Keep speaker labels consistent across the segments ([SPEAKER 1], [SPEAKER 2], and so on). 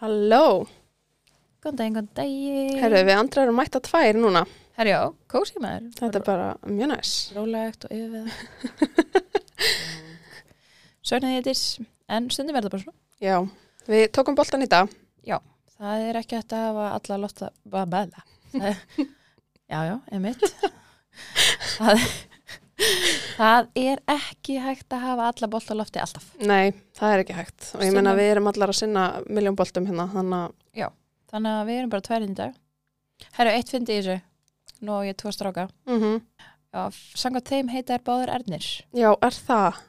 [SPEAKER 1] Halló,
[SPEAKER 2] Góðan daginn, góðan daginn.
[SPEAKER 1] herru við andrar erum mætt að tvær núna,
[SPEAKER 2] Herru, já, kósið maður.
[SPEAKER 1] þetta er bara mjög næs.
[SPEAKER 2] Rólegt og yfirveða. Sörnið ég þess, en stundum verður bara svona.
[SPEAKER 1] Já, við tókum boltan í dag,
[SPEAKER 2] Það er ekki hægt að hafa alla lotta bara bæða. Já, já, emitt. það, það er ekki hægt að hafa alla bolta á lofti alltaf.
[SPEAKER 1] nei það er ekki hægt og ég
[SPEAKER 2] Stundum-
[SPEAKER 1] meina við erum allar að sinna miljón boltum hérna, þannig að
[SPEAKER 2] Þannig að við erum bara tværinn í dag. Herru, eitt fyndi í þessu. Nú á ég tvo stráka.
[SPEAKER 1] mhm.
[SPEAKER 2] Já, sanga þeim heita er báður erðnir.
[SPEAKER 1] já er það,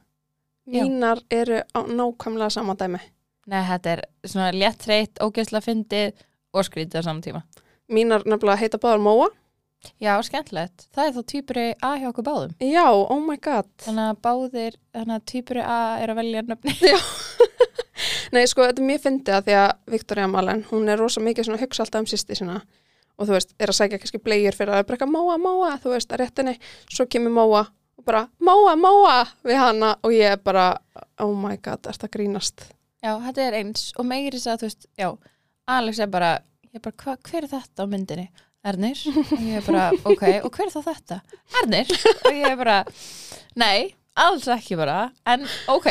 [SPEAKER 2] Já.
[SPEAKER 1] mínar eru á nákvæmlega sama dæmi.
[SPEAKER 2] Nei, þetta er svona létt reitt, ógeðslega fyndið og skrítið á saman tíma.
[SPEAKER 1] Mínar nefnilega heita báðar Móa,
[SPEAKER 2] Já, skemmtilegt. Það er þá týpuri A hjá okkur báðum.
[SPEAKER 1] já oh my god,
[SPEAKER 2] Þannig að báðir, þannig að týpuri A er að velja nöfni.
[SPEAKER 1] nei sko þetta er mjög fyndið að því að Viktoria Malen, hún er rosa mikið svona að hugsa alltaf um sýsti sína og þú veist, er að sækja kannski blegjur fyrir að brekka Móa, Móa, þú veist, að réttinni, svo kemur Móa og bara Móa, Móa við hana og ég er bara, oh my god, er það grínast?
[SPEAKER 2] Já, þetta er eins og meiri þess að þú veist, já, Alex er bara, ég er bara, hva, hver er þetta á myndinni? Ernir. Og ég er bara, ok, og hver er þá þetta? Ernir. Og ég er bara, nei, alls ekki bara, en ok.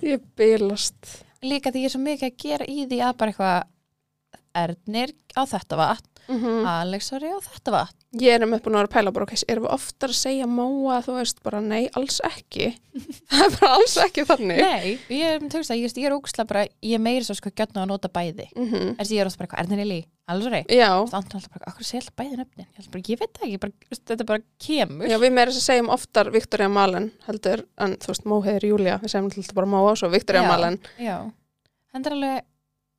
[SPEAKER 1] Ég bylast.
[SPEAKER 2] Líka því ég er svo mikið að gera í því að bara eitthvað, Ernir á þetta vatn, Alex ári á þetta vatn.
[SPEAKER 1] Ég er með búin að vera að pæla bara, ok, erum við oftar að segja Móa, þú veist, bara nei, alls ekki. það er bara alls ekki þannig.
[SPEAKER 2] Nei, ég er með tökst að ég, ég er ógustlega bara, ég er meiri svo sko gjötna að nota bæði.
[SPEAKER 1] Mm
[SPEAKER 2] Er því ég er alltaf bara eitthvað, Ernin Eli, alveg rey.
[SPEAKER 1] Já,
[SPEAKER 2] Það andur alltaf bara, okkur sé alltaf bæði nöfnin. Ég, held bara, ég veit það ekki, bara, veist, þetta bara kemur.
[SPEAKER 1] já, við meira þess að segjum oftar Viktoria Malen heldur, en þú veist, Mó heiður Júlia, við segjum alltaf bara Móa og svo Viktoria
[SPEAKER 2] Já.
[SPEAKER 1] Malen.
[SPEAKER 2] Já, þetta er alveg,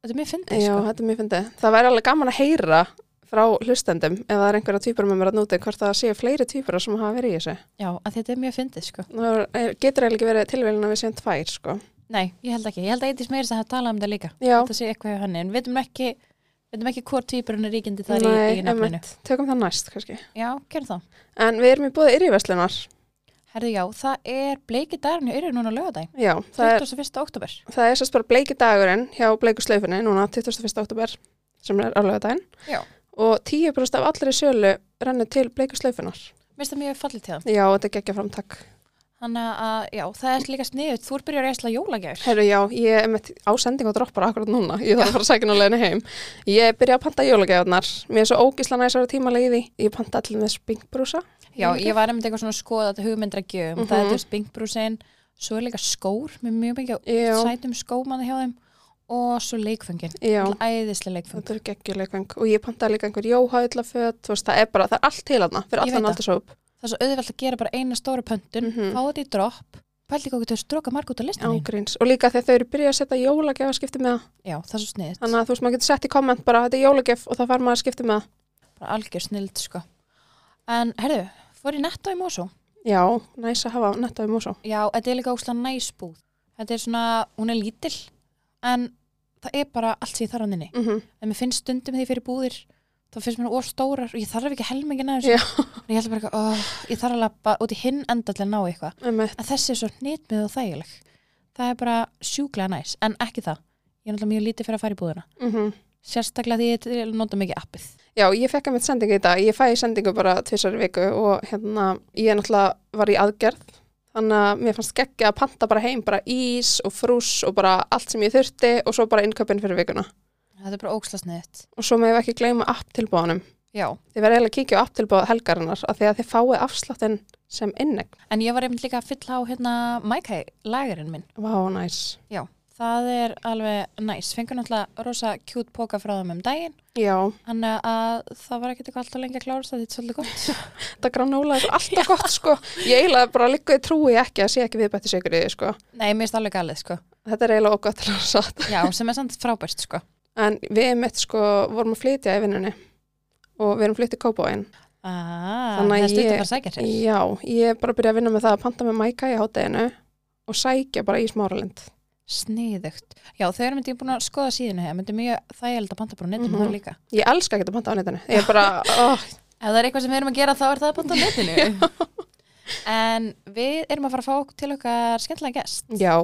[SPEAKER 2] þetta er mér fyndið,
[SPEAKER 1] Já,
[SPEAKER 2] sko.
[SPEAKER 1] þetta er mjög fyndið. Það væri alveg gaman að heyra frá hlustendum ef það er einhverja týpur með mér að núti, hvort það séu fleiri týpur sem hafa verið í þessu.
[SPEAKER 2] Já, að þetta er mér fyndið, sko.
[SPEAKER 1] Það er- getur eiginlega ekki verið tilvílin að við séum tvær, sko.
[SPEAKER 2] Nei, ég held ekki. Ég held að eitthvað meiri þess að tala um þetta líka.
[SPEAKER 1] Já,
[SPEAKER 2] Þetta sé eitthvað hjá henni, en veitum ekki, veitum ekki hvort týpurinn er ríkindi þar í,
[SPEAKER 1] nei,
[SPEAKER 2] í nöfninu.
[SPEAKER 1] einmitt. tökum það næst, kannski.
[SPEAKER 2] Já, gerum það.
[SPEAKER 1] En við erum í búið yrjiveslunar.
[SPEAKER 2] Herðu, já, það er bleiki dagarinn í Yrjur núna á lögadaginn,
[SPEAKER 1] Já, það er,
[SPEAKER 2] 21. oktober.
[SPEAKER 1] það er sérst bara bleiki dagurinn hjá bleiku slaufinni, núna 21. oktober, sem er álögadaginn.
[SPEAKER 2] Já.
[SPEAKER 1] Og 10% af allri sölu rennur til bleiku slaufinnar.
[SPEAKER 2] Mér finnst það mjög fallið til það.
[SPEAKER 1] Já, þetta er geggja framtak.
[SPEAKER 2] Þannig að, já, það er líka sniðut. Þú er byrjar að eisla jólagjafir.
[SPEAKER 1] Herru, já, ég er með ásending og droppar akkurat núna. Ég þarf að fara að sækja náleginni heim. Ég byrja að panta jólagjafnar. Mér er svo ógisla næs að vera tímalega í því. Ég panta allir með spingbrúsa.
[SPEAKER 2] Já,
[SPEAKER 1] mm-hmm.
[SPEAKER 2] ég var einmitt eitthvað svona að skoða þetta hugmyndir að gjöfum.
[SPEAKER 1] Mhm.
[SPEAKER 2] Það er þessi bingbrúsin, svo er líka skór með mjög mikið
[SPEAKER 1] Já.
[SPEAKER 2] sætum skómanni hjá þeim og svo leikföngin.
[SPEAKER 1] Já,
[SPEAKER 2] Æðislega leikföng.
[SPEAKER 1] þetta er geggjuleikvang. Og ég panta líka einhver jóhæðlaföt. Þú veist, það er bara, það er allt til aðna. Fyrir
[SPEAKER 2] Ég veit
[SPEAKER 1] allan
[SPEAKER 2] það.
[SPEAKER 1] aldrei svo upp.
[SPEAKER 2] Það er svo auðvelt að gera bara eina stóra pöntun,
[SPEAKER 1] Mhm.
[SPEAKER 2] fá þetta í dropp, pældi ekki okkur til að stróka marg út á listinni.
[SPEAKER 1] Ángríns. Og líka þegar þau eru byrjað að setja jólagjafaskipti með það.
[SPEAKER 2] Já, það er svo sniðut.
[SPEAKER 1] Þannig að þú veist, maður getur sett í komment bara, þetta er jólagjaf og það fær maður að skipti með það.
[SPEAKER 2] Bara algjör snild, sko. En, herðu, fór í netto í Mosó.
[SPEAKER 1] Já, næs að hafa netta um og svo.
[SPEAKER 2] Já, þetta er líka óslega næsbúð. Þetta er svona, hún er lítil, en það er bara allt sem ég þarf á henni.
[SPEAKER 1] Mhm,
[SPEAKER 2] en mér finnst stundum því fyrir búðir þá finnst mér of stórar og ég þarf ekki helmingin að
[SPEAKER 1] Já.
[SPEAKER 2] þessu en ég held bara eitthvað, oh, ég þarf að lappa út í hinn enda til að ná eitthvað en þessi er svo hnitmið og þægileg það er bara sjúklega næs, en ekki það ég er náttúrulega mjög lítið fyrir að fara í búðina
[SPEAKER 1] Mhm.
[SPEAKER 2] sérstaklega því ég til- nota mikið appið
[SPEAKER 1] Já, ég fekk að mitt sendingu í dag. Ég fæ sendingu bara tvisar í viku og hérna, ég náttúrulega var í aðgerð. Þannig að mér fannst geggja að panta bara heim bara ís og frús og bara allt sem ég þurfti og svo bara innköpinn fyrir vikuna.
[SPEAKER 2] þetta er bara ókslasniðitt
[SPEAKER 1] Og svo meðum við ekki gleyma apptilbóðanum.
[SPEAKER 2] Já.
[SPEAKER 1] Þið verða eiginlega að kíkja á apptilbóð helgarinnar af því að þið fáið afsláttinn sem innegn.
[SPEAKER 2] en ég var einmitt líka að fylla á hérna Mækæ, lagerinn minn
[SPEAKER 1] Vá, næs.
[SPEAKER 2] Já. það er alveg næs fengur náttúrulega rosa kjút póka frá þeim um daginn
[SPEAKER 1] Já,
[SPEAKER 2] þannig að það var ekkert eitthvað alltaf lengi að klára það þetta er svolítið gott
[SPEAKER 1] þetta granóla er svo alltaf gott sko. Ég eiginlega bara líka ég trúi ekki að sé ekki viðbættis ykkur í því sko.
[SPEAKER 2] Nei, mér finnst alveg galið, sko.
[SPEAKER 1] Þetta er eiginlega okkar til að satt.
[SPEAKER 2] Já, sem er samt frábært, sko.
[SPEAKER 1] En við mitt sko vorum að flytja í vinnunni og við erum flyttið kópáin.
[SPEAKER 2] Ah,
[SPEAKER 1] Þannig að
[SPEAKER 2] það er
[SPEAKER 1] ég-
[SPEAKER 2] stutt að fara að sækja sér.
[SPEAKER 1] Já, ég er bara að byrja að vinna með það að panta með mæka í hátteginu og sækja bara í smáralind.
[SPEAKER 2] Sniðugt. Já, þau eru myndið búin að skoða síðinu hér, myndið mjög þægild að panta bara á netinu
[SPEAKER 1] Mhm.
[SPEAKER 2] þar líka.
[SPEAKER 1] Ég elska ekki að panta á netinu. Ég er bara, oh,
[SPEAKER 2] Ef það er eitthvað sem við erum að gera, þá er það að panta á netinu. en við erum að fara að fá til okkar skemmtilega gest.
[SPEAKER 1] já,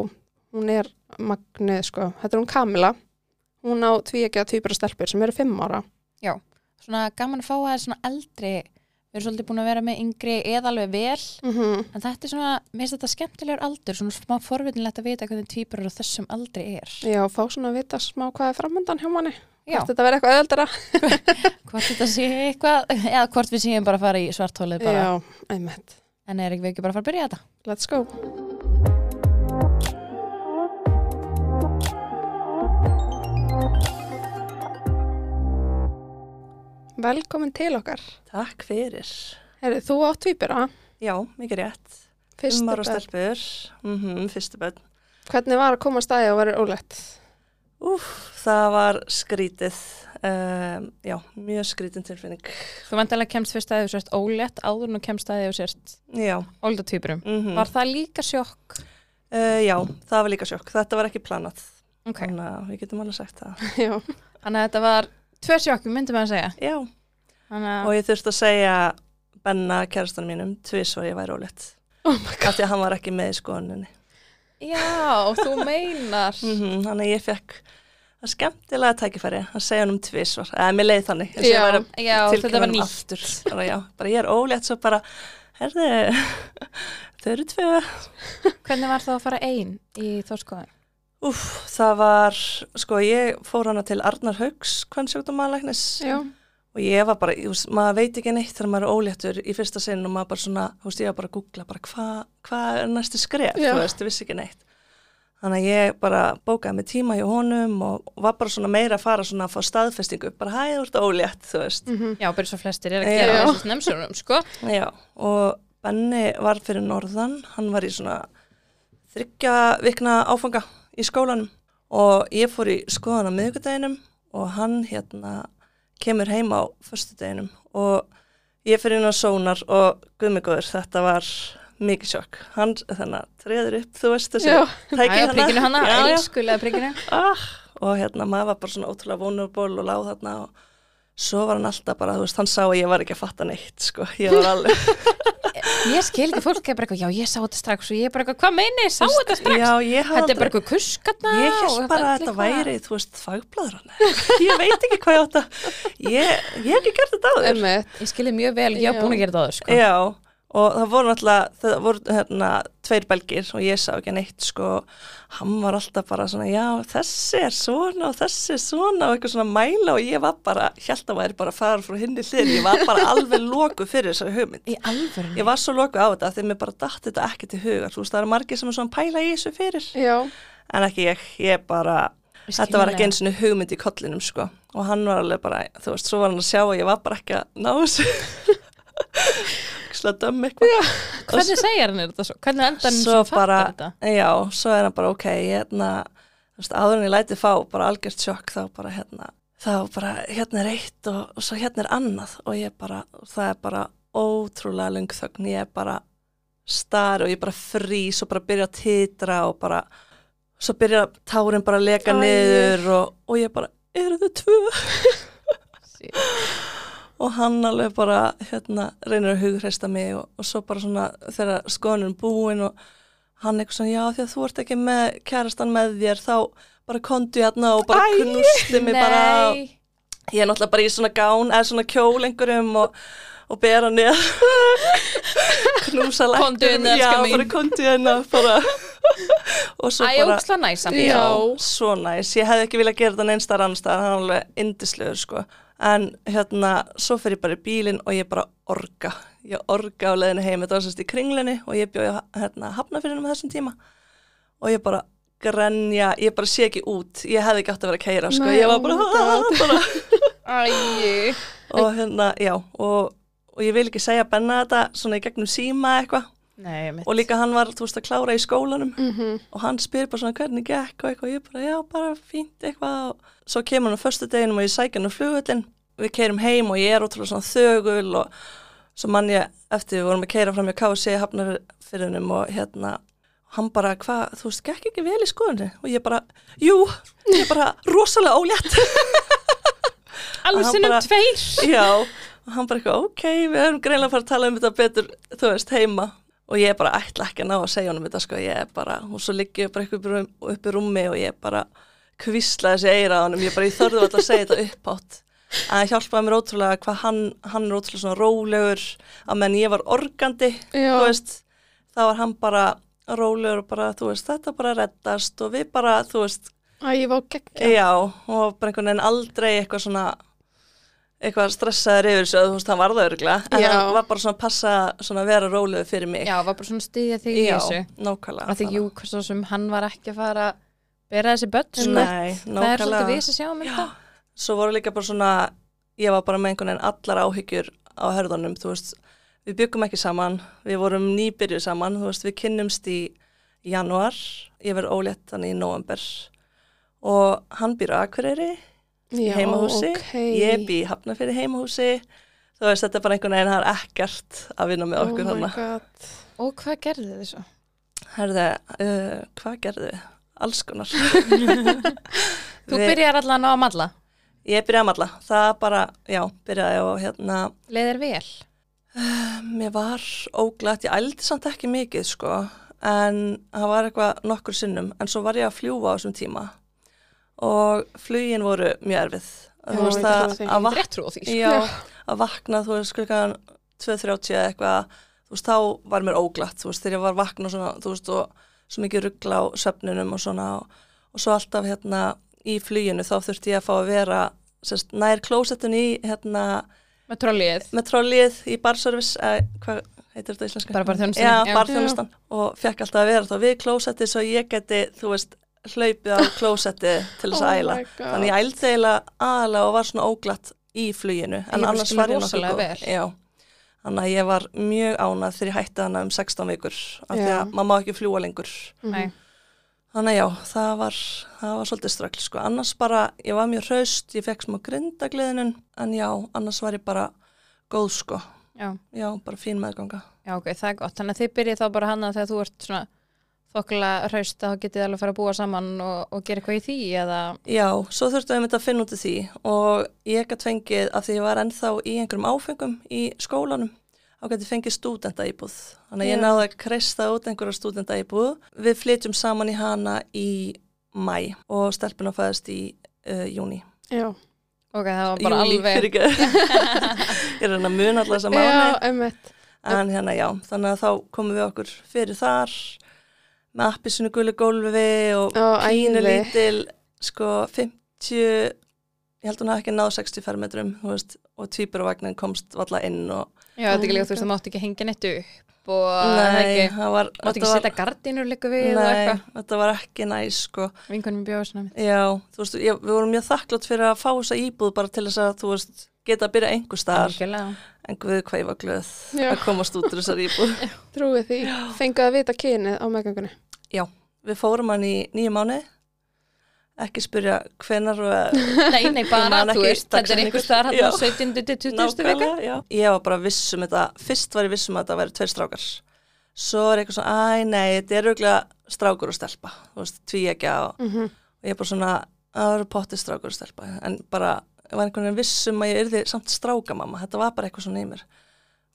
[SPEAKER 1] hún er magnið sko. Þetta er hún Kamila. hún á tvíegja tvíbara stelpur sem eru fimm ára
[SPEAKER 2] Svona gaman að fá að það er svona eldri Við erum svolítið búin að vera með yngri eða alveg vel
[SPEAKER 1] mm
[SPEAKER 2] En þetta er svona, mér finnst þetta skemmtilegur aldur Svona smá forvitinlegt að vita hvernig tvíburar á þessum aldri er
[SPEAKER 1] Já, fá svona að vita smá hvað er framöndan hjá manni
[SPEAKER 2] Já,
[SPEAKER 1] Hvort þetta verði eitthvað öðaldara
[SPEAKER 2] hvort þetta sé eitthvað Eða hvort við séum bara að fara í svartólið bara
[SPEAKER 1] Já, einmitt,
[SPEAKER 2] En er ekki við ekki bara að fara að byrja þetta?
[SPEAKER 1] let's go Velkomin til okkar
[SPEAKER 3] Takk fyrir.
[SPEAKER 1] Herri, þú átt tvíbara
[SPEAKER 3] Já, mikið rétt.
[SPEAKER 1] Fyrstu
[SPEAKER 3] Fimmar og
[SPEAKER 1] börn.
[SPEAKER 3] stelpur. Mm fyrstu bönn.
[SPEAKER 1] Hvernig var að koma að staði og verið ólegt?
[SPEAKER 3] Úf, það var skrítið. Um, já, mjög skrítin tilfinning.
[SPEAKER 2] Þú vantilega kemst fyrst að þið sérst ólétt áður en þú kemst að þið sérst
[SPEAKER 3] Já,
[SPEAKER 2] ólda tvíburum.
[SPEAKER 3] mm -hmm.
[SPEAKER 2] Var það líka sjokk?
[SPEAKER 3] Eh, já, það var líka sjokk. Þetta var ekki planað.
[SPEAKER 2] Ok,
[SPEAKER 3] Þannig að við getum alveg sagt það.
[SPEAKER 1] Já,
[SPEAKER 2] þannig að þetta var tvö sjokk, myndum við að segja.
[SPEAKER 3] Já,
[SPEAKER 2] Þannig
[SPEAKER 3] og ég þurfti að segja Benna kærastanum mínum tvís var ég væri ólétt.
[SPEAKER 1] oh my god
[SPEAKER 3] Af því að hann var ekki með í skoðuninni.
[SPEAKER 2] já, þú meinar.
[SPEAKER 3] Mm Þannig að ég fekk það skemmtilega tækifæri að segja hann um tvís var. Eða, mér leiði þannig. eins og ég
[SPEAKER 1] Já.
[SPEAKER 3] væri að
[SPEAKER 2] já,
[SPEAKER 3] tilkynna
[SPEAKER 2] þetta var
[SPEAKER 3] honum
[SPEAKER 2] nýtt.
[SPEAKER 3] aftur. Bara, já, bara ég er ólétt svo bara, herðu, þau eru tvö.
[SPEAKER 2] Hvernig var það að fara einn í þórskoðan?
[SPEAKER 3] Úf, það var, sko, ég fór hana til Arnar Haugs, hvern sjókdómalæknis
[SPEAKER 1] Já,
[SPEAKER 3] og ég var bara, þú veist, maður veit ekki neitt þegar maður er óléttur í fyrsta sinn og maður bara svona, þú veist, ég var bara að googla bara hvað hva er næstu skref,
[SPEAKER 1] Já.
[SPEAKER 3] þú veist, ég vissi ekki neitt. Þannig að ég bara bókaði mig tíma hjá honum og var bara svona meira að fara svona að fá staðfestingu, bara hæ, þú ert ólétt, þú veist.
[SPEAKER 2] Já, bara svo flestir er að
[SPEAKER 3] Mm. Já.
[SPEAKER 2] gera þessu snemsurum, sko.
[SPEAKER 3] Já, og Benni var fyrir norðan, hann var í svona þryggja vikna áfanga í skólanum og ég fór í skoðan á miðvikudeginum og hann hérna kemur heim á föstudeginum og ég fyrir inn á sónar og guðmigóður, þetta var mikið sjokk. Hann þannig að treður upp, þú veist þessi,
[SPEAKER 1] Já.
[SPEAKER 3] tæki
[SPEAKER 2] Æja, príkinu hana,
[SPEAKER 3] Já, já
[SPEAKER 2] elskulega príkinu.
[SPEAKER 3] ah, og hérna maður var bara svona ótrúlega vulnerable og láð þarna og svo var hann alltaf bara, þú veist, hann sá að ég var ekki að fatta neitt, sko, ég var alveg
[SPEAKER 2] Ég skil ekki fólk er bara eitthvað, já, ég sá þetta strax og ég er bara eitthvað, hvað meini, sá þetta strax?
[SPEAKER 3] Já, ég
[SPEAKER 2] Þetta
[SPEAKER 3] hafði
[SPEAKER 2] er bara
[SPEAKER 3] aldrei-
[SPEAKER 2] eitthvað kuskarna.
[SPEAKER 3] Ég held bara að þetta væri, þú veist, fagbladrana. Ég veit ekki hvað ég átt að, ég, ég hef ekki gert þetta áður.
[SPEAKER 1] einmitt
[SPEAKER 2] Ég skilði mjög vel, ég hef
[SPEAKER 1] Já.
[SPEAKER 2] búin að gera þetta áður, sko.
[SPEAKER 3] Já, og það voru náttúrulega, það voru hérna tveir belgir og ég sá ekki neitt, sko, hann var alltaf bara svona, já, þessi er svona og þessi er svona og eitthvað svona mæla og ég var bara, held að væri bara að fara frá hinni hlið, ég var bara alveg loku fyrir þessari hugmynd.
[SPEAKER 2] Í alvörinu.
[SPEAKER 3] Ég var svo loku á þetta þegar mér bara datt þetta ekki til hugar, þú veist, það eru margir sem er svona að pæla í þessu fyrir.
[SPEAKER 1] Já,
[SPEAKER 3] en ekki ég, ég bara
[SPEAKER 2] Ég skil
[SPEAKER 3] þetta var
[SPEAKER 2] það.
[SPEAKER 3] ekki eins og hugmynd í kollinum sko og hann var alveg bara, þú veist, svo var hann að sjá að ég var bara ekki að ná þessu slá dömm eitthvað
[SPEAKER 2] Hvernig segir hann þetta svo? Hvernig enda hann
[SPEAKER 3] svo
[SPEAKER 2] svo
[SPEAKER 3] bara,
[SPEAKER 2] fattar þetta?
[SPEAKER 3] já, svo er hann bara ok, hérna, þú veist, áður en ég læti fá bara algjört sjokk, þá bara hérna þá bara, hérna er eitt og, og svo hérna er annað og ég bara það er bara ótrúlega lung þögn ég er bara star og ég bara frýs og bara byrja að titra og bara, svo byrja tárin bara að leka
[SPEAKER 1] Æ.
[SPEAKER 3] niður og, og ég bara, eru þau tvö? og hann alveg bara hérna, reynir að hugreista mig og, og svo bara svona þegar skoðunum búin og hann eitthvað svona, já því að þú ert ekki með kærastan með þér þá bara kondu hérna og bara
[SPEAKER 1] Æ,
[SPEAKER 3] knústi mig bara og
[SPEAKER 2] Nei,
[SPEAKER 3] ég er náttúrulega bara í svona gán eða svona kjól einhverjum og, og bera niður knúsa læknum
[SPEAKER 2] Komdu hérna,
[SPEAKER 3] já,
[SPEAKER 2] elskan mín.
[SPEAKER 3] bara komdu hérna bara. og svo
[SPEAKER 2] æ,
[SPEAKER 3] bara
[SPEAKER 2] óksla næsa.
[SPEAKER 1] Já.
[SPEAKER 3] svo næs, ég hefði ekki viljað gera þetta neins þar annars þar, hann er alveg indislegur sko en hérna, svo fer ég bara í bílinn og ég bara orga ég orga á leiðinu heim, þetta var sérst í kringlunni og ég bjóði hérna, hafnafyrinum á þessum tíma og ég bara grenja, ég bara sé ekki út ég hefði ekki átt að vera að keira sko
[SPEAKER 1] Nei,
[SPEAKER 3] ég
[SPEAKER 1] oh
[SPEAKER 3] var
[SPEAKER 1] my
[SPEAKER 3] bara,
[SPEAKER 1] God.
[SPEAKER 3] bara
[SPEAKER 2] Æ,
[SPEAKER 3] og hérna, já, og, og ég vil ekki segja Benna þetta svona í gegnum síma eitthvað
[SPEAKER 2] nei, mitt.
[SPEAKER 3] og líka hann var, þú veist, að klára í skólanum
[SPEAKER 1] mm
[SPEAKER 3] og hann spyr bara svona hvernig gekk og eitthvað og ég bara, já, bara fínt eitthvað og svo kemur hann á förstu deginum og ég sækja hann á flugullin við keirum heim og ég er ótrúlega svona þögul og svo mann ég eftir við vorum að keira fram í KFC hafnarfyrinum E og hérna hann bara, hvað, þú veist, gekk ekki vel í skoðunni og ég bara, jú, ég bara rosalega ólétt
[SPEAKER 2] Alveg
[SPEAKER 3] hann
[SPEAKER 2] sinnum
[SPEAKER 3] bara-
[SPEAKER 2] tveir.
[SPEAKER 3] Já, og hann bara eitthvað, ok, við höfum greinlega að fara að tala um þetta betur, þú veist, heima. Og ég bara ætla ekki að ná að segja honum þetta, sko, ég er bara, og svo ligg ég bara eitthvað upp í rúmi og ég bara kvísla þessi eira á hann ég bara, ég þorði alltaf að segja þetta uppátt að hjálpaði mér ótrúlega hvað hann hann er ótrúlega svona rólegur að menn ég var organdi
[SPEAKER 1] Já.
[SPEAKER 3] þú veist, þá var hann bara rólegur og bara, þú veist, þetta bara reddast og við bara, þú veist,
[SPEAKER 1] Æ, ég var gegn.
[SPEAKER 3] já, og bara einhvern veginn aldrei eitthvað svona eitthvað stressaður yfir þessu, þú veist, hann var það örgulega, en
[SPEAKER 1] Já.
[SPEAKER 3] hann var bara svona að passa svona að vera rólegur fyrir mig
[SPEAKER 2] Já, var bara svona að styðja þig í þessu
[SPEAKER 3] nákvæmlega
[SPEAKER 2] að því jú, hvað svo sem hann var ekki að fara að bera þessi börn sko.
[SPEAKER 3] Nei,
[SPEAKER 2] það er
[SPEAKER 3] nákvæmlega.
[SPEAKER 2] svolítið við sem sjáum um þetta
[SPEAKER 3] svo voru líka bara svona ég var bara með einhvern veginn allar áhyggjur á hörðunum, þú veist við byggum ekki saman, við vorum nýbyrjuð saman þú veist, við kynnumst í januar, ég verð ólétt þannig í november og hann býr á Akureyri í
[SPEAKER 1] Já,
[SPEAKER 3] heimahúsi,
[SPEAKER 1] ok.
[SPEAKER 3] ég bý hafna fyrir heimahúsi þú veist, þetta er bara einhvern veginn það er ekkert að vinna með okkur
[SPEAKER 1] oh my
[SPEAKER 3] hana
[SPEAKER 1] god.
[SPEAKER 2] og hvað gerði þið svo?
[SPEAKER 3] herði, uh, hvað gerðu við? alls konar
[SPEAKER 2] Þú
[SPEAKER 3] Við-
[SPEAKER 2] byrjar allan á að malla
[SPEAKER 3] ég byrjaði að alla, það bara, já, byrjaði og hérna
[SPEAKER 2] leiðir vel
[SPEAKER 3] Mér var óglætt, ég ældi samt ekki mikið sko, en það var eitthvað nokkur sinnum, en svo var ég að fljúa á þessum tíma og flugin voru mjög erfið.
[SPEAKER 1] Já,
[SPEAKER 3] Þú veist
[SPEAKER 1] ég
[SPEAKER 3] að,
[SPEAKER 1] trúi því.
[SPEAKER 3] að, vak
[SPEAKER 2] rétt trú á því sko.
[SPEAKER 3] já, að vakna, þú veist, klukkan 2.30 eða eitthvað, þú veist, þá var mér óglætt, þú veist, þegar ég var að vakna svona, þú veist, og svo mikið ruggla á söfnunum og svona, og, og svo alltaf hérna í fluginu þá þurfti ég að fá að vera, sérst, nær klósettun í hérna,
[SPEAKER 2] með trollið
[SPEAKER 3] með trollið í barservice eh, hvað heitir þetta á íslensku?
[SPEAKER 2] Bara barþjónustan.
[SPEAKER 3] Já,
[SPEAKER 2] Já.
[SPEAKER 3] barþjónustan og fekk alltaf að vera þá við klósettið svo ég geti, þú veist, hlaupið á klósettið til þess
[SPEAKER 1] Oh
[SPEAKER 3] að
[SPEAKER 1] my
[SPEAKER 3] æla
[SPEAKER 1] God.
[SPEAKER 3] þannig ég ældi eiginlega aðalega og var svona óglatt í fluginu
[SPEAKER 2] Ég
[SPEAKER 3] en
[SPEAKER 2] bara
[SPEAKER 3] annars
[SPEAKER 2] skil
[SPEAKER 3] var ég
[SPEAKER 2] rosalega
[SPEAKER 3] nokkuð góð.
[SPEAKER 2] vel.
[SPEAKER 3] Já. þannig að ég var mjög ánað þegar ég hætti hana um 16 vikur af því
[SPEAKER 1] Já.
[SPEAKER 3] að maður má ekki fljúa lengur
[SPEAKER 1] Mhm.
[SPEAKER 2] Nei.
[SPEAKER 3] Þannig að já, það var, það var svolítið ströggl sko. Annars bara, ég var mjög hraust, ég fekk smá grindagliðinun, en já, annars var ég bara góð sko.
[SPEAKER 2] já.
[SPEAKER 3] Já, bara fín meðganga.
[SPEAKER 2] já, ok, það er gott þannig að þið byrjið þá bara hana þegar þú ert svona þokkilega hraust þá getið þið alveg að fara að búa saman og, og gera eitthvað í því eða
[SPEAKER 3] Já, svo þurftum við að finna út af því og ég gæti fengið af því ég var ennþá í einhverjum áfengum í skólanum þá gæti fengið stúdenda íbúð. Þannig að ég
[SPEAKER 1] Já.
[SPEAKER 3] náði að kreista út einhverja stúdenda íbúð. Við flytjum saman í hana í mæ og stelpuna fæðist í uh, júni.
[SPEAKER 1] Já,
[SPEAKER 2] ok, það var bara alveg
[SPEAKER 3] fyrir ekki. ég er hann að muna alltaf þessa mánu.
[SPEAKER 1] já emmitt.
[SPEAKER 3] En hérna já, þannig að þá komum við okkur fyrir þar með appisinu gullu gólfi og
[SPEAKER 1] Ó,
[SPEAKER 3] pínu
[SPEAKER 1] æði.
[SPEAKER 3] lítil sko 50 ég held hún hafi ekki náð 60 fermetrum þú veist, og tvíburavagnin komst valla inn og
[SPEAKER 2] já, þetta er ekki líka, þú veist, það mátt ekki hengja neitt upp og það er
[SPEAKER 3] nei,
[SPEAKER 2] ekki
[SPEAKER 3] það var
[SPEAKER 2] mátt
[SPEAKER 3] þetta
[SPEAKER 2] ekki
[SPEAKER 3] var-
[SPEAKER 2] setja gardínur líka við og
[SPEAKER 3] Nei,
[SPEAKER 2] eitthvað
[SPEAKER 3] þetta var ekki næs sko.
[SPEAKER 2] vinkunum bjóða svona með
[SPEAKER 3] Já, þú veist, ég, við vorum mjög þakklátt fyrir að fá þessa íbúð bara til þess að þú veist, geta að byrja einhver staðar
[SPEAKER 2] Algjörlega.
[SPEAKER 3] en guð hvað ég var glöð
[SPEAKER 1] Já.
[SPEAKER 3] að komast út úr þessar íbúð
[SPEAKER 1] Trúið því. Fenguð að vita kynið á meðgangunni.
[SPEAKER 3] Við fórum hann í nýju mánu, ekki spyrja hvenar og
[SPEAKER 2] Nei, nei,
[SPEAKER 3] Ég
[SPEAKER 2] bara,
[SPEAKER 3] man
[SPEAKER 2] þú
[SPEAKER 3] ekki
[SPEAKER 2] veist, þetta er
[SPEAKER 3] dagsetningu.
[SPEAKER 2] einhver staðar hann
[SPEAKER 3] Já.
[SPEAKER 2] á 17. til 20. vika.
[SPEAKER 3] nákvæmlega, já. Ég var bara viss um þetta, fyrst var ég viss um að þetta væri tveir strákar. Svo er eitthvað svona, æ, nei, þetta er auðvitað strákur og stelpa, þú veist, tví ekki og
[SPEAKER 2] Mhm.
[SPEAKER 3] ég er bara svona, það eru pottið strákur og stelpa, en bara, ég var einhvern veginn viss um að ég yrði samt strákamamma, þetta var bara eitthvað svona í mér.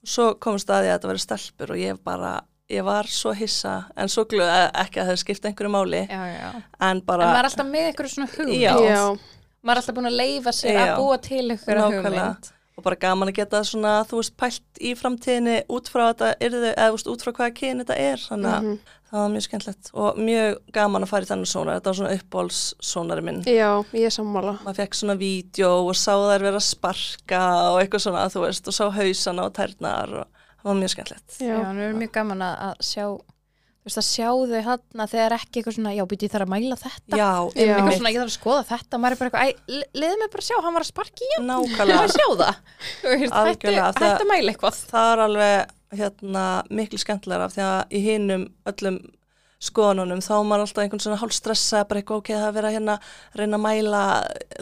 [SPEAKER 3] Svo komst að ég að þetta væri stelpur og ég bara, ég var svo hissa, en svo glöð ekki að það skipta einhverju máli,
[SPEAKER 2] Já, já.
[SPEAKER 3] en
[SPEAKER 2] En
[SPEAKER 3] bara,
[SPEAKER 2] maður er alltaf með einhverju svona hugmynd.
[SPEAKER 3] Já.
[SPEAKER 2] Maður er alltaf búin að leifa sér
[SPEAKER 3] Já.
[SPEAKER 2] að búa til einhverju
[SPEAKER 3] Nákvæmlega.
[SPEAKER 2] hugmynd.
[SPEAKER 3] og bara gaman að geta svona, þú veist, pælt í framtíðinni út frá þetta, yrðu, eða þú veist, út frá hvaða kyni þetta er, þannig
[SPEAKER 2] Mhm.
[SPEAKER 3] að
[SPEAKER 1] Mhm.
[SPEAKER 3] það var mjög skemmtilegt og mjög gaman að fara í þannig sónar, þetta var svona uppbólssónari minn.
[SPEAKER 1] Já, ég er sammála.
[SPEAKER 3] Maður fekk svona vídeo og sá þær vera að sparka og eitthvað svona, þú veist, og sá hausana og tærnar og það var mjög skemmtilegt.
[SPEAKER 2] Já,
[SPEAKER 1] Já,
[SPEAKER 2] en við erum mjög gaman að að sjá, þú veist, að sjá þau hann að þegar ekki eitthvað svona, já, býti ég þarf að mæla þetta.
[SPEAKER 3] Já,
[SPEAKER 1] Já.
[SPEAKER 2] Eitthvað
[SPEAKER 3] einmitt,
[SPEAKER 2] svona, ég þarf að skoða þetta. Maður er bara eitthvað, æ, le- leiðu mig bara að sjá, hann var að sparki í hann. Ég var
[SPEAKER 3] nákvæmlega.
[SPEAKER 2] að sjá það. Þú veist, Hættu
[SPEAKER 3] Algjörlega, það-
[SPEAKER 2] hættu að mæla eitthvað.
[SPEAKER 3] það er alveg hérna, miklu skemmtilegra af því að í hinum öllum skoðunum þá er maður alltaf einhvern svona hálf stressa bara eitthvað ok, það er verið að hérna reyna að mæla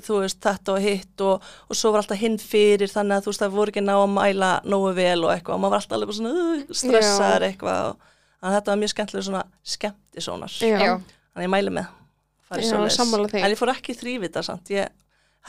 [SPEAKER 3] þú veist þetta og hitt og, og svo var alltaf hinn fyrir þannig að þú veist það voru ekki ná að mæla nógu vel og eitthvað og maður var alltaf alveg bara svona uh, stressaður eitthvað og, þannig að þetta var mjög skemmtilega svona skemmtisónar
[SPEAKER 1] Já.
[SPEAKER 2] Já.
[SPEAKER 3] þannig að ég mæli með fara í
[SPEAKER 1] Já,
[SPEAKER 3] svoleiðis.
[SPEAKER 1] sammála því.
[SPEAKER 3] en ég fór ekki þrývita samt ég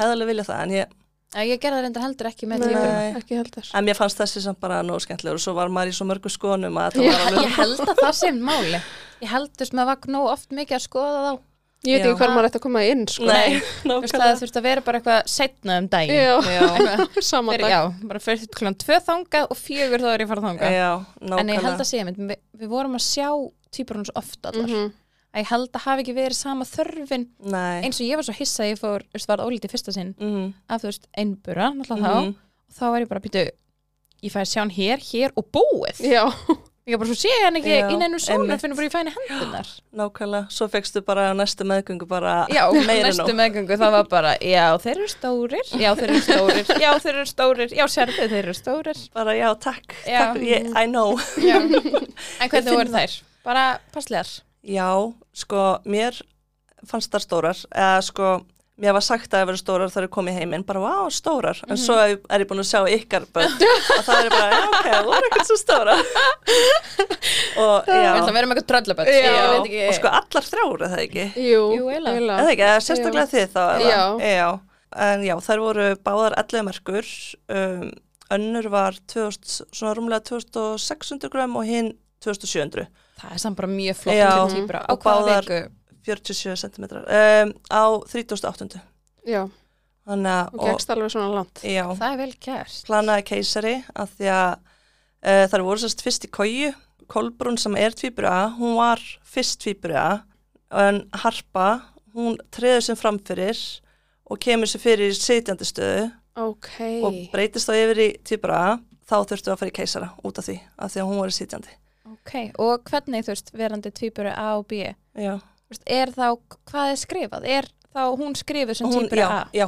[SPEAKER 3] hefði alveg viljað það en ég
[SPEAKER 2] Já, Ég gerði það reyndar heldur ekki með
[SPEAKER 1] Nei,
[SPEAKER 2] því.
[SPEAKER 3] Nei.
[SPEAKER 1] ekki heldur.
[SPEAKER 3] En mér fannst þessi samt bara nóg skemmtilegur og svo var maður í svo mörgum skonum að
[SPEAKER 1] Já.
[SPEAKER 3] þetta var alveg
[SPEAKER 2] Ég held að það sé máli. Ég held þess maður var nóg oft mikið að skoða þá
[SPEAKER 1] Ég veit
[SPEAKER 3] Já.
[SPEAKER 1] ekki hvað maður ætti að koma inn, sko.
[SPEAKER 3] Nei,
[SPEAKER 2] Þú veist, það
[SPEAKER 3] nákvæmlega.
[SPEAKER 2] þurft að vera bara eitthvað setna um daginn.
[SPEAKER 1] Já.
[SPEAKER 2] Eitthvað-
[SPEAKER 1] Sama
[SPEAKER 2] Fyrir,
[SPEAKER 1] dag.
[SPEAKER 2] já, bara fyrir þetta klukkan tvö þangað og fjögur þá er ég að fara þangað.
[SPEAKER 3] Já,
[SPEAKER 2] en ég held
[SPEAKER 3] nákvæmlega.
[SPEAKER 2] að segja mynd, við, við vorum að sjá týpur hans ofta allar.
[SPEAKER 1] Mhm.
[SPEAKER 2] Að ég held að hafi ekki verið sama þörfin
[SPEAKER 3] Nei.
[SPEAKER 2] eins og ég var svo hissa að ég fór, þú veist, var ólítið fyrsta sinn
[SPEAKER 3] Mhm,
[SPEAKER 2] af þú veist, einbura, náttúrulega
[SPEAKER 3] mhm.
[SPEAKER 2] þá. Og þá var ég bara að býta, ég fæði sjá hann hér, hér og búið.
[SPEAKER 1] Já,
[SPEAKER 2] Ég var bara svo sé ég hann ekki
[SPEAKER 3] Já,
[SPEAKER 2] inn einu sónu
[SPEAKER 3] einmitt.
[SPEAKER 2] og finnur bara ég fæði henni hendunar.
[SPEAKER 3] Nákvæmlega. Svo fegstu bara á næstu meðgöngu bara
[SPEAKER 2] Já,
[SPEAKER 3] meira
[SPEAKER 2] næstu meðgöngu það var bara, já, þeir eru stórir, já, þeir eru stórir, já, þeir eru stórir, já, sérðu, þeir eru stórir.
[SPEAKER 3] Bara já, takk.
[SPEAKER 2] Já. Mhm.
[SPEAKER 3] takk ég, I know.
[SPEAKER 2] Já. En hvernig voru þær? Bara passlegar.
[SPEAKER 3] Já, sko, mér fannst þar stórar, eða sko, mér var sagt að það verið stórar þegar ég kom í heiminn, bara, vá, stórar, en svo
[SPEAKER 2] Mhm.
[SPEAKER 3] er er ég búin að sjá ykkar börn og það er bara, já, ok, það voru ekkert svo stórar. og, já,
[SPEAKER 2] Við ætlum að vera með eitthvað tröllaböld.
[SPEAKER 1] Já.
[SPEAKER 2] Ég veit
[SPEAKER 3] og
[SPEAKER 2] ekki.
[SPEAKER 3] sko, allar þrjáur, eða ekki?
[SPEAKER 1] jú,
[SPEAKER 2] Jú, eiginlega.
[SPEAKER 3] Eða ekki, eða sérstaklega þið þá, eða?
[SPEAKER 1] Já.
[SPEAKER 3] En já, þær voru báðar 11 merkur, um, önnur var 2000, svona rúmlega 2600 gram og hinn 2700.
[SPEAKER 2] Það er samt bara mjög flott
[SPEAKER 3] Já.
[SPEAKER 2] fyrir týpra. Á
[SPEAKER 3] Og
[SPEAKER 2] hvaða
[SPEAKER 3] báðar-
[SPEAKER 2] viku?
[SPEAKER 3] 47 cm um, á 38.
[SPEAKER 1] Já,
[SPEAKER 3] Þannig að,
[SPEAKER 1] og gegst alveg svona langt.
[SPEAKER 3] já,
[SPEAKER 2] Það er vel gert.
[SPEAKER 3] planaði keisari að því að uh, þar voru sérst fyrst í kóju, Kolbrún sem er tvíburi A, hún var fyrst tvíburi A, en Harpa, hún treður sem framfyrir og kemur sér fyrir í sitjandi stöðu
[SPEAKER 1] Ok.
[SPEAKER 3] og breytist þá yfir í tvíburi A, þá þurftu að fara í keisara út af því, af því að hún var í sitjandi.
[SPEAKER 2] Ok, og hvernig þú veist verandi týpuru A og B?
[SPEAKER 3] Já,
[SPEAKER 2] Þú veist, Er þá, hvað er skrifað? Er þá hún skrifuð sem
[SPEAKER 3] hún,
[SPEAKER 2] týpuru
[SPEAKER 3] já,
[SPEAKER 2] A?
[SPEAKER 3] já,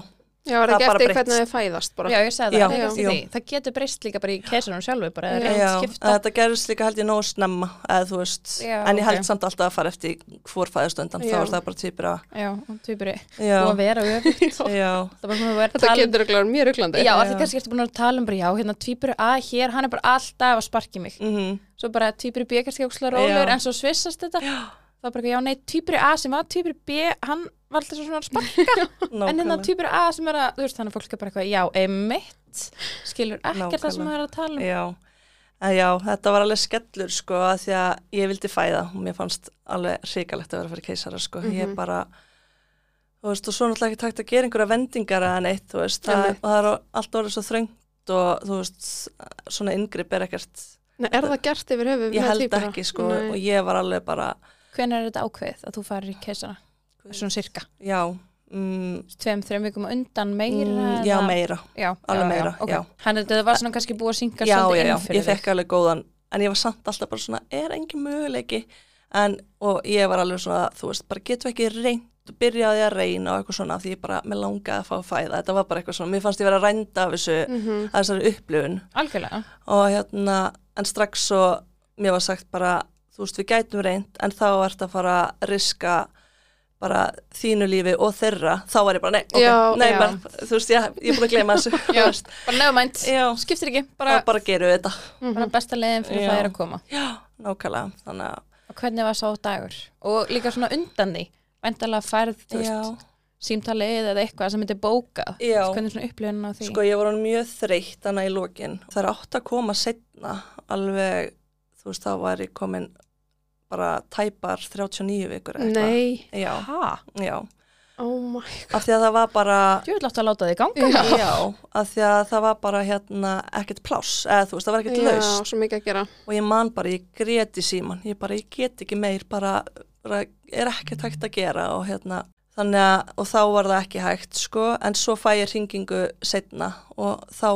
[SPEAKER 1] Já, er
[SPEAKER 3] það
[SPEAKER 1] ekki
[SPEAKER 3] bara
[SPEAKER 1] eftir
[SPEAKER 3] breytist.
[SPEAKER 1] hvernig þið fæðast bara.
[SPEAKER 2] Já, ég sagði
[SPEAKER 3] Já,
[SPEAKER 2] það, það, er ekki
[SPEAKER 3] já.
[SPEAKER 2] eftir því. það getur breyst líka bara í keisunum sjálfu bara
[SPEAKER 1] Já.
[SPEAKER 2] eða reynt
[SPEAKER 3] Já,
[SPEAKER 2] skipta.
[SPEAKER 3] þetta gerist líka held ég nógu snemma eða þú veist,
[SPEAKER 2] Já,
[SPEAKER 3] en ég held
[SPEAKER 2] ok.
[SPEAKER 3] samt alltaf að fara eftir hvor fæðastöndan, þá
[SPEAKER 1] Já.
[SPEAKER 3] er það bara týpur að
[SPEAKER 2] Já, og týpuri
[SPEAKER 3] Já,
[SPEAKER 2] og að vera öfugt.
[SPEAKER 3] já,
[SPEAKER 2] Það er bara búin að vera að
[SPEAKER 1] Þetta
[SPEAKER 2] tala um-
[SPEAKER 1] getur ekki mjög ruglandi.
[SPEAKER 2] Já,
[SPEAKER 3] Já.
[SPEAKER 2] allir kannski ertu búin að tala um bara já, hérna týpuru A hér, hann er bara alltaf að sparki mig.
[SPEAKER 3] mhm,
[SPEAKER 2] Svo bara týpuru B kannski ókslega rólur
[SPEAKER 3] Já.
[SPEAKER 2] en svo svissast þetta. Það er bara eitthvað, já, nei, týpuru A sem var týpuru B, hann var alltaf svona að sparka. En hérna
[SPEAKER 3] nákvæmlega.
[SPEAKER 2] týpuru A sem er að, þú veist, þannig að fólk er bara eitthvað, já, emitt, skilur ekkert það sem
[SPEAKER 3] Nákvæmlega.
[SPEAKER 2] það er að tala um.
[SPEAKER 3] Já, en já, þetta var alveg skellur sko að því að ég vildi fæða og mér fannst alveg hrikalegt að vera að fara í keisara sko,
[SPEAKER 1] Mhm.
[SPEAKER 3] ég bara, þú veist, og svo er náttúrulega ekki takt að gera einhverja vendingar eða neitt, þú veist, það,
[SPEAKER 1] Einmitt.
[SPEAKER 3] og það er allt orðið svo þröngt og þú veist, svona inngrip er ekkert,
[SPEAKER 1] Nei, er það gert yfir höfuð
[SPEAKER 3] ég
[SPEAKER 1] með
[SPEAKER 3] held
[SPEAKER 1] tvíbura?
[SPEAKER 3] ekki sko
[SPEAKER 1] Nei.
[SPEAKER 3] og ég var alveg bara,
[SPEAKER 2] Hvenær er þetta ákveðið að þú farir í keisana? Svona sirka.
[SPEAKER 3] já, mm,
[SPEAKER 2] Tveim, þreim vikum á undan meira?
[SPEAKER 3] mm,
[SPEAKER 2] eða-
[SPEAKER 3] já, meira.
[SPEAKER 2] Já,
[SPEAKER 3] alveg
[SPEAKER 2] já,
[SPEAKER 3] meira,
[SPEAKER 2] já, ok.
[SPEAKER 3] já.
[SPEAKER 2] Hann þetta var svona kannski búið að synga
[SPEAKER 3] já,
[SPEAKER 2] svolítið
[SPEAKER 3] já, já,
[SPEAKER 2] inn fyrir
[SPEAKER 3] ég fekk alveg góðan en ég var samt alltaf bara svona, er engin möguleiki en, og ég var alveg svona þú veist, bara getum við ekki reynd byrjaði að reyna og eitthvað svona af því ég bara, mér langaði að fá að fæða, þetta var bara eitthvað svona mér fannst ég vera að rænda af þessu,
[SPEAKER 1] Mhm.
[SPEAKER 3] af þessari upplifun
[SPEAKER 2] Algjörlega.
[SPEAKER 3] og hérna, en strax svo mér var sagt bara, þú veist, við gætum reynd en þá ert að fara að riska bara þínu lífi og þeirra, þá var ég bara, nei, ok,
[SPEAKER 1] Já,
[SPEAKER 3] nei,
[SPEAKER 1] já.
[SPEAKER 3] Bara, þú veist, ég, ég er búin að gleyma þessu, þú
[SPEAKER 2] Já,
[SPEAKER 3] veist,
[SPEAKER 2] bara nefnmænt,
[SPEAKER 3] já,
[SPEAKER 2] skiptir ekki,
[SPEAKER 3] bara,
[SPEAKER 2] bara,
[SPEAKER 3] bara gerum við þetta.
[SPEAKER 2] bara besta leiðin fyrir
[SPEAKER 3] Já.
[SPEAKER 2] það er að koma.
[SPEAKER 3] Nákvæmlega, þannig að
[SPEAKER 2] Og hvernig var sá dagur? Og líka svona undan því, vendalega færð, þú veist, símtalið eða eitthvað sem myndi bóka.
[SPEAKER 3] Já.
[SPEAKER 2] Hvernig svona upplifun á því?
[SPEAKER 3] sko ég var hann mjög þreytt þannig í lokin. Það er átt að koma setna alveg, þú veist, þá var ég komin bara tæpar 39 vikur eða eitthvað.
[SPEAKER 1] Nei,
[SPEAKER 3] Já,
[SPEAKER 2] Hæ?
[SPEAKER 3] já.
[SPEAKER 1] oh my
[SPEAKER 3] Af því að það var bara,
[SPEAKER 2] Þú vil átt að láta þig ganga.
[SPEAKER 1] Já.
[SPEAKER 3] já, af því að það var bara hérna ekkert pláss, eða þú veist, það var ekkert
[SPEAKER 1] Já,
[SPEAKER 3] laust.
[SPEAKER 1] svo mikið að gera.
[SPEAKER 3] Og ég man bara, ég grét í síman, ég bara, ég get ekki meir, bara, bara er ekkert hægt að gera og hérna, þannig að, og þá var það ekki hægt, sko, en svo fæ ég hringingu setna og þá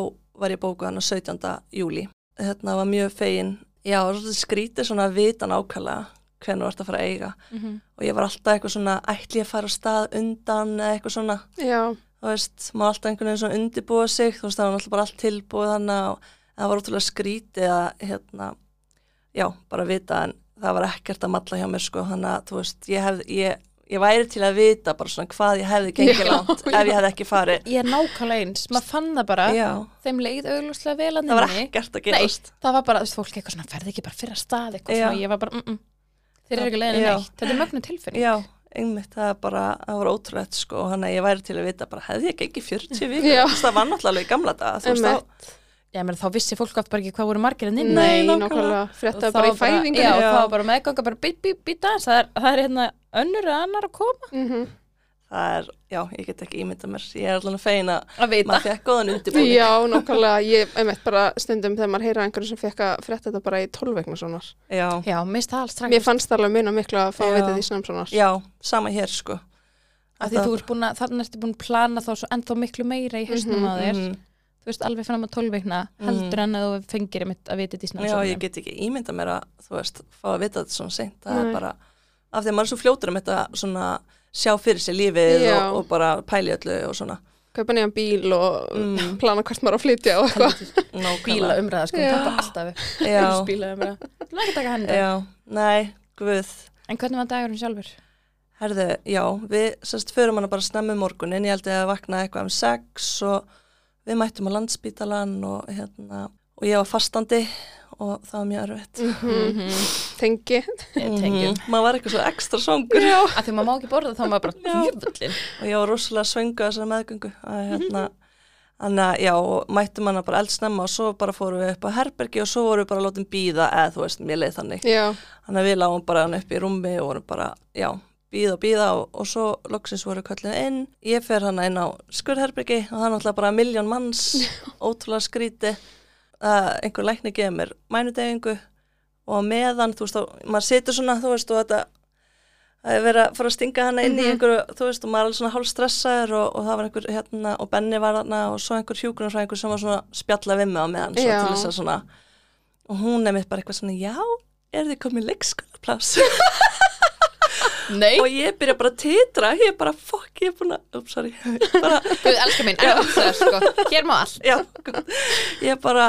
[SPEAKER 3] var ég bókuð hann á 17. júli. Hérna var mjög fegin, já, og svolítið skrítið svona að vita nákvæmlega hvernig þú ert að fara að eiga
[SPEAKER 2] Mhm.
[SPEAKER 3] og ég var alltaf eitthvað svona, ætli ég að fara á stað undan eða eitthvað svona,
[SPEAKER 1] Já,
[SPEAKER 3] þú veist, maður alltaf einhvern veginn svona undirbúa sig, þú veist, það var alltaf bara allt tilbúið þannig og en það var ótrúlega skrítið að, hérna, já, bara vita en það var ekkert að malla hjá mér, sko, þannig að, þú veist, ég hefði, ég, ég væri til að vita bara svona hvað ég hefði
[SPEAKER 1] Já,
[SPEAKER 3] gengið langt
[SPEAKER 1] já.
[SPEAKER 3] ef ég hefði ekki farið.
[SPEAKER 2] Ég er nákvæmlega eins, maður fann það bara,
[SPEAKER 3] Já,
[SPEAKER 2] þeim leið auglúslega vel að
[SPEAKER 3] það var
[SPEAKER 2] nefni.
[SPEAKER 3] ekkert að
[SPEAKER 2] Nei,
[SPEAKER 3] gerast.
[SPEAKER 2] það var bara, þú veist, fólk eitthvað svona, ferði ekki bara fyrir að stað eitthvað
[SPEAKER 3] Já.
[SPEAKER 2] svona, ég var bara, mm -mm. þeir eru ekki leiðin
[SPEAKER 3] Já.
[SPEAKER 2] neitt, þetta er mögnu tilfinning.
[SPEAKER 3] Já, einmitt, það er bara, það var ótrúlegt, sko, þannig að ég væri til að vita bara, hefði ég gengið 40 vikur,
[SPEAKER 1] Já.
[SPEAKER 3] þú veist, það var náttúrulega alveg í gamla daga, þú veist,
[SPEAKER 1] Einmitt.
[SPEAKER 3] þá-
[SPEAKER 2] Já, menn þá vissi fólk oft bara ekki hvað voru margir en inn.
[SPEAKER 1] nei,
[SPEAKER 3] Nei, nákvæmlega.
[SPEAKER 1] nákvæmlega.
[SPEAKER 2] Og
[SPEAKER 1] Fréttaði
[SPEAKER 2] þá
[SPEAKER 1] bara í
[SPEAKER 2] var
[SPEAKER 1] fæðingu.
[SPEAKER 2] Já,
[SPEAKER 3] Já.
[SPEAKER 2] þá var bara meðganga bara bít, bít, bít aðeins, það er, það er hérna önnur eða annar að koma
[SPEAKER 1] mm
[SPEAKER 3] það er, já, ég get ekki ímynda mér ég er allan að feina
[SPEAKER 2] að veita
[SPEAKER 3] maður fekk góðan undirbúning
[SPEAKER 1] Já, nákvæmlega, ég einmitt bara stundum þegar maður heyra einhverjum sem fekk að frétta þetta bara í 12 vegna svonar.
[SPEAKER 3] já,
[SPEAKER 2] Já, mist það alls strax
[SPEAKER 1] Mér fannst það alveg minna miklu að fá að
[SPEAKER 3] Já.
[SPEAKER 1] vita því snem svonar.
[SPEAKER 3] já, sama hér sko
[SPEAKER 2] að því þú ert búin að, þannig ertu búin að plana þá svo ennþá miklu meira í hausnum
[SPEAKER 1] Mhm,
[SPEAKER 2] á þér
[SPEAKER 3] mm,
[SPEAKER 2] þú veist alveg fram að 12 vikna heldur en að þú fengir einmitt að vita þetta í
[SPEAKER 3] Mhm. já,
[SPEAKER 2] snarsamlega
[SPEAKER 3] ég get ekki ímynda mér að þú veist, fá að vita þetta svona seint það
[SPEAKER 1] Nei.
[SPEAKER 3] er bara, af því að maður er svo fljótur um þetta svona, sjá fyrir sér lífið
[SPEAKER 1] Já.
[SPEAKER 3] og, og bara pæli öllu og svona
[SPEAKER 1] Kaupa nýjan bíl og
[SPEAKER 3] Mm.
[SPEAKER 1] plana hvert maður á að flytja og eitthvað.
[SPEAKER 2] bíla
[SPEAKER 3] nákvæmlega.
[SPEAKER 2] umræða sko,
[SPEAKER 1] Já.
[SPEAKER 2] það er alltaf upp
[SPEAKER 3] já,
[SPEAKER 2] bíla umræða, þú ekki taka henni
[SPEAKER 3] já, nei, guð
[SPEAKER 2] en hvernig var dagurinn sjálfur?
[SPEAKER 3] Herðu, já, við sérst förum hana bara snemmi morgunin, ég held ég að vakna eitthvað um sex og við mættum á landspítalan og hérna, og ég var fastandi og það var mjög erfitt.
[SPEAKER 1] Mm. Tengi.
[SPEAKER 2] Ég tengjum
[SPEAKER 3] Mhm, Maður var eitthvað svo ekstra svongur
[SPEAKER 2] að því maður má ekki borða þá maður bara djöfullin
[SPEAKER 3] og ég var rosalega svöngu þessari meðgöngu. að Hérna, Þannig að já, og mættum hana bara eldsnemma og svo bara fórum við upp á herbergi og svo vorum við bara að láta um býða eða þú veist, mér leið þannig.
[SPEAKER 1] Já,
[SPEAKER 3] Þannig að við lágum bara hann upp í rúmi og vorum bara, já, býða og býða og, og svo loksins voru kallið inn. Ég fer hann inn á skurherbyggi og það er náttúrulega bara miljón manns, ótrúlega skríti. Uh, einhver lækni gefið mér mænudegingu og á meðan, þú veist, þá, maður situr svona, þú veist, og þetta það er verið að fara að stinga hana inn í einhverju, þú veist, og maður er alveg svona hálfstressaður og, og það var einhver hérna og Benni var þarna og svo einhver hjúkunarfræðingur sem var svona að spjalla við mig á meðan, svona
[SPEAKER 1] Já.
[SPEAKER 3] til þess að svona, og hún nefnir bara eitthvað svona, já, er þið komið leikskólaplass?
[SPEAKER 2] nei,
[SPEAKER 3] og ég byrja bara að titra, ég er bara, fuck, ég er búin að, upp, sorry, bara,
[SPEAKER 2] Guð, elskar mín, er það sko hér má allt
[SPEAKER 3] já, gott. ég er bara,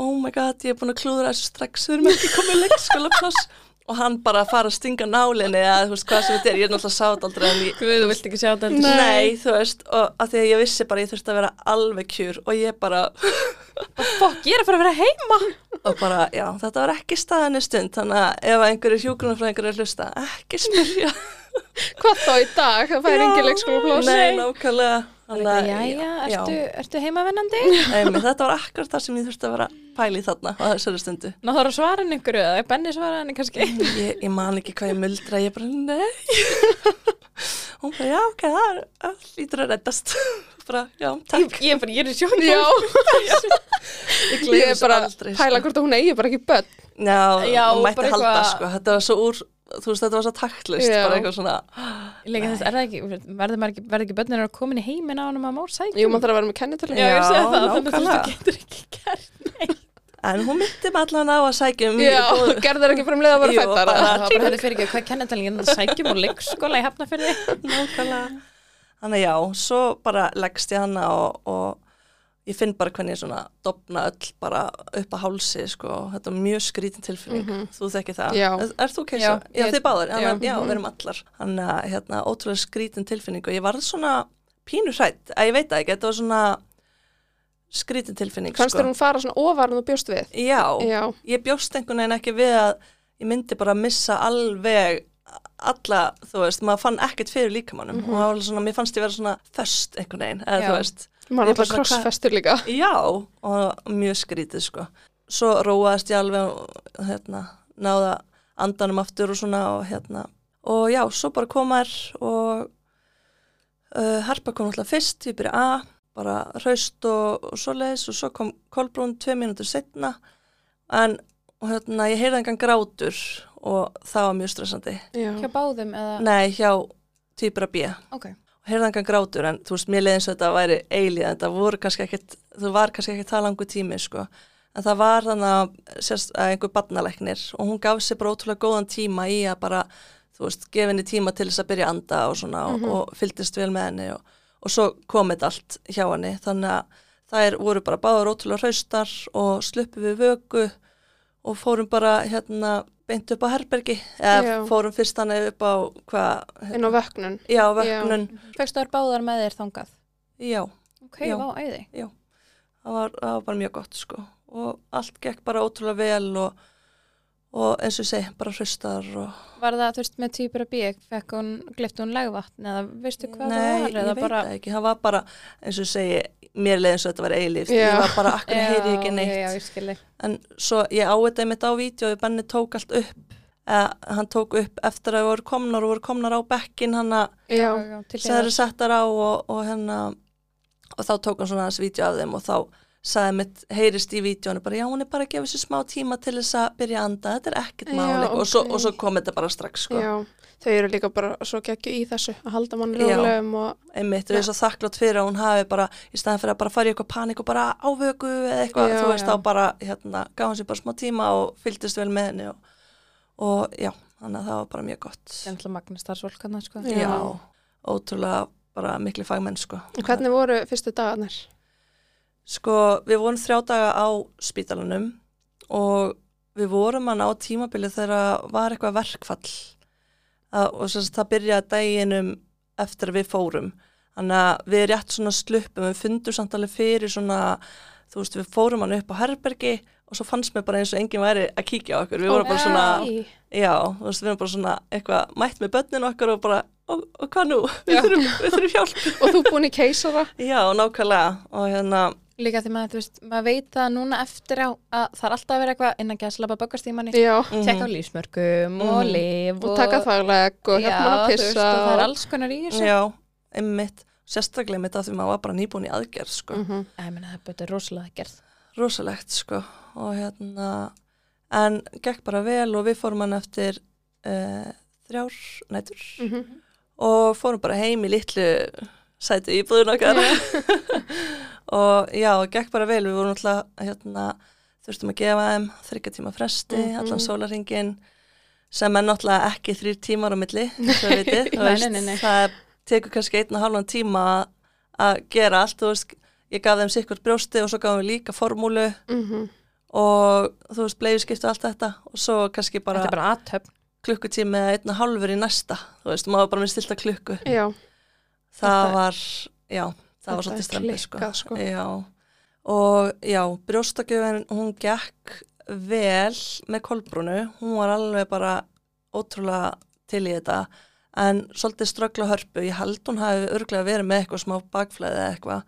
[SPEAKER 3] oh my god, ég er búin að klúðra þessu strax, við erum ekki komið leikskólaplass og hann bara að fara að stinga nálinni eða þú veist hvað sem þetta er, ég er náttúrulega sátt aldrei en ég,
[SPEAKER 2] Guð, þú vilt ekki sjá þetta
[SPEAKER 1] Nei.
[SPEAKER 3] nei, þú veist, og að því að ég vissi bara að ég þurfti að vera alveg kjur og ég bara,
[SPEAKER 2] fokk, ég er að fara að vera heima
[SPEAKER 3] og bara, já, þetta var ekki staðinni stund, þannig að ef einhverju hjúgrunafræðingur er að hlusta, ekki spyrja.
[SPEAKER 1] hvað þá í dag? Það fær
[SPEAKER 3] Já.
[SPEAKER 1] engin leikskólapláss.
[SPEAKER 3] Nei, nákvæmlega. Þannig að-
[SPEAKER 2] jæja,
[SPEAKER 3] já.
[SPEAKER 2] ertu, ertu heimavennandi?
[SPEAKER 3] Einmitt, þetta var akkurat það sem ég þurfti að vera pæli þarna á þessari stundu.
[SPEAKER 2] Ná þarf að svara henni ykkur eða Benni svara henni kannski
[SPEAKER 3] Ég, ég man ekki hvað ég muldra, ég bara, nei. Hún bara, já, ok, það er, það lítur að reddast. Bara, já, takk.
[SPEAKER 2] Ég, ég, ég er í sjónum
[SPEAKER 1] Já,
[SPEAKER 3] Ég
[SPEAKER 1] ég er
[SPEAKER 3] gleymi þessu
[SPEAKER 1] bara að
[SPEAKER 3] aldrei,
[SPEAKER 1] pæla
[SPEAKER 3] sko.
[SPEAKER 1] hvort að hún eigi bara ekki börn.
[SPEAKER 3] Já,
[SPEAKER 2] Já,
[SPEAKER 3] hún mætti
[SPEAKER 2] bara
[SPEAKER 3] halda,
[SPEAKER 2] eitthvað-
[SPEAKER 3] sko. Þetta var svo úr, þú veist, þetta var svo taktlist,
[SPEAKER 1] Já.
[SPEAKER 3] bara eitthvað svona.
[SPEAKER 2] Líka þess, er það ekki, verður maður ekki, verður ekki börnir að koma inn í heiminn á hann að maður sækja?
[SPEAKER 1] Jú, maður þarf að vera með kennitölu.
[SPEAKER 2] Já, ég
[SPEAKER 3] Já,
[SPEAKER 2] sé það, þannig að þú
[SPEAKER 3] nákvæmlega.
[SPEAKER 2] getur ekki gert.
[SPEAKER 3] En hún myndi með allan á að sækja um
[SPEAKER 1] Já, þú gerðir ekki fram leið að vera
[SPEAKER 3] Jú,
[SPEAKER 1] fættar.
[SPEAKER 3] bara-
[SPEAKER 2] Það var bara þetta fyrir ekki, hvað kennetalingin það sækjum um og leikskóla í hafnafyrði?
[SPEAKER 3] Nákvæmlega. Þannig að já, svo bara leggst ég hana og, og ég finn bara hvernig ég svona dopna öll bara upp að hálsi, sko. Þetta er mjög skrítin tilfinning. Þú þekki það.
[SPEAKER 1] Mhm. Já.
[SPEAKER 3] Er, er þú keisa?
[SPEAKER 2] Já,
[SPEAKER 3] Já,
[SPEAKER 2] ég-
[SPEAKER 3] þið báðir. Já,
[SPEAKER 2] já.
[SPEAKER 3] já, við erum allar. Þannig að hérna, ótrúlega skrítin tilfinning og ég varð svona pínur hrætt. Að ég veit það ekki, þetta var svona skrítin tilfinning,
[SPEAKER 1] Kannst
[SPEAKER 3] sko.
[SPEAKER 1] þér hún fara svona ofar en þú bjóst við?
[SPEAKER 3] Já,
[SPEAKER 1] Já,
[SPEAKER 3] ég bjóst einhvern veginn ekki við að ég myndi bara missa alveg alla, þú veist, maður fann ekkert fyrir líkamannum og það var svona, mér fannst ég vera svona föst einhvern veginn, eða
[SPEAKER 2] Já.
[SPEAKER 3] þú veist
[SPEAKER 1] maður
[SPEAKER 3] Ég bara
[SPEAKER 1] alltaf
[SPEAKER 3] svona, hvað-
[SPEAKER 1] krossfestur líka.
[SPEAKER 3] já, og mjög skrítið sko svo róaðist ég alveg og hérna, náða andanum aftur og svona og hérna og já, svo bara komar og uh, Harpa kom alltaf fyrst, ég byrja að bara hraust og, og svoleiðis og svo kom Kolbrún tvei mínútur setna en og hérna, ég heyrði engan grátur og það var mjög stressandi.
[SPEAKER 1] Já,
[SPEAKER 2] Hjá báðum eða?
[SPEAKER 3] Nei, hjá týpur að býja
[SPEAKER 2] Ok.
[SPEAKER 3] og heyrði engan grátur en þú veist, mér leiði eins og þetta væri eilíð en það voru kannski ekkit, þú var kannski ekkit það langu tími, sko. En það var þannig að, sérst, að einhver barnaleknir og hún gaf sér bara ótrúlega góðan tíma í að bara, þú veist, gefa henni tíma til þess að byrja að anda og svona og, og fylgdist vel með henni og, og svo komið allt hjá henni. Þannig að þær voru bara báður ótrúlega hraustar og sluppu við vöku og fórum bara, hérna, beint upp á herbergi
[SPEAKER 1] Já.
[SPEAKER 3] eða fórum fyrst hann upp á hvað,
[SPEAKER 1] inn á vöknun.
[SPEAKER 3] já, vöknun,
[SPEAKER 2] Fegstu þær báðar með þér þangað?
[SPEAKER 3] já.
[SPEAKER 2] Ok,
[SPEAKER 3] Já.
[SPEAKER 2] vá, æði.
[SPEAKER 3] það var, það var bara mjög gott sko og allt gekk bara ótrúlega vel og, og eins og ég segi, bara hraustar og
[SPEAKER 2] Var það, þú veist, með týpur að bík, fekk hún, glifti hún legvatn eða veistu hvað það
[SPEAKER 3] nei,
[SPEAKER 2] var?
[SPEAKER 3] ég
[SPEAKER 2] eða
[SPEAKER 3] veit
[SPEAKER 2] bara...
[SPEAKER 3] það ekki, það var bara eins og ég segi, mér leið eins og þetta var eilíft
[SPEAKER 1] Já.
[SPEAKER 3] ég var bara, akkur heyri ég ekki
[SPEAKER 2] Já,
[SPEAKER 3] neitt
[SPEAKER 2] já, já, ég skilji.
[SPEAKER 3] en svo ég á þetta einmitt á vídeo og ég benni tók allt upp eða, hann tók upp eftir að voru komnar og voru komnar á bekkin hann að
[SPEAKER 1] já,
[SPEAKER 2] til
[SPEAKER 3] sem þeir eru settar á og, og hérna og þá tók hann svona hans vídeo af þeim og þá sagði mitt, heyrist í vídjónu bara, já, hún er bara að gefa sér smá tíma til þess að byrja að anda, þetta er ekkert
[SPEAKER 1] Já,
[SPEAKER 3] mál okay. og, svo,
[SPEAKER 1] ókei.
[SPEAKER 3] og svo kom þetta bara strax sko.
[SPEAKER 1] já, þau eru líka bara svo geggju í þessu að halda mann
[SPEAKER 3] Já.
[SPEAKER 1] rólegum og
[SPEAKER 3] einmitt, og ég er svo þakklátt fyrir að hún hafi bara, í staðan fyrir að bara fara í eitthvað panik og bara ávöku eða eitthvað,
[SPEAKER 1] Já,
[SPEAKER 3] þú
[SPEAKER 1] já.
[SPEAKER 3] veist, þá bara hérna, gaf hún sér bara smá tíma og fylgdist vel með henni og, og já, þannig að það var bara mjög gott
[SPEAKER 2] Það er alltaf magna starfsvolkana, sko.
[SPEAKER 1] Já.
[SPEAKER 3] ótrúlega bara miklu fagmenn sko.
[SPEAKER 1] Hvernig voru fyrstu dagarnar?
[SPEAKER 3] sko, við vorum þrjá daga á spítalanum og við vorum hann á tímabili þegar var eitthvað verkfall að, og sem sagt, það byrjaði daginum eftir að við fórum þannig að við rétt svona sluppum við fundum samt alveg fyrir svona þú veist, við fórum hann upp á herbergi og svo fannst mér bara eins og enginn væri að kíkja á okkur við vorum bara svona,
[SPEAKER 1] Nei.
[SPEAKER 3] já, þú veist, við vorum bara svona eitthvað mætt með börnin okkar og bara og, og hvað nú, við þurfum, við þurfum hjálp
[SPEAKER 1] Og þú búin í keisara?
[SPEAKER 3] já, nákvæmlega og hérna,
[SPEAKER 2] Líka því maður, þú veist, maður veit það núna eftir á að það er alltaf að vera eitthvað innan gæðslapa bökastímanni.
[SPEAKER 1] Já,
[SPEAKER 2] Tjekka á lífsmörgum og lif
[SPEAKER 1] og taka fagleg og hjálpa mann að
[SPEAKER 2] Já, þú
[SPEAKER 1] pissa.
[SPEAKER 2] veist, og það er
[SPEAKER 1] og-
[SPEAKER 2] alls konar í þessu.
[SPEAKER 3] Já, einmitt, sérstaklega einmitt af því maður var bara nýbúin í aðgerð, sko,
[SPEAKER 1] Mhm.
[SPEAKER 2] Æ, menna, það er bara rosalega gerð.
[SPEAKER 3] rosalegt, sko, og hérna, en gekk bara vel og við fórum hann eftir uh, þrjár nætur
[SPEAKER 1] Mhm.
[SPEAKER 3] og fórum bara heim í litlu sæti íbúðin okkar og já, og gekk bara vel, við vorum alltaf, hérna, þurftum að gefa þeim þryggja tíma fresti,
[SPEAKER 1] Mhm.
[SPEAKER 3] allan sólaringin, sem er náttúrulega ekki þrýr tímar á milli, þess að vitið, þú
[SPEAKER 2] Nei,
[SPEAKER 3] veist,
[SPEAKER 2] nei, nei, nei.
[SPEAKER 3] það tekur kannski einn og halvan tíma að- að gera allt, þú veist, ég gaf þeim sikkert brjósti og svo gafum við líka formúlu
[SPEAKER 1] Mhm.
[SPEAKER 3] og þú veist, bleiðskiptu allt þetta og svo kannski bara,
[SPEAKER 2] Þetta er bara aðtöfn.
[SPEAKER 3] klukkutími eða einn og halvur í næsta, þú veist, maður var bara með stilta klukku.
[SPEAKER 1] Já,
[SPEAKER 3] Það
[SPEAKER 2] Þetta-
[SPEAKER 3] var, já, það
[SPEAKER 1] Þetta
[SPEAKER 3] var svolítið
[SPEAKER 1] er
[SPEAKER 3] strempið, sko.
[SPEAKER 1] klikkað, sko.
[SPEAKER 3] Já, og já, brjóstakjöfin, hún gekk vel með kolbrúnu, hún var alveg bara ótrúlega til í þetta, en svolítið ströggla hörpu, ég held hún hafi örglega verið með eitthvað smá bakflæði eða eitthvað,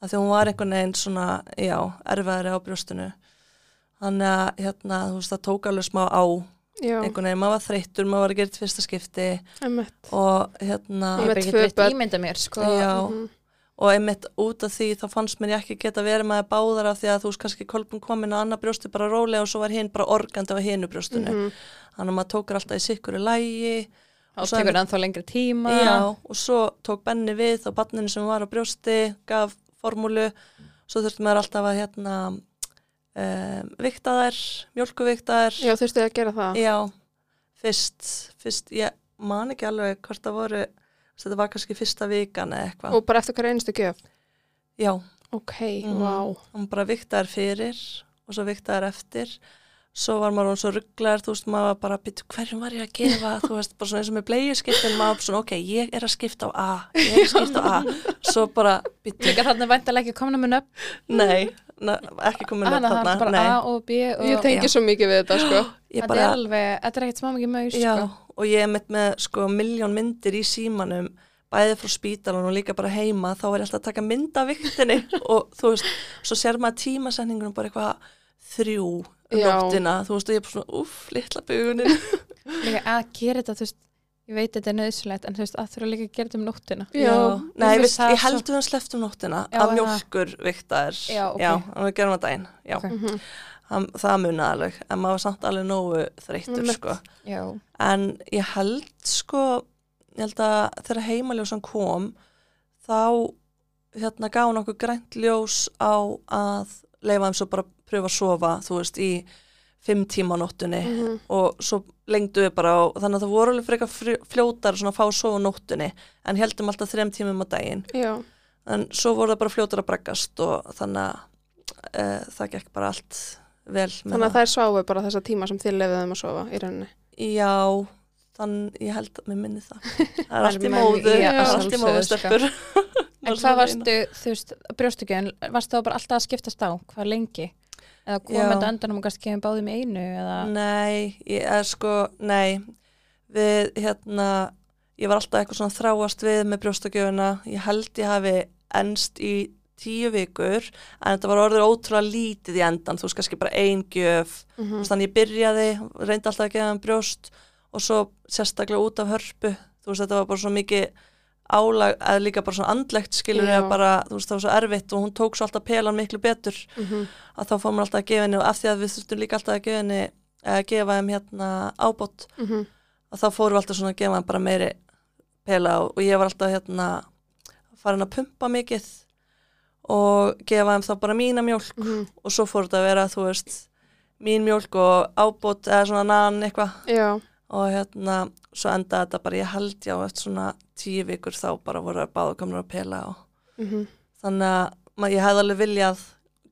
[SPEAKER 3] að því hún var einhvern veginn svona, já, erfæðri á brjóstinu. Þannig að, hérna, þú veist, það tók alveg smá á,
[SPEAKER 1] já,
[SPEAKER 3] einhvern veginn, maður var þreyttur, maður var að gera þetta fyrsta skipti
[SPEAKER 1] emmett.
[SPEAKER 3] og
[SPEAKER 1] Ég
[SPEAKER 2] Ég
[SPEAKER 3] hérna,
[SPEAKER 1] með
[SPEAKER 2] bara
[SPEAKER 1] tvö
[SPEAKER 2] getur veitt
[SPEAKER 1] börn.
[SPEAKER 2] ímynda mér, sko.
[SPEAKER 3] já,
[SPEAKER 1] Mhm.
[SPEAKER 3] og einmitt út af því þá fannst mér ég ekki geta verið með báðar af því að þú veist kannski kolpun komin að annað brjósti bara rólega og svo var hinn bara organdi á hinu brjóstinu
[SPEAKER 1] Mhm.
[SPEAKER 3] þannig að maður tókur alltaf í sikkuru lægi
[SPEAKER 2] Og
[SPEAKER 3] svo-
[SPEAKER 2] tekur ennþá lengri tíma.
[SPEAKER 3] já, og svo tók Benni við og banninu sem var á brjósti gaf formúlu svo þurfti maður alltaf að hérna um, vikta þær, mjölkuvikta þær
[SPEAKER 1] Já, þurftu að gera það?
[SPEAKER 3] Já, fyrst, fyrst, ég man ekki alveg hvort það voru, þetta var kannski fyrsta vikan eða eitthvað.
[SPEAKER 1] Og bara eftir hverja einustu gjöf?
[SPEAKER 3] Já,
[SPEAKER 1] Ok,
[SPEAKER 3] Mhm.
[SPEAKER 1] vá.
[SPEAKER 3] hann bara viktaðar fyrir og svo viktaðar eftir. Svo var maður hún svo rugglar, þú veist, maður var bara að byrja, hverjum var ég að gefa, þú veist, bara svona eins og með bleiðskiptin, maður var svona, ok, ég er að skipta á A, ég er að skipta á A, svo bara byrja,
[SPEAKER 2] Líka þarna væntalega ekki komin að mun upp.
[SPEAKER 3] nei, na, ekki komin upp
[SPEAKER 2] Hanna, hann
[SPEAKER 3] þarna,
[SPEAKER 2] bara
[SPEAKER 3] nei,
[SPEAKER 2] A og B og...
[SPEAKER 1] Ég tengi svo mikið við þetta, sko.
[SPEAKER 3] ég
[SPEAKER 2] Þetta er alveg, þetta er ekkert smá mikið maus,
[SPEAKER 3] Já,
[SPEAKER 2] sko.
[SPEAKER 3] og ég er mitt með sko miljón myndir í símanum bæði frá spítalan og líka bara heima þá er ég alltaf að taka mynd af viktinni og þú veist, svo sér maður tímasendingunum bara eitthvað þrjú um
[SPEAKER 1] Já.
[SPEAKER 3] nóttina, þú veist, og ég er bara svona uff, litla bugunin
[SPEAKER 2] Líka að gera þetta, þú veist, ég veit þetta er nöðsulegt, en þú veist, að þurfa líka að gera þetta um nóttina. Þú
[SPEAKER 3] Nei, ég,
[SPEAKER 2] veist,
[SPEAKER 3] veist,
[SPEAKER 2] það
[SPEAKER 3] ég
[SPEAKER 2] er
[SPEAKER 3] held við hann sleppt um nóttina
[SPEAKER 2] Já,
[SPEAKER 3] af
[SPEAKER 2] eða-
[SPEAKER 3] mjólkur viktaðir
[SPEAKER 2] Já, ok.
[SPEAKER 3] já, þannig að við gerum það daginn já,
[SPEAKER 2] Ok.
[SPEAKER 1] Mhm.
[SPEAKER 3] það, það muna alveg, en maður var samt alveg nógu þreyttur,
[SPEAKER 1] Einmitt.
[SPEAKER 3] sko
[SPEAKER 2] Já,
[SPEAKER 3] En ég held sko, ég held að þegar heimaljósan kom, þá hérna gaf hún okkur grænt ljós á að leifa þeim svo bara að pröfa að sofa, þú veist, í fimm tíma á nóttunni
[SPEAKER 1] Mhm.
[SPEAKER 3] og svo lengdu við bara og þannig að það voru alveg frekar frjó- fljótar svona að fá að sofa á nóttunni en heldum alltaf þrem tímum á daginn
[SPEAKER 1] Já,
[SPEAKER 3] en svo voru það bara fljótar að braggast og þannig að uh, það gekk bara allt vel með
[SPEAKER 1] þannig að það er sváu bara þessa tíma sem þið lefið þeim að sofa í rauninni.
[SPEAKER 3] Já, þann, ég held að mér minni það. Það er allt í
[SPEAKER 2] menn-
[SPEAKER 3] móðu, það
[SPEAKER 2] já,
[SPEAKER 3] er allt í móðu
[SPEAKER 2] sjálfsögðu, sko.
[SPEAKER 3] stelpur.
[SPEAKER 2] en hvað varstu, þú veist, brjóstukjöðin, varstu þá bara alltaf að skiptast á, hvað lengi? Eða kom
[SPEAKER 3] Já. Mm.
[SPEAKER 2] þetta á endanum og kannski kemur báðum í einu, eða...
[SPEAKER 3] Nei, ég er sko, nei, við, hérna, ég var alltaf eitthvað svona þráast við með brjóstakjöfuna. Ég held ég hafi enst í tíu vikur en þetta var orðið ótrúlega lítið í endan þú veist kannski bara ein gjöf
[SPEAKER 2] Mhm.
[SPEAKER 1] Mm
[SPEAKER 3] mm. þannig ég byrjaði, reyndi alltaf að gefa hann brjóst og svo sérstaklega út af hörpu þú veist þetta var bara svo mikið álag, eða líka bara svona andlegt skilur
[SPEAKER 1] Já.
[SPEAKER 3] eða bara, þú veist það var svo erfitt og hún tók svo alltaf pelan miklu betur að þá fór maður alltaf að gefa henni og af því að við þurftum líka alltaf að gefa henni að gefa henni hérna ábót að þá fórum við alltaf svona að gefa hann bara meiri pela og, og ég var alltaf hérna farin að pumpa mikið og gefa hann þá bara mína mjólk og svo fór þetta að vera, þú veist, mín mjólk og ábót eða svona nan eitthvað
[SPEAKER 1] Já,
[SPEAKER 3] og hérna, svo endaði þetta bara, ég held já, eftir svona tíu vikur þá bara voru að báða komnur að pela og
[SPEAKER 1] mhm.
[SPEAKER 3] þannig að ma- ég hefði alveg viljað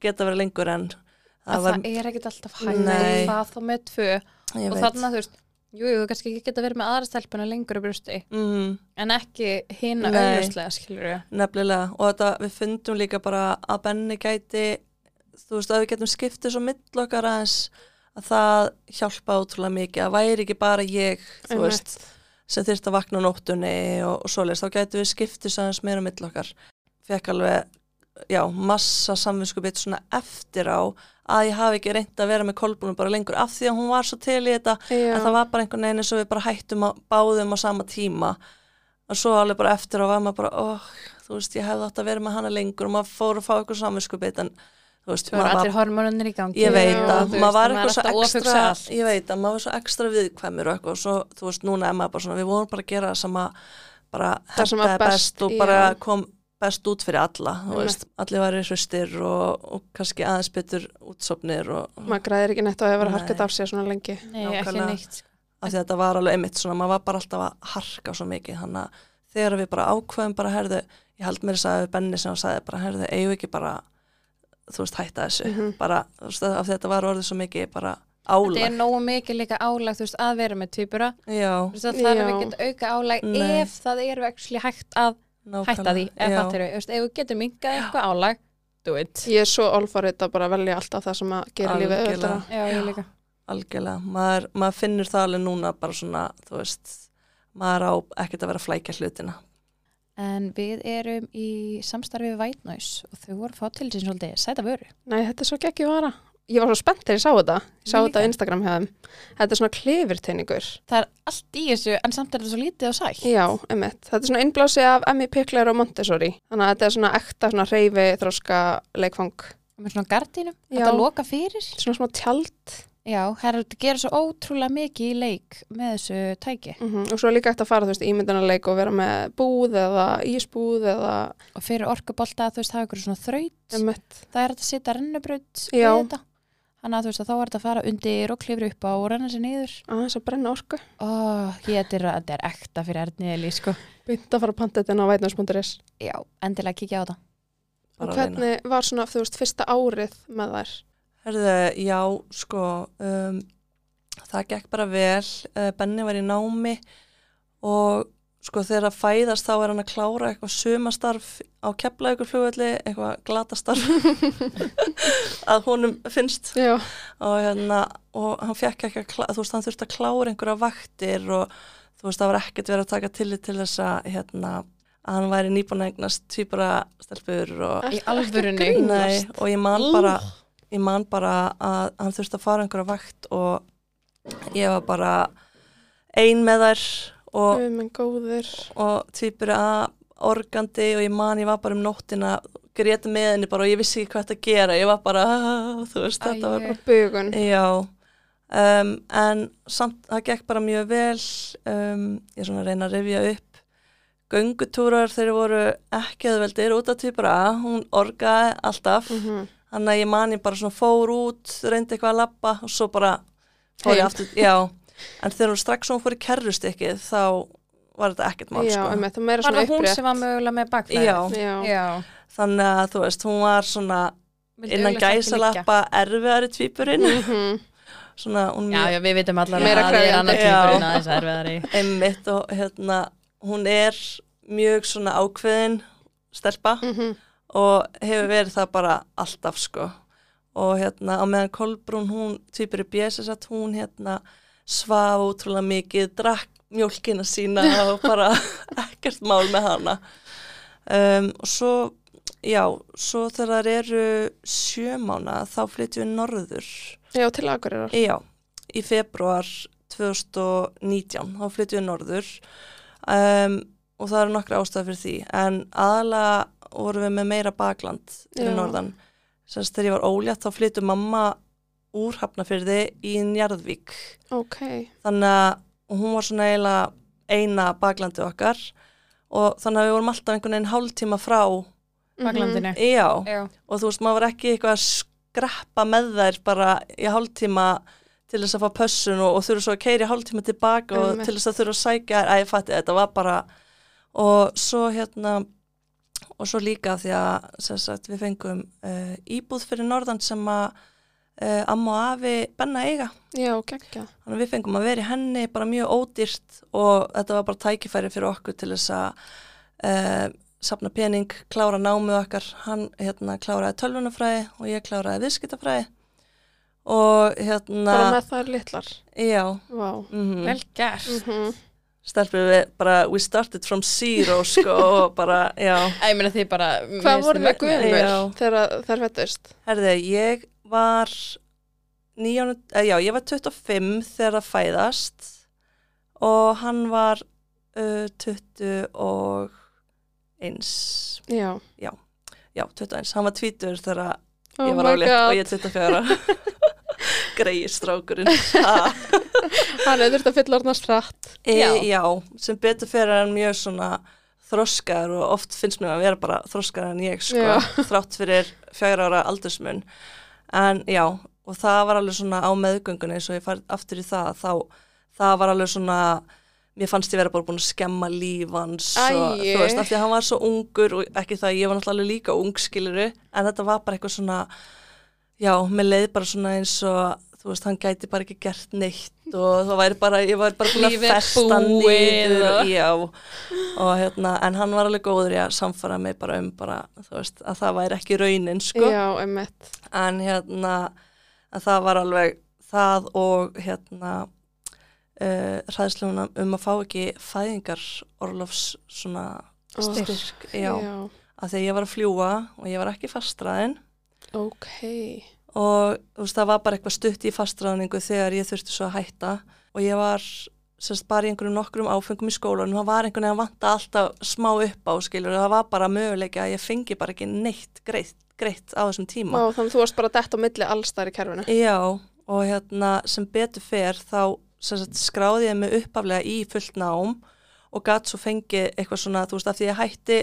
[SPEAKER 3] geta verið lengur en
[SPEAKER 2] það,
[SPEAKER 3] það var,
[SPEAKER 2] er ekkit alltaf hægt
[SPEAKER 3] Nei.
[SPEAKER 2] það þá með tvö
[SPEAKER 3] ég
[SPEAKER 2] og
[SPEAKER 3] veit,
[SPEAKER 2] þarna þú veist jú, jú, þú kannski ekki geta verið með aðra stelpuna lengur á brjósti
[SPEAKER 3] mm,
[SPEAKER 2] en ekki hina
[SPEAKER 3] Nei.
[SPEAKER 2] auðvistlega skilur við
[SPEAKER 3] nefnilega og þetta, við fundum líka bara að Benni gæti, þú veist, að við getum skiptið svo mill okkar aðeins að það hjálpa ótrúlega mikið, að væri ekki bara ég, þú
[SPEAKER 1] Einmitt.
[SPEAKER 3] veist, sem þyrst að vakna á nóttunni og, og svoleiðis, þá gætu við skiptis aðeins meira mill okkar. Fekk alveg, já, massa samvinsku bit svona eftir á að ég hafi ekki reynd að vera með kolbúnum bara lengur af því að hún var svo til í þetta
[SPEAKER 1] Já.
[SPEAKER 3] en það var bara einhvern veginn eins og við bara hættum að báðum á sama tíma og svo alveg bara eftir á var maður bara oh, þú veist, ég hefði átt að vera með hana lengur og maður fór að fá eitthvað samvinsku bit en þú veist,
[SPEAKER 2] þú eru
[SPEAKER 3] maður
[SPEAKER 2] allir hormonunir í gangi
[SPEAKER 3] Ég veit
[SPEAKER 1] Já,
[SPEAKER 3] að
[SPEAKER 2] þú
[SPEAKER 3] maður
[SPEAKER 2] veist,
[SPEAKER 3] var eitthvað svo
[SPEAKER 2] alltaf að
[SPEAKER 3] ekstra
[SPEAKER 2] ofhugsa allt.
[SPEAKER 3] ég veit að maður var svo ekstra viðkvæmur og eitthvað og svo, þú veist, núna er maður bara svona við vorum bara að gera það sem að bara
[SPEAKER 1] Það sem að
[SPEAKER 3] hentaði
[SPEAKER 1] best,
[SPEAKER 3] best og bara
[SPEAKER 1] já.
[SPEAKER 3] kom best út fyrir alla, þú
[SPEAKER 1] Einmitt.
[SPEAKER 3] veist allir væri hraustir og, og kannski aðeins betur útsopnir og
[SPEAKER 1] Maður græðir ekki neitt á að vera
[SPEAKER 3] Nei.
[SPEAKER 1] harkat af sér svona lengi.
[SPEAKER 2] Nei, ekki
[SPEAKER 3] Nákvæmlega.
[SPEAKER 2] neitt sko.
[SPEAKER 3] af því að þetta var alveg einmitt svona, maður var bara alltaf að harka svo mikið, þannig að þegar við bara ákveðum bara, herðu, ég held mér þess að við Benni sem hann sagði bara, herðu, eigum við ekki bara þú veist, hætta þessu
[SPEAKER 1] Mhm.
[SPEAKER 3] bara, þú veist, af því að þetta var orðið svo mikið bara álag,
[SPEAKER 2] þetta er nógu mikið líka álag þú veist, að vera með týpura
[SPEAKER 3] já,
[SPEAKER 2] það þarf
[SPEAKER 1] Já.
[SPEAKER 2] ekki að auka álag
[SPEAKER 3] Nei.
[SPEAKER 2] ef það er actually hægt að hætta því ef,
[SPEAKER 3] já,
[SPEAKER 2] fattar við, þú veist, ef við getum minkað eitthvað álag do it
[SPEAKER 1] Ég er svo olfarið að bara velja alltaf það sem að gera lífið
[SPEAKER 3] Algjörlega.
[SPEAKER 1] auðvitað.
[SPEAKER 2] já, ég líka
[SPEAKER 3] algjörlega, maður, maður finnur það alveg núna bara svona, þú veist maður á ekkert að vera að flækja hlutina
[SPEAKER 2] En við erum í samstarfi við White Noise og þau voru fá til sín svolítið sæta vöru.
[SPEAKER 1] Nei, þetta er svo geggjum vara. Ég var svo spennt þegar ég sá þetta. Ég sá
[SPEAKER 2] Ég
[SPEAKER 1] þetta á
[SPEAKER 2] líka.
[SPEAKER 1] Instagram hjá þeim. Þetta er svona klifirteiningur.
[SPEAKER 2] Það er allt í þessu en samt er þetta svo lítið og sætt.
[SPEAKER 1] Já, emitt. Þetta er svona innblási af Emmy Pickler og Montessori. Þannig að þetta er svona ekta, svona reyfi, þróska, leikfang.
[SPEAKER 2] Með svona gardínum,
[SPEAKER 1] Já.
[SPEAKER 2] þetta loka fyrir.
[SPEAKER 1] Svona smá tjald.
[SPEAKER 2] Já, það er að gera svo ótrúlega mikið í leik með þessu tæki.
[SPEAKER 1] Mm Og svo er líka eftir að fara, þú veist, ímyndunarleik og vera með búð eða ísbúð eða
[SPEAKER 2] Og fyrir orkubolta þú veist það er eitthvað svona þraut.
[SPEAKER 1] emitt.
[SPEAKER 2] Það er hægt að setja rennubraut við
[SPEAKER 1] Já.
[SPEAKER 2] þetta. Þannig að þú veist að þá er þetta að fara undir og klifra upp á og renna sér niður.
[SPEAKER 1] Aðeins að brenna orku.
[SPEAKER 2] Ó, ég þetta er, þetta er ekta fyrir erðni eða sko.
[SPEAKER 1] Bynd að fara að panta þetta inn á vætnars.is.
[SPEAKER 2] Já, endilega kíkja á það.
[SPEAKER 1] Og
[SPEAKER 3] bara að reyna.
[SPEAKER 1] hvernig var svona, þú veist, fyrsta árið með þær?
[SPEAKER 3] Herðu, já, sko, um, það gekk bara vel, uh, Benni var í námi og sko þegar að fæðast þá er hann að klára eitthvað sumastarf á keflaugurflugvelli, eitthvað glatastarf að honum finnst
[SPEAKER 1] Já.
[SPEAKER 3] og, hérna, og hann fekk ekki að klára, þú veist, hann þurfti að klára einhverja vaktir og þú veist, það var ekkert verið að taka tillit til þess að, hérna, að hann væri nýbúin að eignast týpura stelpur og
[SPEAKER 2] Í alvörunni.
[SPEAKER 3] Nei, og ég man bara ég man bara að hann þurfti að fara einhverja vakt og ég var bara ein með þær og,
[SPEAKER 1] Guð minn góður.
[SPEAKER 3] og týpur að organdi og ég man ég var bara um nóttina grét með henni bara og ég vissi ekki hvað þetta gera ég var bara, "Ah," þú veist, þetta var
[SPEAKER 2] Æi.
[SPEAKER 1] Og bugun.
[SPEAKER 3] Já, um, en samt, það gekk bara mjög vel, um, ég er svona að reyna að rifja upp. Göngutúrar þeir voru ekki aðveldir út af týpura, hún orgaði alltaf,
[SPEAKER 1] Mm
[SPEAKER 3] þannig að ég mani bara svona fór út, reyndi eitthvað að labba og svo bara fór ég
[SPEAKER 1] Heim.
[SPEAKER 3] aftur, já. En þegar hún strax hún fór í kerrustykkið þá var þetta ekkert mál,
[SPEAKER 1] Já,
[SPEAKER 3] sko.
[SPEAKER 1] emitt. Það er meira
[SPEAKER 2] Var
[SPEAKER 1] svona
[SPEAKER 2] það hún
[SPEAKER 1] upprétt.
[SPEAKER 2] sem var mögulega með bakflæði?
[SPEAKER 3] Já,
[SPEAKER 1] Já.
[SPEAKER 2] Já.
[SPEAKER 3] þannig að þú veist, hún var svona
[SPEAKER 2] Vildi
[SPEAKER 3] innan
[SPEAKER 2] augljóslega ekki
[SPEAKER 3] gæsa lappa erfiðari tvípurinn,
[SPEAKER 1] Mhm.
[SPEAKER 3] svona hún
[SPEAKER 2] liggja. Já, já, við vitum allar
[SPEAKER 1] Meira
[SPEAKER 2] að það er
[SPEAKER 1] krefjandi.
[SPEAKER 2] annar
[SPEAKER 3] Já. Mhm.
[SPEAKER 2] týpur en aðeins erfiðari.
[SPEAKER 3] einmitt og hérna hún er mjög svona ákveðin stelpa
[SPEAKER 1] Mhm.
[SPEAKER 3] og hefur verið það bara alltaf sko og hérna á meðan Kolbrún hún týpur í bjössis að hún hérna svaf útrúlega mikið, drakk mjólkina sína og bara ekkert mál með hana um, og svo já, svo þegar þær eru sjö mána þá flytjum við norður.
[SPEAKER 1] Já, til Akureyrar.
[SPEAKER 3] Já, í februar 2019 þá flytjum við norður um, og það eru nokkra ástæð fyrir því en aðalega vorum við með meira bakland fyrir
[SPEAKER 1] Já.
[SPEAKER 3] norðan. Sérst þegar ég var ólétt þá flytjum mamma úr Hafnafyrði í Njarðvík.
[SPEAKER 1] Ok.
[SPEAKER 3] þannig að hún var svona eiginlega eina baklandi okkar og þannig að við vorum alltaf einhvern veginn hálftíma frá
[SPEAKER 2] Baklandinu.
[SPEAKER 3] já,
[SPEAKER 2] Já.
[SPEAKER 3] og þú veist, maður var ekki eitthvað að skrappa með þær bara í hálftíma til þess að fá pössun og, og þurfa svo að keiri hálftíma tilbaka og
[SPEAKER 1] Einmitt.
[SPEAKER 3] til þess að þurfa að sækja þær, að ég fatti, þetta var bara og svo hérna og svo líka því að sem sagt, við fengum uh, íbúð fyrir norðan sem að uh, amma og afi benna eiga
[SPEAKER 1] Mhm. Já, geggjað.
[SPEAKER 3] Þannig að við fengum að vera í henni bara mjög ódýrt og þetta var bara tækifæri fyrir okkur til þess að uh, sapna pening, klára námið okkar. Hann hérna, kláraði tölvunafræði og ég kláraði viðskiptafræði og hérna,
[SPEAKER 1] Bara með þær litlar.
[SPEAKER 3] já,
[SPEAKER 1] Vá.
[SPEAKER 3] mm
[SPEAKER 2] Vel gert.
[SPEAKER 1] Mm
[SPEAKER 3] stelpum við bara, we started from zero sko og bara, já.
[SPEAKER 2] Æ, Ég meina því bara
[SPEAKER 1] Hvað voru þið
[SPEAKER 3] Nei, já.
[SPEAKER 1] guðumur þegar þær fættust?
[SPEAKER 3] Herði, ég var, 9, eh, já, ég var 25 þegar það fæðast og hann var uh, 21,
[SPEAKER 1] Já.
[SPEAKER 3] já, 21, hann var 20 þegar
[SPEAKER 1] Oh
[SPEAKER 3] ég var
[SPEAKER 1] my
[SPEAKER 3] álétt og
[SPEAKER 1] god.
[SPEAKER 3] ég 24. Greiði strákurinn. Ha.
[SPEAKER 1] Hann er þurft að fylla orðnast hratt.
[SPEAKER 3] e,
[SPEAKER 2] Já.
[SPEAKER 3] já. sem betur fyrir hann mjög svona þroskar og oft finnst mér að vera bara þroskar en ég sko,
[SPEAKER 1] Já.
[SPEAKER 3] þrátt fyrir fjögra ára aldursmun en já, og það var alveg svona á meðgöngunni eins og ég farið aftur í það þá, það var alveg svona mér fannst ég vera bara búin að skemma líf hans og
[SPEAKER 1] Æi.
[SPEAKER 3] þú veist, af því að hann var svo ungur og ekki það, að ég var náttúrulega alveg líka ung skiluru, en þetta var bara eitthvað svona já, mér leið bara svona eins og þú veist, hann gæti bara ekki gert neitt og það væri bara, ég væri bara búin að
[SPEAKER 2] Lífið er
[SPEAKER 3] festa
[SPEAKER 2] búið
[SPEAKER 3] niður
[SPEAKER 2] og-
[SPEAKER 3] og, já, og hérna, en hann var alveg góður í að samfara mig bara um bara, þú veist, að það væri ekki raunin sko,
[SPEAKER 1] Já, emmett.
[SPEAKER 3] en hérna en það var alveg það og hérna uh, hræðsluna um að fá ekki fæðingar orlofs svona styrk, já,
[SPEAKER 1] Já.
[SPEAKER 3] að því að ég var að fljúa og ég var ekki fastraðin
[SPEAKER 1] Ok.
[SPEAKER 3] og þú veist, það var bara eitthvað stutt í fastræðningu þegar ég þurfti svo að hætta og ég var semst bara í einhverjum nokkrum áfengum í skólanum það var einhvern veginn að vanta alltaf smá upp á skilur það var bara möguleika að ég fengi bara ekki neitt greitt, greitt á þessum
[SPEAKER 1] Má,
[SPEAKER 3] tíma
[SPEAKER 1] þannig að þú varst bara dett á milli alls þær í kerfinu.
[SPEAKER 3] Já, og hérna sem betur fer þá sem sagt, skráði ég mig uppaflega í fullt nám og gatt svo fengið eitthvað svona, þú veist, af því ég hætti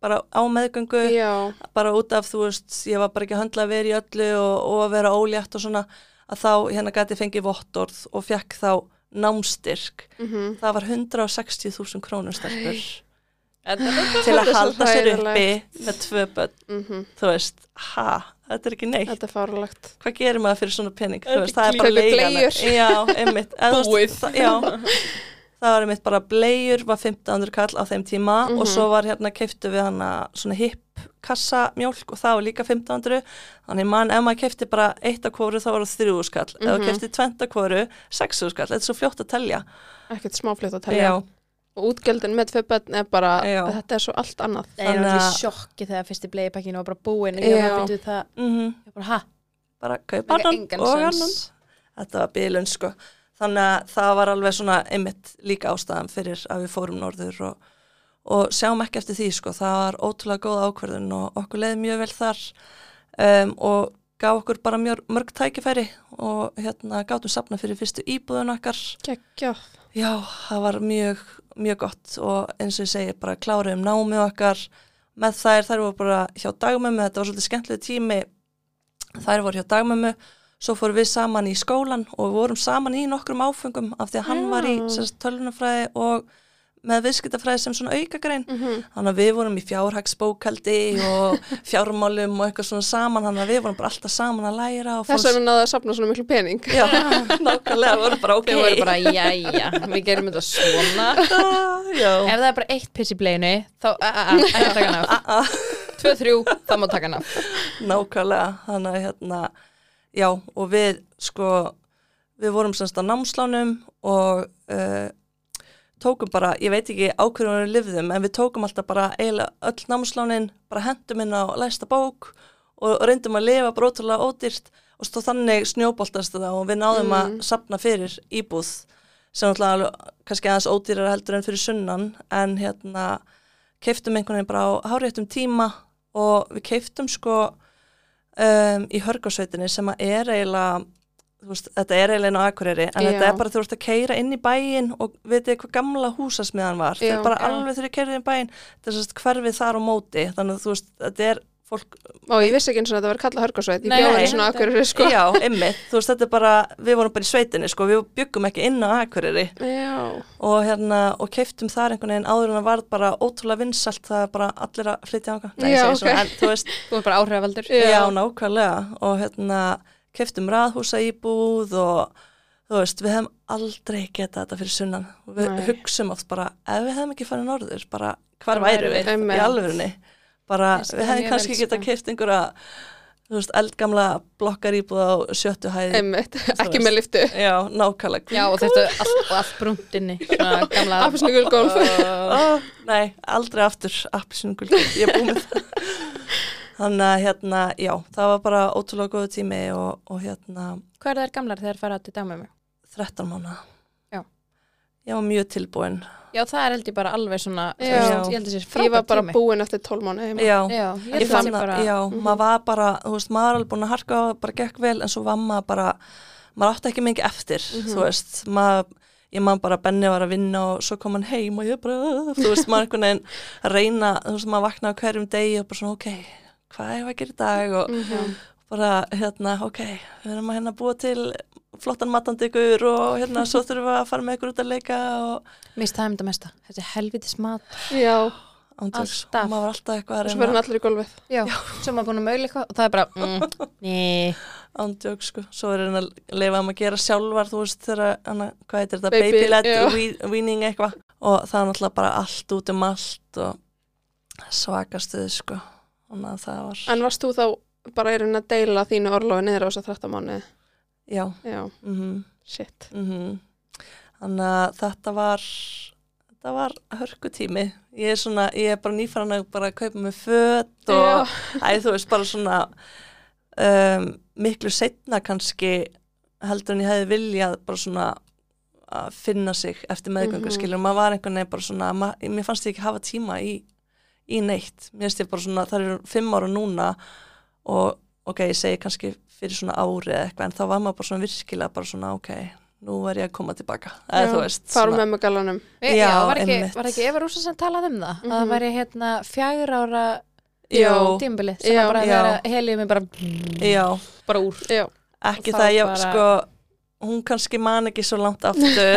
[SPEAKER 3] bara á meðgöngu
[SPEAKER 1] Já.
[SPEAKER 3] bara út af, þú veist, ég var bara ekki að höndla að vera í öllu og, og að vera ólétt og svona, að þá hérna gæti ég fengið vottorð og fekk þá námstyrk.
[SPEAKER 1] mhm.
[SPEAKER 3] Það var 160.000 krónur stelpur til
[SPEAKER 1] Það
[SPEAKER 3] að
[SPEAKER 1] er svo
[SPEAKER 3] halda sér uppi
[SPEAKER 1] hræðilegt.
[SPEAKER 3] með tvö börn,
[SPEAKER 1] Mhm.
[SPEAKER 3] þú veist, ha, þetta er ekki neitt.
[SPEAKER 1] Þetta er fárulegt.
[SPEAKER 3] Hvað gerir maður fyrir svona pening?
[SPEAKER 2] Þetta
[SPEAKER 3] Þú veist, það
[SPEAKER 2] er
[SPEAKER 3] er bara
[SPEAKER 1] gleyjur.
[SPEAKER 3] leigan.
[SPEAKER 1] Gleyjur.
[SPEAKER 3] Já, einmitt. En þú
[SPEAKER 2] Búið.
[SPEAKER 3] veist, það- Já, það var einmitt bara bleiur, var 1500 kall á þeim tíma og
[SPEAKER 1] Mhm.
[SPEAKER 3] svo var hérna, keiftu við hana svona hipp kassa mjólk og það var líka 1500. Þannig mann, ef maður keifti bara eitt af kóru þá var það þrjú skall. Ef
[SPEAKER 1] Mhm.
[SPEAKER 3] maður keifti tvent af kóru, sexu skall. Þetta er svo fljótt að telja.
[SPEAKER 1] Ekkert smáfljótt að telja.
[SPEAKER 3] Já,
[SPEAKER 1] Og útgjöldin með tvö börn er bara,
[SPEAKER 3] Já.
[SPEAKER 1] þetta er svo allt annað.
[SPEAKER 2] Það er
[SPEAKER 3] Þannig
[SPEAKER 2] allir
[SPEAKER 3] að-
[SPEAKER 2] sjokki þegar fyrsti bleiðpakkin var bara búinn og ég
[SPEAKER 1] Já.
[SPEAKER 2] var býtuð það
[SPEAKER 3] mm
[SPEAKER 2] ég bara, ha,
[SPEAKER 3] bara kaupa
[SPEAKER 2] Makar
[SPEAKER 3] annan
[SPEAKER 2] engan
[SPEAKER 3] og
[SPEAKER 2] sens.
[SPEAKER 3] annan. Þetta var bílun, sko. Þannig að það var alveg svona einmitt líka ástæðan fyrir að við fórum norður og og sjáum ekki eftir því sko, það var ótrúlega góð ákverðun og okkur leiði mjög vel þar um, og gaf okkur bara mjög mörg tækifæri og hérna gátum sapna fyrir fyrstu íbúðun okkar
[SPEAKER 1] Gekkjað.
[SPEAKER 3] já, það var mjög, mjög gott og eins og ég segi bara kláruðum námið okkar með þær, þær voru bara hjá dagmömmu, þetta var svolítið skemmtileg tími þær voru hjá dagmömmu svo fórum við saman í skólan og við vorum saman í nokkrum áfengum af því að hann var í
[SPEAKER 1] Já.
[SPEAKER 3] sem sagt, tölvunarfræði og með viðskiptafræði sem svona aukagrein
[SPEAKER 1] Mhm.
[SPEAKER 3] Þannig að við vorum í fjárhagsbókaldi og fjármálum og eitthvað svona saman, þannig að við vorum bara alltaf saman að læra og
[SPEAKER 1] Þess vegna náðu að safna svona miklu pening.
[SPEAKER 3] Já, nákvæmlega, við vorum bara ok.
[SPEAKER 2] þau voru bara, jæja, við gerum þetta svona
[SPEAKER 3] Já,
[SPEAKER 2] Ef það er bara eitt piss í bleiðinu þá, a, a, a, ekki taka hann af
[SPEAKER 3] a-a,
[SPEAKER 2] Tvö, þrjú, þá má taka hann af
[SPEAKER 3] nákvæmlega, þannig að hérna, já, og við sko, við vorum semst á námslánum og uh, tókum bara, ég veit ekki á hverju við lifðum, en við tókum alltaf bara eiginlega öll námslánin, bara hendum inn á læsta bók og, og reyndum að lifa bara ótrúlega ódýrt og stóð þannig snjóboltast það og við náðum
[SPEAKER 1] Mm.
[SPEAKER 3] að sapna fyrir íbúð sem alltaf alveg, kannski aðeins ódýrar heldur en fyrir sunnan, en hérna keiftum einhvern veginn bara á háréttum tíma og við keiftum sko um, í hörgarsveitinni sem að er eiginlega þú veist, þetta er eiginlega inn á Akureyri en
[SPEAKER 1] Já.
[SPEAKER 3] þetta er bara þú ert að keira inn í bæin og vitið hvað gamla húsasmiðan var
[SPEAKER 1] Já,
[SPEAKER 3] þetta er bara
[SPEAKER 1] já.
[SPEAKER 3] alveg þegar ég keirið inn í bæin þetta er sérst hverfið þar á móti þannig að þú veist, þetta er fólk
[SPEAKER 1] og ég vissi ekki eins og þetta var kallað hörgarsveit ég
[SPEAKER 2] Nei,
[SPEAKER 1] bjóði
[SPEAKER 3] nei.
[SPEAKER 1] svona akkur sko.
[SPEAKER 3] já, ymmið, þú veist, þetta er bara við vorum bara í sveitinni, sko, við byggum ekki inn á Akureyri
[SPEAKER 1] já,
[SPEAKER 3] og hérna, og keiftum þar einhvern veginn áður en það varð bara ótrúlega vinsalt það er bara allir að flytja ánga Nei,
[SPEAKER 1] Já,
[SPEAKER 3] já, okay.
[SPEAKER 1] ok.
[SPEAKER 3] svona, en, þú veist,
[SPEAKER 2] Þú er bara áhrifavaldur.
[SPEAKER 1] Já.
[SPEAKER 3] Já, nákvæmlega og hérna keftum raðhúsa íbúð og þú veist, við hefum aldrei getað þetta fyrir sunnan og við
[SPEAKER 1] Nei.
[SPEAKER 3] hugsum oft bara ef við hefum ekki farið norður, bara hvar
[SPEAKER 2] Hvar
[SPEAKER 3] væru
[SPEAKER 2] værum
[SPEAKER 3] við
[SPEAKER 1] við?
[SPEAKER 3] í alvörunni bara
[SPEAKER 2] Ég skil
[SPEAKER 3] við hefum
[SPEAKER 2] mjög
[SPEAKER 3] kannski
[SPEAKER 2] vel,
[SPEAKER 3] getað
[SPEAKER 2] sko.
[SPEAKER 3] keft einhverja þú veist, eldgamla blokkar íbúð á sjöttu hæði
[SPEAKER 1] einmitt, ekki með liftu
[SPEAKER 3] Já, nákvæmlega
[SPEAKER 2] Já, og þetta er allt, og allt brúnt inni. Svona gamla...
[SPEAKER 1] Appelsínugul gólf.
[SPEAKER 2] Ó,
[SPEAKER 3] oh, Nei, aldrei aftur appelsingul, ég er búin með það Þannig að hérna, já, það var bara ótrúlega góðu tími og, og hérna
[SPEAKER 2] Hvað er þær gamlar þegar fara til dagmömmu?
[SPEAKER 3] 13 mánu.
[SPEAKER 2] Já.
[SPEAKER 3] Ég var mjög tilbúin.
[SPEAKER 2] Já, það er held ég bara alveg svona, þú
[SPEAKER 1] Já.
[SPEAKER 2] veist, ég held að sé
[SPEAKER 1] ég var
[SPEAKER 2] frábært
[SPEAKER 1] bara
[SPEAKER 2] tími.
[SPEAKER 1] búin eftir 12 mánu heima
[SPEAKER 3] Já.
[SPEAKER 2] Já, ég
[SPEAKER 3] Ég
[SPEAKER 2] held að
[SPEAKER 3] fann
[SPEAKER 2] sé bara, Mhm.
[SPEAKER 3] að, já, maður var bara, þú veist, maður var alveg búin að harka á, það, bara gekk vel, en svo var maður bara, maður átti ekki mikið eftir, þú
[SPEAKER 2] Mhm.
[SPEAKER 3] veist, maður, ég maður bara, Benni var að vinna og svo kom hann heim og ég bara, þú veist, maður einhvern veginn að reyna, þú veist, maður vaknaði á hverjum degi og bara svona, ok, hvað er að gera í dag og
[SPEAKER 1] Mhm.
[SPEAKER 3] bara, hérna, ok, við erum að hérna búa til flottan matandikur og hérna, svo þurfum við að fara með ykkur út að leika og
[SPEAKER 2] mist það um þetta mesta, þessi helvitis mat,
[SPEAKER 1] já,
[SPEAKER 3] Andjóks,
[SPEAKER 2] Alltaf.
[SPEAKER 3] maður var alltaf eitthvað að
[SPEAKER 1] svo var hann
[SPEAKER 3] reyna
[SPEAKER 1] allir í gólfið
[SPEAKER 2] já, sem maður búin að möguleika og það er bara, mm, ný,
[SPEAKER 3] andjóks sko, svo er hann að leifa um að gera sjálfar, þú veist þegar hann að, hvað heitir þetta,
[SPEAKER 1] Baby,
[SPEAKER 3] baby-led
[SPEAKER 1] já.
[SPEAKER 3] we- weaning eitthvað og það er náttúrulega bara allt út um allt og svakastuð sko, þannig að það var
[SPEAKER 1] en varst þú þá bara er að deila þínu orlofi niður á þess að 13 mánu
[SPEAKER 3] já,
[SPEAKER 1] já,
[SPEAKER 3] mhm,
[SPEAKER 1] shit
[SPEAKER 3] mhm þannig að þetta var þetta var hörkutími ég er svona, ég er bara nýfæran að bara kaupa mig föt og
[SPEAKER 1] já,
[SPEAKER 3] Æ, þú veist, bara svona um, miklu setna kannski heldur en ég hefði viljað bara svona að finna sig eftir meðgöngu,
[SPEAKER 1] Mhm.
[SPEAKER 3] mm skilur, maður var einhvern veginn bara svona, ma mér fannst ég ekki hafa tíma í, í neitt, mér finnst ég bara svona það eru fimm ára núna og ok, ég segi kannski fyrir svona ári eða eitthvað, en þá var maður bara svona virkilega bara svona, ok, nú er ég að koma tilbaka, eða
[SPEAKER 1] Já,
[SPEAKER 3] þú veist
[SPEAKER 1] farum
[SPEAKER 3] svona,
[SPEAKER 1] með með galanum
[SPEAKER 2] já,
[SPEAKER 3] Já,
[SPEAKER 2] var ekki,
[SPEAKER 3] einmitt.
[SPEAKER 2] var ekki Eva Rúsa sem talaði um það,
[SPEAKER 1] Mhm.
[SPEAKER 2] að það væri hérna fjagur ára
[SPEAKER 3] já,
[SPEAKER 2] tímbili, sem
[SPEAKER 1] Já,
[SPEAKER 2] já, bara
[SPEAKER 3] já.
[SPEAKER 2] þegar heliðum er bara,
[SPEAKER 3] já,
[SPEAKER 2] bara úr,
[SPEAKER 1] já,
[SPEAKER 3] ekki
[SPEAKER 2] Þá
[SPEAKER 3] það ég,
[SPEAKER 2] bara-
[SPEAKER 3] sko hún kannski man ekki svo langt aftur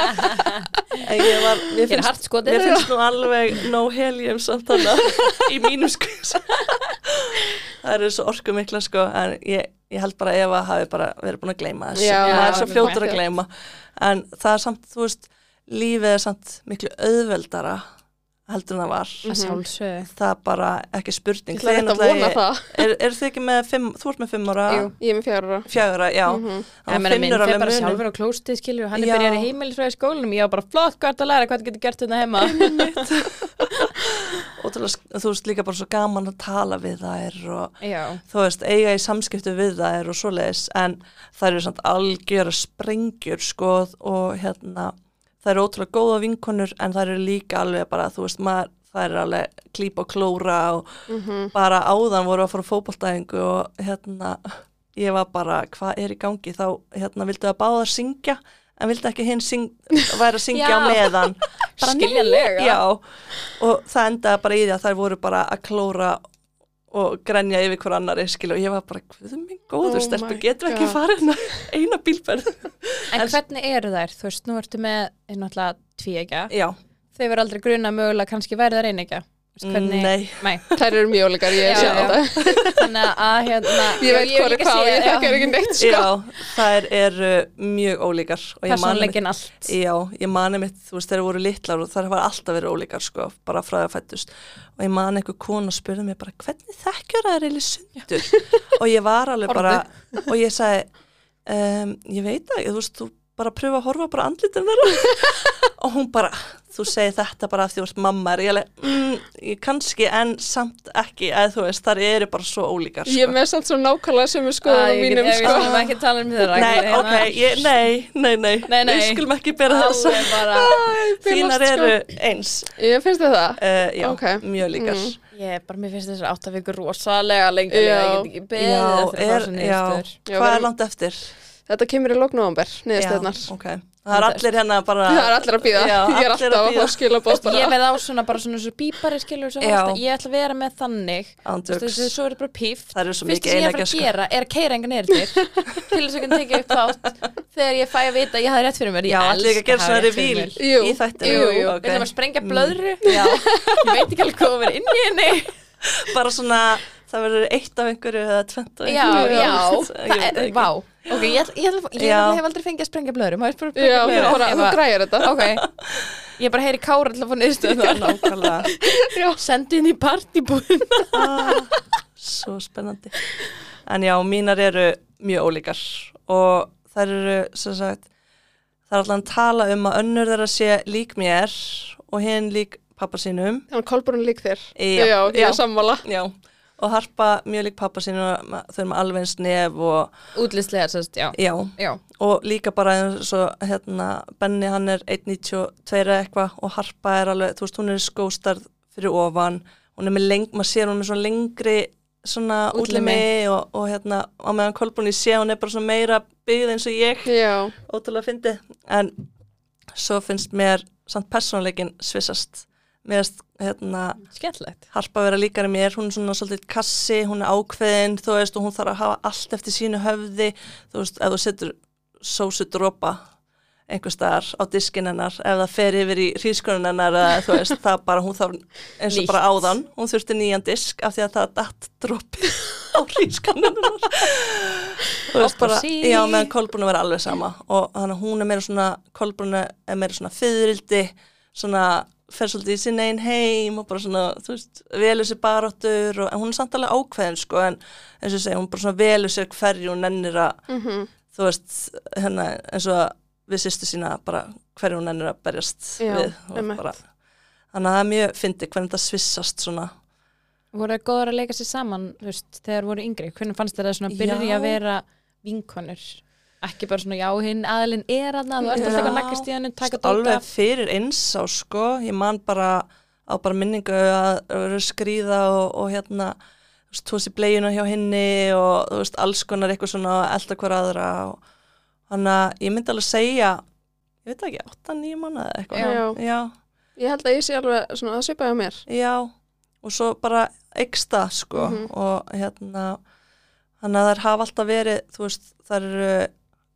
[SPEAKER 3] en ég var,
[SPEAKER 2] ég
[SPEAKER 3] mér
[SPEAKER 2] er
[SPEAKER 3] finnst
[SPEAKER 2] hart skoðið,
[SPEAKER 3] Mér finnst nú alveg no helium samt hana í mínum skuins. það eru svo orku mikla sko, en ég, ég held bara að Eva hafi bara verið búin að gleyma þessu.
[SPEAKER 1] Já,
[SPEAKER 3] maður er svo
[SPEAKER 1] alveg
[SPEAKER 3] fljótur
[SPEAKER 1] rétt.
[SPEAKER 3] að gleyma. En það er samt, þú veist, lífið er samt miklu auðveldara heldur en það var.
[SPEAKER 2] að sjálfsög,
[SPEAKER 3] Það er bara ekki spurning.
[SPEAKER 1] Mm. ég ætla rétt að
[SPEAKER 3] náttúrulega-
[SPEAKER 1] vona það
[SPEAKER 3] Er, er þið ekki með fimm, þú ert með fimm ára?
[SPEAKER 1] Jú, ég er með fjárra
[SPEAKER 3] Fjögra, já.
[SPEAKER 1] Mhm.
[SPEAKER 2] ég
[SPEAKER 3] Þannig
[SPEAKER 2] meina
[SPEAKER 3] að
[SPEAKER 2] minn,
[SPEAKER 3] finnur
[SPEAKER 2] þegar
[SPEAKER 3] alveg
[SPEAKER 2] bara
[SPEAKER 3] munum.
[SPEAKER 2] sjálfur á klóstið skilur, og hann
[SPEAKER 3] Já.
[SPEAKER 2] er byrjar í heimilisfræði skólanum, ég var bara flott, hvað ertu að læra, hvað getur gert þetta heima,
[SPEAKER 3] Ótrúlega, þú veist líka bara svo gaman að tala við þær og
[SPEAKER 2] já,
[SPEAKER 3] þú veist, eiga í samskiptu við það er og svoleiðis, en það eru samt algjöra sprengjur, sko, og hérna, það eru ótrúlega góða vinkonur, en það eru líka alveg bara, þú veist, maður, það eru alveg klíp og klóra og
[SPEAKER 2] Mhm.
[SPEAKER 3] bara áðan voru að fara á fótboltæðingu og hérna, ég var bara, hvað er í gangi, þá, hérna, vildu að báða syngja, en vildu ekki hinn syng, væri að syngja á
[SPEAKER 2] Já.
[SPEAKER 3] meðan.
[SPEAKER 2] bara nýjanlega,
[SPEAKER 3] Já, og það endaði bara í því að þær voru bara að klóra og grenja yfir hver annari skil og ég var bara, hvað er minn góður
[SPEAKER 1] Oh
[SPEAKER 3] oh stelpu,
[SPEAKER 1] my
[SPEAKER 3] getur ekki
[SPEAKER 1] God.
[SPEAKER 3] farið hérna eina bílferð
[SPEAKER 2] En hvernig eru þær? Þú veist, nú ertu með eh, náttúrulega tvíegja.
[SPEAKER 3] Já,
[SPEAKER 2] Þau verður aldrei gruna mögulega kannski væri þær einegja. Þú veist, Hvernig,
[SPEAKER 3] nei,
[SPEAKER 2] Nei.
[SPEAKER 1] þær eru mjög ólíkar, ég
[SPEAKER 2] Já,
[SPEAKER 1] sé
[SPEAKER 2] já.
[SPEAKER 1] þetta
[SPEAKER 2] Þannig að hérna...
[SPEAKER 1] ég veit hvað er
[SPEAKER 2] líka
[SPEAKER 1] hvað, og
[SPEAKER 2] séð,
[SPEAKER 1] ég
[SPEAKER 2] já,
[SPEAKER 1] þekkar ekki neitt sko.
[SPEAKER 3] já, þær eru mjög ólíkar og ég mani mitt,
[SPEAKER 2] Persónuleikinn allt.
[SPEAKER 3] já, ég mani mitt þú veist, þær voru litlar og þær var alltaf verið ólíkar sko, bara frá það fættust og ég mani einhver kona spurði mér bara hvernig þekkjur þær eða sundur og ég var alveg bara, og ég sagði um, ég "Ehm, veit það ekki, þú veist, þú bara að pröfa að horfa bara andlítin þeirra og hún bara, þú segir þetta bara af því þú ert mamma er ég alveg, mm, ég kannski en samt ekki, eða þú veist, þar eru bara svo ólíkar sko."
[SPEAKER 1] Ég er með samt svo nákvæmlega sem við skoðum á mínum
[SPEAKER 2] Ég
[SPEAKER 1] sko.
[SPEAKER 2] skulum ekki tala um þeirra
[SPEAKER 3] Nei, ok, ég, nei, nei, nei,
[SPEAKER 2] Nei, nei.
[SPEAKER 3] við skulum ekki bera það saman. Þínar
[SPEAKER 1] Bilast, sko.
[SPEAKER 3] eru eins,
[SPEAKER 1] Ég finnst þið það
[SPEAKER 3] uh, já,
[SPEAKER 1] Ok.
[SPEAKER 3] mjög líkar.
[SPEAKER 1] Mm.
[SPEAKER 2] Ég er bara, mér finnst þessar átta vikur rosalega
[SPEAKER 1] Já.
[SPEAKER 2] lengi Ég get ekki beðið eftir að
[SPEAKER 3] Já,
[SPEAKER 2] fá
[SPEAKER 3] er-
[SPEAKER 2] svo
[SPEAKER 3] já.
[SPEAKER 2] niðurstöður
[SPEAKER 1] Já,
[SPEAKER 3] Hvað
[SPEAKER 1] verðum-
[SPEAKER 3] er langt eftir?
[SPEAKER 1] Þetta kemur í loknóðanber, niðurstöðnar
[SPEAKER 3] Já, ok. Það er allir hérna bara...
[SPEAKER 1] Það er allir að býða,
[SPEAKER 3] Já,
[SPEAKER 1] ég er
[SPEAKER 3] allir
[SPEAKER 1] alltaf að
[SPEAKER 3] bíða.
[SPEAKER 1] fá skilabóð bara
[SPEAKER 2] Ég veið á svona bara svona svo bípari skilur sem
[SPEAKER 3] Já.
[SPEAKER 2] ástæð. Ég ætla að vera með þannig
[SPEAKER 3] Ándjóks.
[SPEAKER 2] Þessu svo er þetta bara píft
[SPEAKER 3] Það eru svo
[SPEAKER 2] Fyrst
[SPEAKER 3] mikið
[SPEAKER 2] sem ég er
[SPEAKER 3] eiginlega
[SPEAKER 2] að fara að gera er að keira engan erðir Til þess að ekki tekið upp þátt Þegar ég fæ að vita að ég hafði rétt fyrir mér Ég
[SPEAKER 3] Já, allir ekki
[SPEAKER 2] elska
[SPEAKER 3] að
[SPEAKER 2] hafa
[SPEAKER 3] gera svona
[SPEAKER 2] rétt fyrir
[SPEAKER 3] revíl
[SPEAKER 2] mér.
[SPEAKER 1] Jú,
[SPEAKER 3] í þættinu.
[SPEAKER 2] Jú, jú,
[SPEAKER 3] ok. Mm.
[SPEAKER 2] við erum að sprengja blöðru Ég veit ekki alveg hvað verið inn í henni
[SPEAKER 3] Bara svona, það verður eitt af einhverju eða tvent af
[SPEAKER 2] Já,
[SPEAKER 3] einhverju.
[SPEAKER 2] já, það
[SPEAKER 3] Ég veit
[SPEAKER 2] er,
[SPEAKER 3] ekki.
[SPEAKER 2] vá Ok, ég, ætla- ég, ætla- ég,
[SPEAKER 3] Já.
[SPEAKER 2] ég hef aldrei fengið að sprengja blöðru Má ég spara
[SPEAKER 1] Já,
[SPEAKER 2] sprengja
[SPEAKER 1] þú
[SPEAKER 2] blöðru
[SPEAKER 1] bara, þú
[SPEAKER 2] Ef að-
[SPEAKER 1] græðir þetta
[SPEAKER 2] Ok, ég bara heyri kára alltaf fór niðurstöð
[SPEAKER 3] Já, nákvæmlega.
[SPEAKER 2] Sendi inn í partybúðin
[SPEAKER 3] Ah, Svo spennandi. En já, mínar eru mjög ólíkar og þær eru, sem sagt, það er allan tala um að önnur þeirra sé lík mér og hinn lík pappa sínum.
[SPEAKER 1] Þannig Kolbrún lík þér
[SPEAKER 3] Já,
[SPEAKER 1] ég er sammála
[SPEAKER 3] Já, og harpa mjög lík pappa sínum, ma- þau eru með alveg eins nef og,
[SPEAKER 2] Útlistlega, sérst, já
[SPEAKER 3] já,
[SPEAKER 2] Já,
[SPEAKER 3] og líka bara eins og hérna, Benni hann er 1.92 eða eitthvað og Harpa er alveg, þú veist, hún er skóstarð fyrir ofan, hún er með leng, maður sér hún er með svona lengri svona
[SPEAKER 2] Útlimi.
[SPEAKER 3] útlimi og, og hérna á meðan Kolbrún ég sé, hún er bara svona meira byggð eins og ég,
[SPEAKER 1] Já,
[SPEAKER 3] ótrúlega fyndi en svo finnst mér samt persónuleikin svissast mér finnst hérna
[SPEAKER 2] skemmtlegt
[SPEAKER 3] Harpa vera líkari mér, hún er svona svolítið kassi, hún er ákveðin, þú veist, og hún þarf að hafa allt eftir sínu höfði, þú veist, ef þú setur sósu dropa einhver staðar á diskin hennar, ef það fer yfir í hrískunun hennar, eða, þú veist, það bara, hún þarf eins og
[SPEAKER 2] Nýtt.
[SPEAKER 3] bara áðan, hún þurfti nýjan disk af því að það datt dropi á hrískunun hennar. þú veist, bara,
[SPEAKER 2] Opposite.
[SPEAKER 3] já, meðan Kolbrún er alveg sama og þannig að hún er meira svona, Kolbrún er meira svona fyririldi, svona fer svolítið í sinna einn heim og bara svona, þú veist, velur sér baráttur og en hún er samt alveg ákveðin sko en eins og ég segi, hún bara svona velur sér hverju hún nennir að,
[SPEAKER 1] Mhm.
[SPEAKER 3] þú veist hérna, eins og að við sýstu sína bara hverju hún nennir að berjast
[SPEAKER 1] Já,
[SPEAKER 3] við og
[SPEAKER 1] einmitt.
[SPEAKER 3] bara, þannig að það er mjög fyndi hvernig þetta svissast svona
[SPEAKER 2] Voru það góður að leika sér saman, þú veist, þegar voru yngri Hvernig fannst þér það svona að byrja
[SPEAKER 3] Já.
[SPEAKER 2] að vera vinkonur? Ekki bara svona, já, hinn aðilinn er aðna Þú ert alltaf
[SPEAKER 3] Já.
[SPEAKER 2] að naggast í hann, taka dóta
[SPEAKER 3] alveg fyrir eins á sko ég man bara á bara minningu að vera að skríða og, og hérna þú veist, tósi bleginu hjá henni og þú veist, alls konar eitthvað svona elda hver aðra og þannig að ég myndi alveg segja ég veit það ekki, 8-9 mánuði eða eitthvað
[SPEAKER 1] já
[SPEAKER 3] já,
[SPEAKER 1] Ég held að ég sé alveg svona að svipa hjá mér
[SPEAKER 3] já og svo bara eksta sko
[SPEAKER 1] Mhm.
[SPEAKER 3] og hérna þannig að þær hafa alltaf verið þú veist, þær eru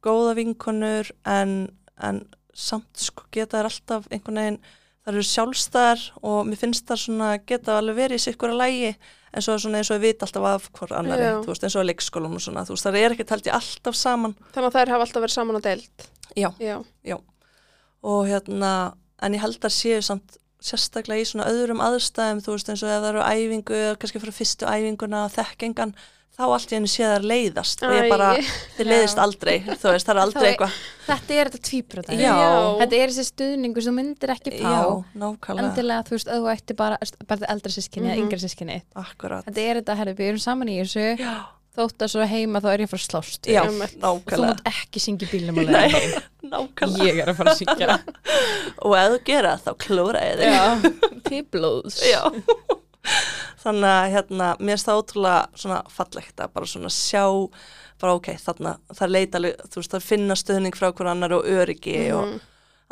[SPEAKER 3] góða vinkonur en, en samt sko geta þær alltaf einhvern veginn þær eru sjálfstæðar og mér finnst þær svona geta alveg verið í sikkur að lægi en svo svona eins og við vita alltaf af hvort annari,
[SPEAKER 1] Já.
[SPEAKER 3] þú veist, eins og að leikskólum og svona, þú veist, þær eru ekki taldið alltaf saman
[SPEAKER 1] Þannig að þær hafa alltaf verið saman á deild
[SPEAKER 3] Já.
[SPEAKER 1] Já,
[SPEAKER 3] og hérna, en ég held að séu samt sérstaklega í svona öðrum aðstæðum þú veist eins og ef það eru á æfingu eða kannski fyrir fyrstu æfinguna og þekkingan þá allt í henni sé þær leiðast og ég
[SPEAKER 1] Æ.
[SPEAKER 3] bara,
[SPEAKER 2] Já.
[SPEAKER 3] þið leiðist aldrei þú veist, það er
[SPEAKER 2] Þá
[SPEAKER 3] aldrei
[SPEAKER 2] er-
[SPEAKER 3] eitthvað
[SPEAKER 2] Þetta er þetta tvíbröð
[SPEAKER 3] Já.
[SPEAKER 2] Þetta er þessi stuðningur sem þú myndir ekki fá
[SPEAKER 3] já, nákvæmlega,
[SPEAKER 2] Endilega, þú veist, að þú ætti bara, bara eldra sískinni eða
[SPEAKER 1] Mhm.
[SPEAKER 2] yngra sískinni
[SPEAKER 3] akkurat
[SPEAKER 2] Þetta er þetta, herri, við erum saman í þessu
[SPEAKER 3] já,
[SPEAKER 2] Þótt að svo heima þá er ég að fara að slást
[SPEAKER 3] já,
[SPEAKER 1] Einmitt.
[SPEAKER 2] Þú
[SPEAKER 3] nákvæmlega
[SPEAKER 2] mátt ekki syngja í bílnum á
[SPEAKER 3] Nei,
[SPEAKER 2] leiðinni heim.
[SPEAKER 3] nákvæmlega
[SPEAKER 2] Ég er að fara að syngja
[SPEAKER 3] og ef þú gera það, þá klóra ég þig
[SPEAKER 2] Þið blóðs
[SPEAKER 3] Já. þannig að hérna, mér finnst það ótrúlega svona fallegt að bara svona sjá bara ok, þarna, það leita alveg, þú veist, það finna stöðning frá hver annar og öryggi
[SPEAKER 1] Mhm.
[SPEAKER 3] og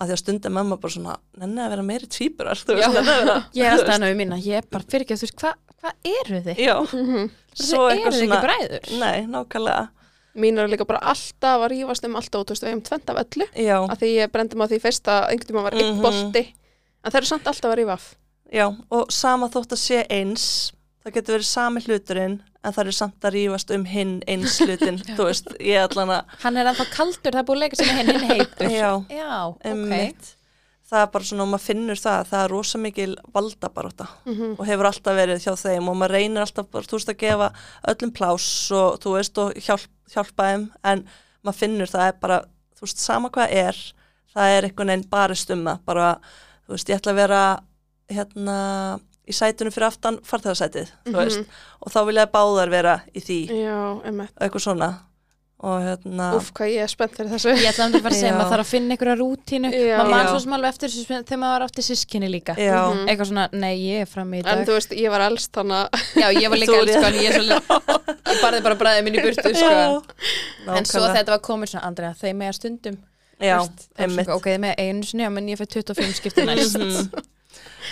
[SPEAKER 3] að því að stundum mamma bara svona nenni að vera meiri tvíburar, þú veist, nenni að vera
[SPEAKER 2] Ég er alltaf náðu mín að ég er bara fyrir ekki að þú veist hvað hva eru þið?
[SPEAKER 3] já,
[SPEAKER 2] Svo Mhm. eru þið ekki bræður?
[SPEAKER 3] nei, nákvæmlega,
[SPEAKER 1] Mín er líka bara alltaf að rífast um alltaf og þú veist, við hefum tvent af öllu
[SPEAKER 3] já
[SPEAKER 1] að því ég brendi maður því fyrst að einhvern tíma var einn
[SPEAKER 3] Mhm.
[SPEAKER 1] bolti en það eru samt alltaf að rífa af
[SPEAKER 3] já, og sama þótt að sé eins það getur verið sami hluturinn en það er samt að rífast um hinn eins hlutin, þú veist, ég allan að
[SPEAKER 2] Hann er ennþá kaldur, það er búið að leika sem hinn hinn heitur
[SPEAKER 3] já,
[SPEAKER 2] Já, ok
[SPEAKER 3] Einmitt. það er bara svona og maður finnur það það er rosa mikil valdabaróta
[SPEAKER 1] Mhm.
[SPEAKER 3] og hefur alltaf verið hjá þeim og maður reynir alltaf bara, þú veist, að gefa öllum pláss og þú veist, og hjálp, hjálpa þeim en maður finnur það er bara, þú þú veist, sama hvað er það er einhvern veginn barist um það bara, þú veist, ég ætla að vera hérna í sætunum fyrir aftan farþegarsætið, þú
[SPEAKER 2] Mhm.
[SPEAKER 3] veist og þá vilja báðar vera í því
[SPEAKER 1] Mhm.
[SPEAKER 2] Mm.
[SPEAKER 1] Já, emmitt.
[SPEAKER 3] eitthvað svona og hérna,
[SPEAKER 1] Úf, hvað ég er spennt fyrir þessu.
[SPEAKER 2] Ég ætla að bara að segja,
[SPEAKER 3] Já.
[SPEAKER 2] maður þarf að finna einhverja rútínu
[SPEAKER 1] Já.
[SPEAKER 2] maður mann
[SPEAKER 3] Já.
[SPEAKER 2] svo sem alveg eftir þessu sem- þegar maður átti sískinni líka
[SPEAKER 3] já
[SPEAKER 1] Mhm.
[SPEAKER 2] eitthvað svona, nei ég er fram í
[SPEAKER 1] En
[SPEAKER 2] dag
[SPEAKER 1] þú veist, ég var alls þannig að,
[SPEAKER 2] Já, ég var líka
[SPEAKER 3] Þú-
[SPEAKER 2] elskan, ég er svolítið ég barði bara bræðið minni í burtu sko.
[SPEAKER 3] Já,
[SPEAKER 2] en svo
[SPEAKER 3] nákvæmlega.
[SPEAKER 2] þetta var komið svona, Andrea, þeim eiga stundum
[SPEAKER 3] já,
[SPEAKER 2] Þú veist, það var
[SPEAKER 3] einmitt
[SPEAKER 2] svona, ok, þeim eiga einu sinni, já, menn ég fæ 25 skipti næst
[SPEAKER 3] Mhm.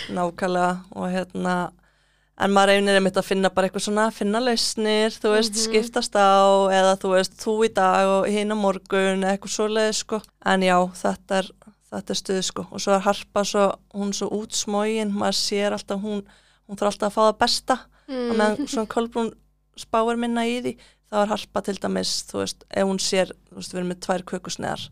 [SPEAKER 3] nákvæmlega og hérna en maður einir einmitt að finna bara eitthvað svona finna lausnir, þú veist, skiptast á eða þú veist, þú í dag og hinn á morgun, eða eitthvað svoleið sko en já, þetta er, þetta er stuð sko og svo er Harpa svo, hún er svo útsmógin, maður sér alltaf hún hún þarf alltaf að fá það besta og meðan svona Kolbrún spáir minna í því þá er Harpa til dæmis, þú veist, ef hún sér, þú veist, við erum með tvær kökusneðar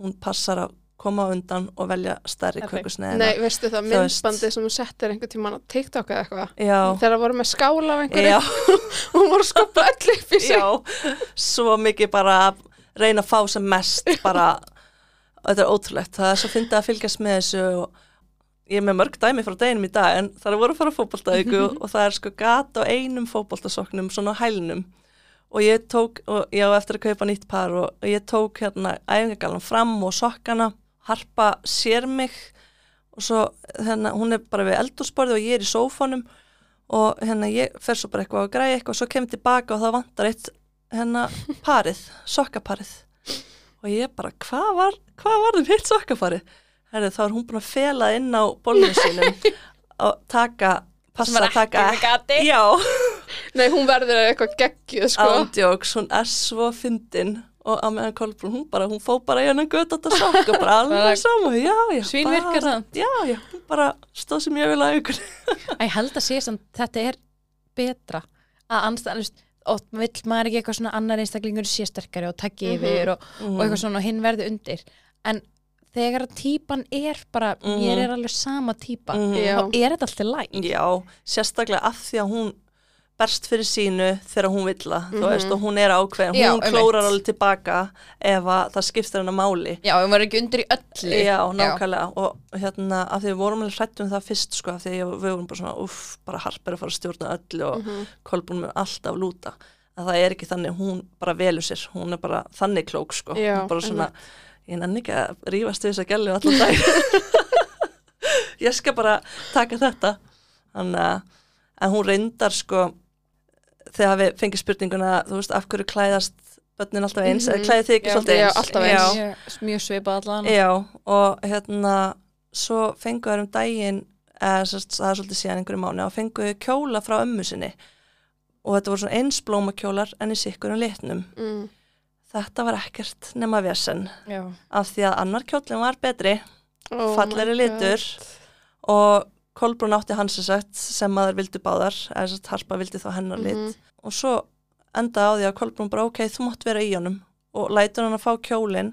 [SPEAKER 3] hún passar að koma á undan og velja stærri
[SPEAKER 2] Perfekt.
[SPEAKER 3] kökusneðina
[SPEAKER 1] nei, veistu það,
[SPEAKER 3] Þú veist.
[SPEAKER 1] myndbandið sem þú settir einhvern tímann á TikTok eða eitthvað.
[SPEAKER 3] Já,
[SPEAKER 1] Þegar það voru með skála af einhverju
[SPEAKER 3] já,
[SPEAKER 1] og hún voru skoppa öll upp í sig.
[SPEAKER 3] já, svo mikið bara að reyna að fá sem mest bara, þetta er ótrúlegt, það er svo fyndið að fylgjast með þessu og ég er með mörg dæmi frá deginum í dag en það er voru að fara fótboltaauku
[SPEAKER 1] Mhm.
[SPEAKER 3] og það er sko gat á einum fótboltasoknum svona á hælnum og ég tók, og ég á eftir að kaupa nýtt par og og ég tók hérna æfingagallan fram og sokkana, harpa sér mig og svo hérna, hún er bara við eldúsborði og ég er í sófanum og hérna ég fer svo bara eitthvað að græja eitthvað og svo kemur tilbaka og það vantar eitt hérna parið, sokkaparið og ég bara, hvað var hvað var þið mitt sokkaparið? Herri, þá er hún búin að fela inn á bollinu sínum og taka
[SPEAKER 2] Sem
[SPEAKER 3] passa
[SPEAKER 2] var
[SPEAKER 3] að taka
[SPEAKER 2] ekki með gati.
[SPEAKER 3] Já,
[SPEAKER 1] Nei, hún verður eitthvað geggjuð, sko.
[SPEAKER 3] ándjóks, hún er svo fyndin og að meðan Kolbrún, hún bara, hún fó bara í hennan gött átt að sokka,
[SPEAKER 2] Bara-
[SPEAKER 3] bara alveg saman, já, já,
[SPEAKER 2] Svínvirkar
[SPEAKER 3] bara,
[SPEAKER 2] samt.
[SPEAKER 3] já, já, hún bara stóð sem ég vil að ykkur,
[SPEAKER 2] Æ, ég held að sé samt, þetta er betra að anstæðanust oft vill maður ekki eitthvað svona annar einstaklingur sé sterkari og takki
[SPEAKER 1] Mhm.
[SPEAKER 2] yfir og, og
[SPEAKER 3] Mm,
[SPEAKER 2] eitthvað svona og hinn verði undir en þegar að típan er bara
[SPEAKER 3] Mhm.
[SPEAKER 2] mér er alveg sama típa
[SPEAKER 1] Já.
[SPEAKER 2] þá er þetta alltaf læg
[SPEAKER 3] mm, já, sérstaklega af því að hún berst fyrir sínu þegar hún vill að, þú veist, og hún er
[SPEAKER 2] Mhm.
[SPEAKER 3] ákveðin,
[SPEAKER 2] Já,
[SPEAKER 3] hún
[SPEAKER 2] einmitt.
[SPEAKER 3] klórar alveg tilbaka ef að það skiptir hennar máli,
[SPEAKER 2] Já, við varum ekki undir í öllu
[SPEAKER 3] Já, nákvæmlega og hérna af því við vorum alveg hrætt um það fyrst sko af því að við vorum bara svona uff, bara harp er að fara að stjórna öllu og mm
[SPEAKER 1] Mhm.
[SPEAKER 3] -hmm. Kolbrún mun alltaf lúta að það er ekki þannig, hún bara velur sér hún er bara þannig klók sko
[SPEAKER 1] Já,
[SPEAKER 3] Hún bara svona, ég nenni ekki að rífast við þess að gælu allan dag ég skal bara taka þetta þannig að en hún reyndar sko þegar við fengið spurninguna þú veist af hverju klæðast börnin alltaf eins eða klæði þið ekki
[SPEAKER 2] Já,
[SPEAKER 3] svolítið
[SPEAKER 1] Mhm. já,
[SPEAKER 3] eins
[SPEAKER 1] alltaf eins.
[SPEAKER 3] Já.
[SPEAKER 2] Já. Mjög- Mjög svipað allan
[SPEAKER 3] Já, og hérna svo fengu þær um daginn eða sérst, það er svolítið síðan einhverju mánu og fengu þau kjóla frá ömmu sinni og þetta voru svona eins blómakjólar en í sikkurum litnum.
[SPEAKER 1] Mm.
[SPEAKER 3] Þetta var ekkert nema vesen
[SPEAKER 2] Já.
[SPEAKER 3] af því að annar kjólinn var betri,
[SPEAKER 1] Oh
[SPEAKER 3] falleri
[SPEAKER 1] my god.
[SPEAKER 3] litur og Kolbrún átti hans sem sagt sem að þær vildu báðar eða sérst harpa vildi þá hennar lit
[SPEAKER 1] Mhm.
[SPEAKER 3] og svo endaði á því að Kolbrún bara ok, þú mátt vera í honum og lætur hann að fá kjólinn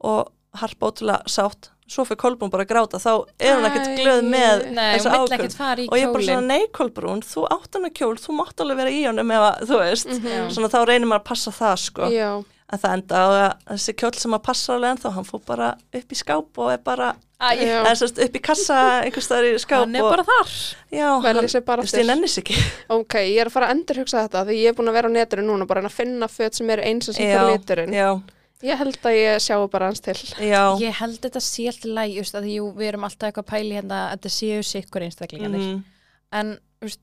[SPEAKER 3] og harpa ótrúlega sátt svo fyrir Kolbrún bara að gráta þá er hún ekkert
[SPEAKER 1] Æ.
[SPEAKER 3] glöð með
[SPEAKER 2] Nei, hún
[SPEAKER 3] þessa
[SPEAKER 2] vill
[SPEAKER 3] ákvörðun.
[SPEAKER 2] ekkert fara í
[SPEAKER 3] og ég bara
[SPEAKER 2] kjólin
[SPEAKER 3] svona nei Kolbrún, þú átt hann að kjól þú mátt alveg vera í honum ef að, þú veist
[SPEAKER 1] mm-hmm.
[SPEAKER 2] Já.
[SPEAKER 3] svona þá reynir maður að passa það sko
[SPEAKER 1] Já,
[SPEAKER 3] en það endaði á því að þessi kjól sem maður passa alveg en þá hann fór bara upp í skáp og er bara
[SPEAKER 2] Æ,
[SPEAKER 1] Já.
[SPEAKER 3] eða sérst upp í kassa einhvers staðar í skáp
[SPEAKER 2] hann er
[SPEAKER 3] og,
[SPEAKER 2] bara þar
[SPEAKER 3] já,
[SPEAKER 1] velja sér bara
[SPEAKER 3] þú veist, ég
[SPEAKER 1] aftur.
[SPEAKER 3] nennis ekki
[SPEAKER 1] Ok, ég er að fara að endurhugsa þetta því ég er búin að vera á netinu núna bara að reyna að finna föt sem eru eins og sem fyrir liturinn.
[SPEAKER 3] já,
[SPEAKER 1] Ég held að ég sjáu bara hans til.
[SPEAKER 3] já,
[SPEAKER 2] Ég held þetta sé alltaf læg, just að því jú, við erum alltaf eitthvað að pæli hérna að þetta séu sikkur einstaklingarnir.
[SPEAKER 3] Mhm.
[SPEAKER 2] En, just,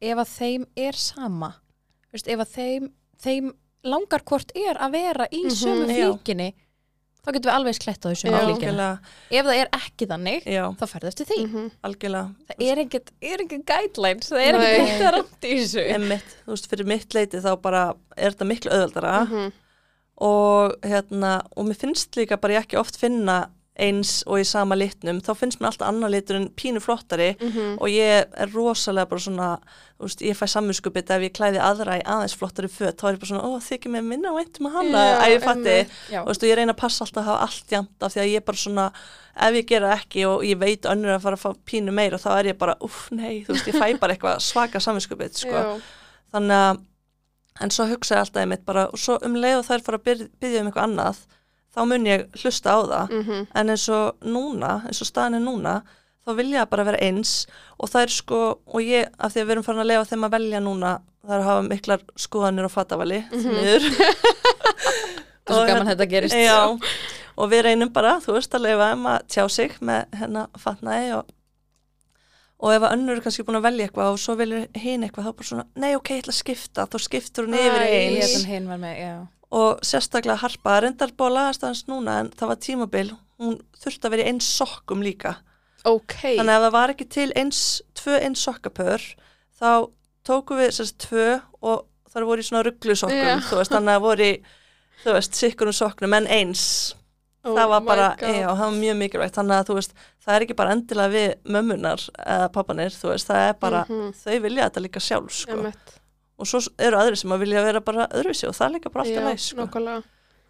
[SPEAKER 2] ef að þeim er sama, just, ef að þeim, þeim langar hvort er að vera í sömu
[SPEAKER 3] Mhm, já.
[SPEAKER 2] flíkinni, þá getum við alveg sklett á því sömu
[SPEAKER 1] Já.
[SPEAKER 2] flíkinni.
[SPEAKER 3] algjörlega
[SPEAKER 2] Ef það er ekki þannig,
[SPEAKER 3] já, Mm.
[SPEAKER 2] þá ferðu eftir því.
[SPEAKER 1] Mm-hmm,
[SPEAKER 3] algjörlega
[SPEAKER 2] Það er engin, er engin guidelines, það er
[SPEAKER 1] Nei.
[SPEAKER 2] engin rétt að rátt í þessu.
[SPEAKER 3] Einmitt, þú veist, fyrir mitt leiti þá bara er þetta miklu auðveldara
[SPEAKER 1] Mhm.
[SPEAKER 3] og hérna, og mér finnst líka bara ég ekki oft finna eins og í sama litnum, þá finnst mér alltaf annar litur en pínu flottari
[SPEAKER 1] Mhm.
[SPEAKER 3] og ég er rosalega bara svona, þú veist, ég fæ samvinskupið ef ég klæði aðra í aðeins flottari föt, þá er ég bara svona, ó, þykir mér minna væntum að hana,
[SPEAKER 1] Já,
[SPEAKER 3] að ég fatti,
[SPEAKER 1] einmitt.
[SPEAKER 2] Já.
[SPEAKER 3] þú veist, og ég reyna að passa alltaf að hafa allt jæmt af því að ég bara svona, ef ég gera ekki og ég veit önnur að fara að fá pínu meira, þá er ég bara, uff, nei, þú veist, ég fæ bara eitthvað svaka samvinskupið, sko
[SPEAKER 1] Já.
[SPEAKER 3] þannig að en svo hugsaði alltaf einmitt bara og svo um leið og þær fara að byr- biðja um eitthvað annað þá mun ég hlusta á það
[SPEAKER 1] mm -hmm.
[SPEAKER 3] en eins og núna, eins og staðan er núna þá vilja það bara vera eins og það er sko, og ég, af því að við erum farin að lefa þeim að velja núna, það er að hafa miklar skoðanir og fatavali mm -hmm.
[SPEAKER 2] Það er
[SPEAKER 3] hérna-
[SPEAKER 2] svo gaman þetta gerist.
[SPEAKER 3] Já, og við reynum bara, þú veist, að leifa um að tjá sig með hennar fatnaði og, og ef að önnur er kannski búin að velja eitthvað og svo velur hinn eitthvað, þá bara svona, nei ok, ég ætla að skipta, þá skiptur hún yfir
[SPEAKER 1] Æ,
[SPEAKER 3] í
[SPEAKER 2] Ég
[SPEAKER 3] eins
[SPEAKER 2] sem hinn var með, já.
[SPEAKER 3] og sérstaklega harpa reyndar búið að lagast aðeins núna en það var tímabil, hún þurfti að vera í eins sokkum líka,
[SPEAKER 1] Ok,
[SPEAKER 3] þannig að ef það var ekki til eins, tvö eins sokkapör þá tókum við sérst tvö og þar voru í svona rugglusokkum
[SPEAKER 1] Já.
[SPEAKER 3] þú veist, þannig að voru í þú veist, sikkurum sokknum en eins
[SPEAKER 1] oh
[SPEAKER 3] það var
[SPEAKER 1] my
[SPEAKER 3] bara,
[SPEAKER 1] God.
[SPEAKER 3] já, það var mjög mikilvægt þannig að þú veist, það er ekki bara endilega við mömmunar eða pappanir, þú veist, það er bara
[SPEAKER 1] Mhm.
[SPEAKER 3] þau vilja þetta líka sjálf, sko
[SPEAKER 1] Einmitt.
[SPEAKER 3] og svo eru aðri sem að vilja vera bara öðruvísi og það er líka bara alltaf
[SPEAKER 1] Já,
[SPEAKER 3] næst, sko
[SPEAKER 1] nákvæmlega.